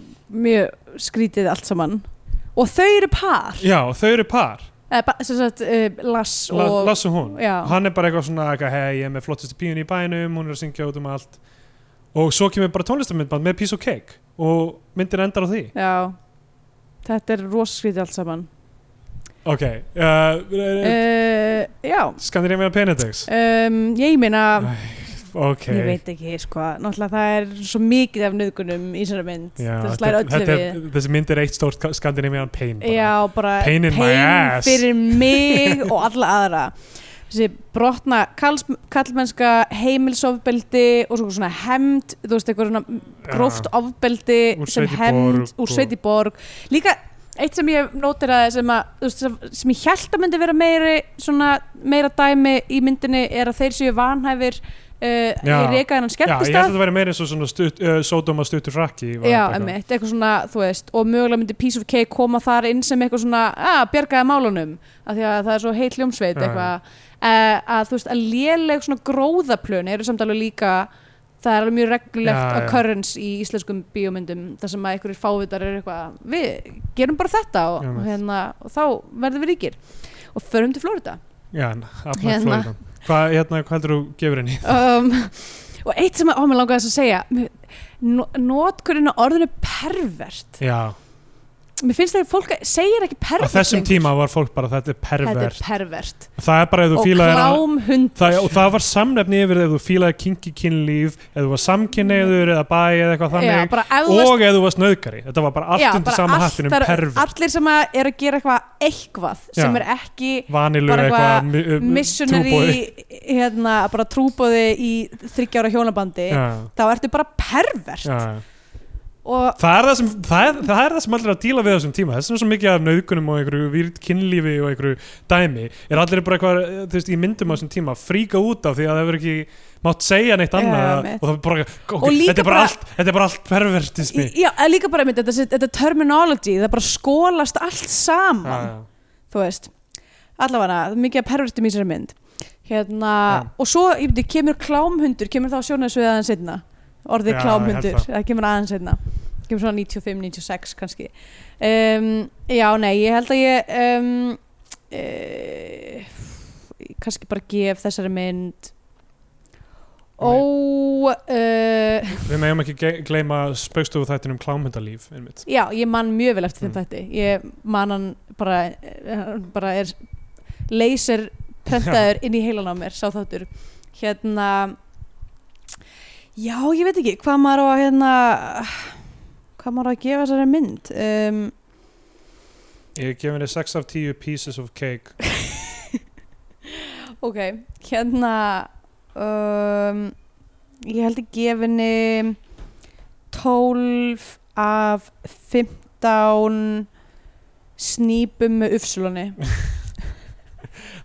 C: mjög skrítið allt saman og þau eru par
B: já, og þau eru par,
C: eh, ba, sem sagt, uh, Lass
B: La,
C: og
B: Lasse og hún
C: Já.
B: hann er bara eitthvað svona, eitthvað, hei, ég er með flottustu píun í bænum hún er að syngja út um allt og svo kemur bara tónlistamindband með Piece of Cake og myndir endar á því
C: já, þetta er rosaskrítið allt saman
B: ok, uh, uh,
C: uh, já
B: Skandinavian Penedex
C: um, ég meina
B: ok,
C: Eh, Ég veit ekki, sko, náttúrulega það er svo mikið af nöðgunum í þessari mynd
B: Já,
C: það slæðir
B: þetta-
C: öllu
B: þetta
C: við
B: er- þessi mynd er eitt stórt ka- Skandinavian Pain bara.
C: Já, bara
B: Pain in my ass.
C: fyrir mig og alla aðra þessi brotna kalls, kallmennska heimilsofbeldi og svo svona hemd þú veist, eitthvað svona gróft ofbeldi
B: Úr
C: sem
B: sveit í
C: hemd
B: borg og-
C: úr sveiti borg líka eitt sem ég notiraði sem, að, þú veist, sem- sem ég held að myndi vera meiri svona, meira dæmi í myndinni er að þeir séu vanhæfir uh, í
B: Já.
C: reykaðan
B: Já, ég held að
C: skemmtistað
B: þetta væri meira eins og svona stutt, uh, sódóma stuttur rakki var
C: Já,
B: þetta eitthvað.
C: emmitt, eitthvað svona, þú veist og mögulega myndi Piece of Cake koma þar inn sem eitthvað svona, að, bjargaði málunum af því að það er svo heil hljómsveit
B: Já,
C: eitthvað uh, að þú veist, að léleg svona gróðaplön eru samt alveg líka það er alveg mjög reglulegt
B: Já, já.
C: occurrence í íslenskum bíómyndum þar sem að einhverjir fávitar eru eitthvað við gerum bara þetta og,
B: Já, emmitt.
C: hérna, og þá verðum við ríkir og förum til Flórida
B: Já, n- up
C: Hérna.
B: hérna. Florida. Hvað hérna, hva heldur þú gefur henni?
C: um, og eitt sem að, ó, mér langaði þess að segja mér- no- notkurinn á orðinu pervert
B: Já,
C: Mér finnst það að fólk segir ekki
B: á
C: pervert
B: þessum
C: lengur.
B: tíma var fólk bara þetta er
C: Þetta
B: pervert.
C: er pervert
B: Það er bara ef þú
C: Og
B: fílaðir að...
C: klámhund
B: Það, og það var samnefni yfir ef þú fílaði kinky kynlíf, ef þú var samkynneigður eða bæ eða eitthvað
C: Já,
B: þannig
C: bara ef þú varst-
B: og ef þú varst nöðgari. Þetta var bara allt
C: já, bara
B: undir sama
C: allt-
B: hattinum
C: það eru
B: pervert.
C: Allir sem að eru að gera eitthvað eitthvað sem
B: Já.
C: er ekki
B: Vanilu
C: bara eitthvað
B: eitthvað, mi- um, trúboði.
C: missionary hérna, bara trúbóði í þryggjára hjónabandi
B: Já,
C: þá ertu bara pervert
B: já,
C: og
B: Það er það sem, það er, það er það sem allir er að díla við á þessum tíma, þess vegna er svo mikið af nauðgunum og einhverju výrt kynlífi og einhverju dæmi er allir bara eitthvað, eh, þú veist, í myndum á þessum tíma fríka út af því að það hefur ekki mátt segja neitt
C: Já,
B: annað
C: mitt.
B: og það er bara, ok,
C: Og líka
B: þetta er bara
C: bara-
B: allt þetta er bara allt pervertismi
C: í- já, en líka bara einmitt, þetta, þetta terminology það bara skólast allt saman þú veist allavega, það er mikið að pervertum í sér mynd hérna,
B: Já.
C: og svo ég veit, kemur klámhundur, kemur þá sjónaðsvið aðeins einna orðið
B: Já, ég
C: klámhundur
B: held
C: það. kemur aðeins einna, kemur svona 95, 96 kannski um, já, nei, ég held að ég um, uh, kannski bara gef þessari mynd ó uh,
B: Við meðum ekki ge- gleyma spaukstofu þættinum klámyndalíf einmitt.
C: Já, ég man mjög vel eftir þeim
B: Mm.
C: þætti Ég man hann bara, hann bara er laser prentaður inn í heilan á mér sá þáttur hérna já, ég veit ekki hvað maður á að hérna hvað maður á að gefa þessari mynd um,
B: Ég hef gefið henni 6 af 10 pieces of cake
C: ok, hérna um, ég held að gefa henni 12 af 15 snýpum með ufsulunni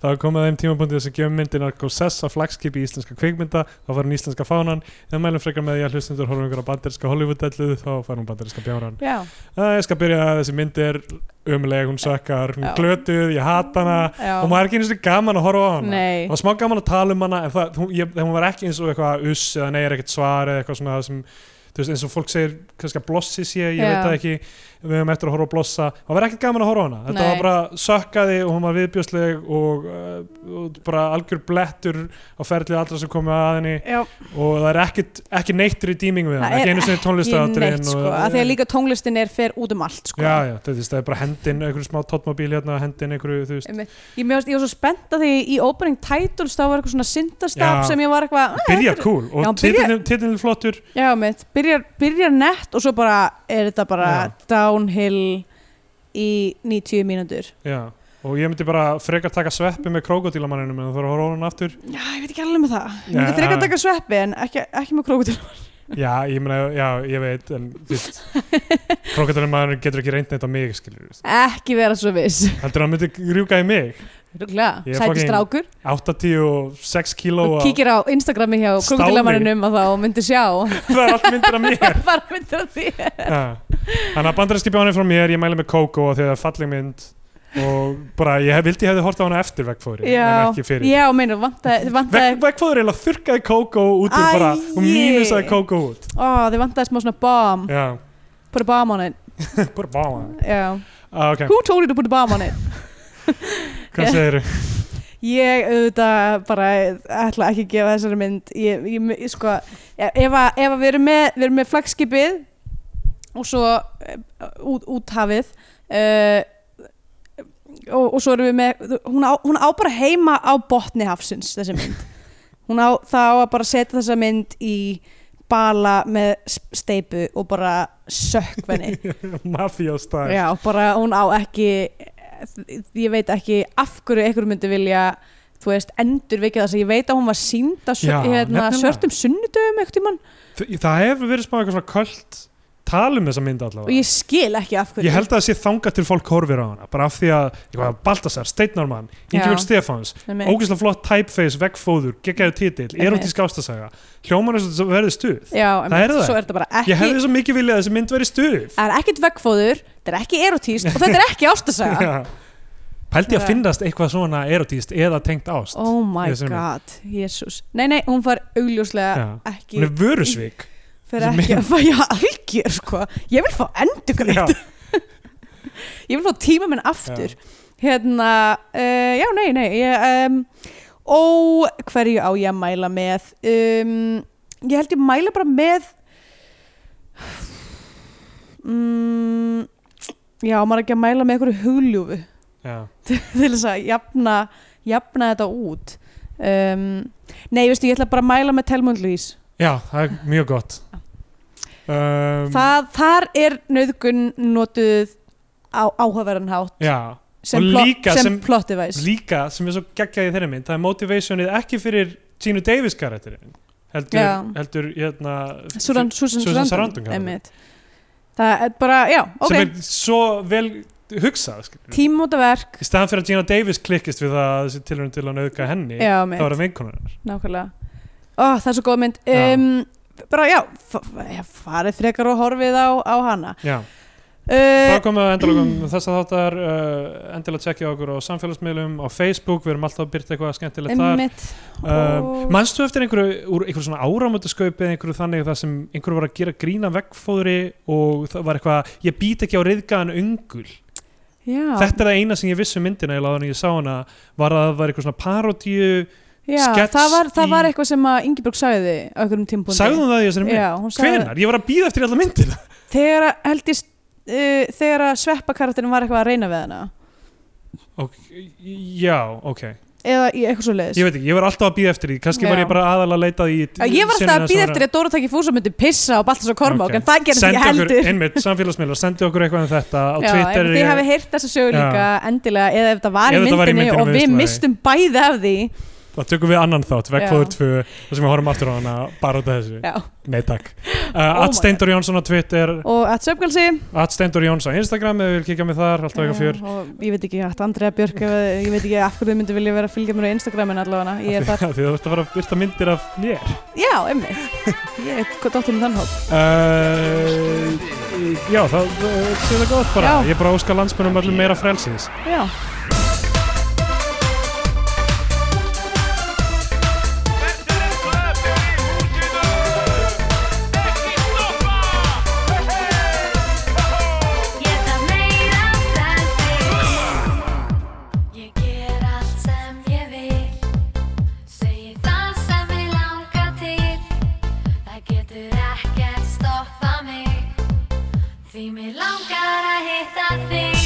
B: Það var komið að þeim tímabundi þess að gefum myndin að sessa flagskipi í íslenska kvikmynda þá var hún íslenska fánan en mælum frekar með því að hlustendur horfum ykkur á bandarinska Hollywood-ellu þá fær hún bandarinska bjáran
C: já
B: Æ, Ég skal byrja að þessi mynd er umleg, hún sökkar, hún
C: Já.
B: er glötuð, ég hata hana
C: já.
B: og maður er ekki eins og gaman að horfa á hana
C: Nei,
B: Það var smá gaman að tala um hana en það, hún, ég, þegar hún var ekki eins og eitthvað uss eða nei er ekkert svar eða eitthvað svona sem þú veist, eins og fólk segir kannski að blossi sé ég
C: Já.
B: veit það ekki, við höfum eftir að horfa á blossa það var ekkert gaman að horfa á hana, þetta
C: Nei.
B: var bara sökkaði og hún var viðbjósleg og, uh, og bara algjör blettur á ferlið allra sem komið að henni
C: já,
B: og það er ekkit, ekki neitt redeeming við
C: það
B: hana,
C: er
B: ekki einu sinni
C: ekki
B: tónlistaðatrinn
C: neitt sko, að því að líka tónlistin er fer út um allt sko.
B: Já, já, þú veist, það er bara hendin einhverju smá tóttmóbíl hérna, hendin einhverju, þú veist
C: Einmitt. Ég, mjög, ég var svo spennt að því í opening titles þá var eitthvað svona syndastaf
B: Já.
C: sem ég var eitthvað "Eh,
B: byrja
C: þetta
B: cool
C: Já,
B: og
C: byrja-
B: titilin titilin er flottur
C: er- Já, mitt, byrjar, byrjar nett og svo bara er þetta bara
B: Já.
C: downhill í 90 mínútur
B: Já, og ég myndi bara frekar taka sveppi með krókodílamanninum en þú þarf að horfa á hann aftur
C: Já, ég veit ekki alveg með það Ég
B: Já,
C: myndi frekar
B: já.
C: taka sveppi en ekki, ekki með krókutil
B: Já, ég meina, já, ég veit en krókodílamanninum getur ekki reynd neitt á mig skilur við
C: Ekki vera svo viss
B: Heldur hann myndi rjúka í mig
C: Ruglega,
B: Ég er
C: sæti
B: fucking-
C: strákur
B: 86 kíló
C: og
B: af-
C: kíkir á Instagrami hjá
B: Stáli.
C: krókutilamanninum og þá myndi sjá
B: Það er allt myndir af mér
C: bara myndir af því
B: Já. Þannig að bandarinski bjónir frá mér, ég mæli með Coco og þegar falleg mynd og bara, ég hef- vildi ég hefði hort á hana eftir vegfóri en
C: Já,
B: ekki fyrir
C: já, meina, vantaði, þið vantaði,
B: Veg, Vegfóður eiginlega þurrkaði Coco út úr
C: Æi.
B: bara og mínusaði Coco út
C: ó, þið vantaði smá svona bomb,
B: Já,
C: put a bomb on it,
B: bara báma
C: já,
B: ah, okay.
C: who told you to put a bomb on it?
B: Hvað segirðu?
C: Ég, auðvitað, bara, ætla ekki að gefa þessari mynd, ég, ég, ég sko, ef að, ef að við erum með, við erum með flagskipið og svo eh, út, úthafið, uh, og, og svo erum við með, hún á, hún á bara heima á botni hafsins, þessi mynd, hún á, það á að bara setja þessa mynd í bala með s- steypu og bara sökkvenni
B: Mafíastæl
C: Já, bara hún á ekki ég veit ekki af hverju einhver myndi vilja þú veist, endur vikið þess að ég veit að hún var sínd að
B: Já,
C: hérna,
B: nefnilega.
C: svörtum sunnudöfum eitthvað tímann
B: Þa- Það hefur verið smá eitthvað svona kvöld tal um þessa mynd
C: og
B: allavega
C: ég skil ekki af hverju
B: Ég held að það sé þangað til fólk horfir á hana bara af því að eitthvað, Baltasar, Steitnármann, Ingeborg
C: Já.
B: Stefáns
C: Einmitt.
B: ógeðslega flott typeface, veggfóður, geggæðu titill
C: Einmitt.
B: erotísk ástasaga, hljóman er svo verði stuð
C: Já,
B: Það er það.
C: svo er þetta bara ekki
B: Ég hefði svo mikið viljað að þessi mynd verið stuð
C: það er ekkit vegfóður, þetta er ekki erotíst og þetta er ekki ástasaga
B: Já. Pældi að
C: Já.
B: finnast eitthvað svona erotíst eða tengt ást
C: Oh my
B: Ég sem-
C: god, Jesus Nei, nei, hún far augljóslega
B: Já.
C: ekki
B: Hún er vörusvík
C: fyrir
B: Ég
C: ekki að fæ ég algjör sko. ég vil fá endurgreitt
B: Já.
C: ég vil fá tíma minn aftur hérna, uh, já nei, nei ég, um, og hverju á ég að mæla með um, ég held ég mæla bara með um, já, maður er ekki að mæla með einhverju hugljúfu
B: Já.
C: til þess að jafna, jafna þetta út um, nei, veistu, ég ætla bara að mæla með Telmund Lýs
B: Já, það er mjög gott um,
C: það, þar er nauðgun notuð á áhugaverðan hátt
B: Já
C: sem,
B: Og
C: plot-
B: líka
C: sem,
B: sem-
C: plot device
B: líka sem er svo geggjað í þeirri mynd það er motivationið ekki fyrir Gina Davis karakterinn heldur,
C: Já.
B: heldur hérna,
C: Susan, Susan,
B: Susan
C: Susan
B: Sarandon,
C: Sarandon
B: kallar
C: einmitt. það er bara, já, ok
B: sem er svo vel hugsað skilur við.
C: tímótaverk,
B: í staðan fyrir að Gina Davis klikkist við það að þessi tilhörin til að nauðka henni
C: já,
B: þá
C: mitt,
B: er það vinkonunar
C: nákvæmlega ó, það er svo góð mynd
B: Já.
C: um, bara, já, f- já, farið frekar og horfið á, á hana
B: já
C: uh,
B: Þá komum við endalögum þess að þáttar uh, endilega tjekkja okkur á samfélagsmiðlum á Facebook, við erum alltaf að byrta eitthvað skemmtilegt þar
C: einmitt
B: um,
C: og-
B: Manstu eftir einhverju, úr einhverju svona áramöndasköpi eða einhverju þannig það sem einhverju var að gera grína vegfóðri og það var eitthvað ég být ekki á reyðgaðan ungul
C: já,
B: Þetta er það eina sem ég vissi um myndina eða þannig ég sá hana var að það var eitthvað svona parodíu
C: já,
B: sketch
C: það, var,
B: í-
C: það var eitthvað sem að Ingeborg sagði á einhverjum tímpúndi
B: Sagði hún það í þessari mynd?
C: já, hún sagði
B: Hvenar? Ég var að býða eftir í alla myndina
C: þegar að- held ég uh, þegar að sveppakarakterin var eitthvað að reyna við hana
B: og, Já, ok
C: eða í eitthvað svo leiðis
B: Ég veit ekki, ég var alltaf að býða eftir því Kannski var
C: Já.
B: ég bara aðalega að leita í
C: ég var alltaf að býða eftir að Dóra takk í fúsa myndi pissa á Baltas og Kormák
B: Ok.
C: en það gerist ekki
B: okkur,
C: heldur
B: einmitt, samfélagsmiðlar, sendi okkur eitthvað um þetta á
C: Já, ef
B: Twitter
C: þið hafi heyrt þessa sögu
B: Já.
C: líka endilega eða ef þetta
B: Ef
C: var, í
B: þetta var í
C: myndinni
B: myndinni,
C: og
B: við veistum það
C: við mistum bæði af því
B: þá tökum við annan þátt, vegfóður 2 þar sem við horfum aftur á hana, bara út af þessu
C: Já.
B: Nei takk uh,
C: my
B: At Steindur Jónsson á Twitter
C: og að söpgalsi
B: At Steindur Jónsson á Instagram ef við vil kíkja mig þar, alltaf eitthvað fjör
C: og ég veit ekki að Andrea Björk ef- ég veit ekki af hverju þið myndi vilja vera að fylgja mér á Instagramin allavega ég er þar,
B: Því þú ert að fara að byrta myndir af mér
C: já, einmitt ég er dóttir með þann hóp
B: uh, Já, þá uh, séu það gott bara
C: Já.
B: Ég bara óska landsmönum öllum meira frelsis
C: já
D: Geta meira frelsi. Ég ger allt sem ég vil Segir það sem ég langar til Það getur ekkert stoppað mig Því mig langar að hitta þig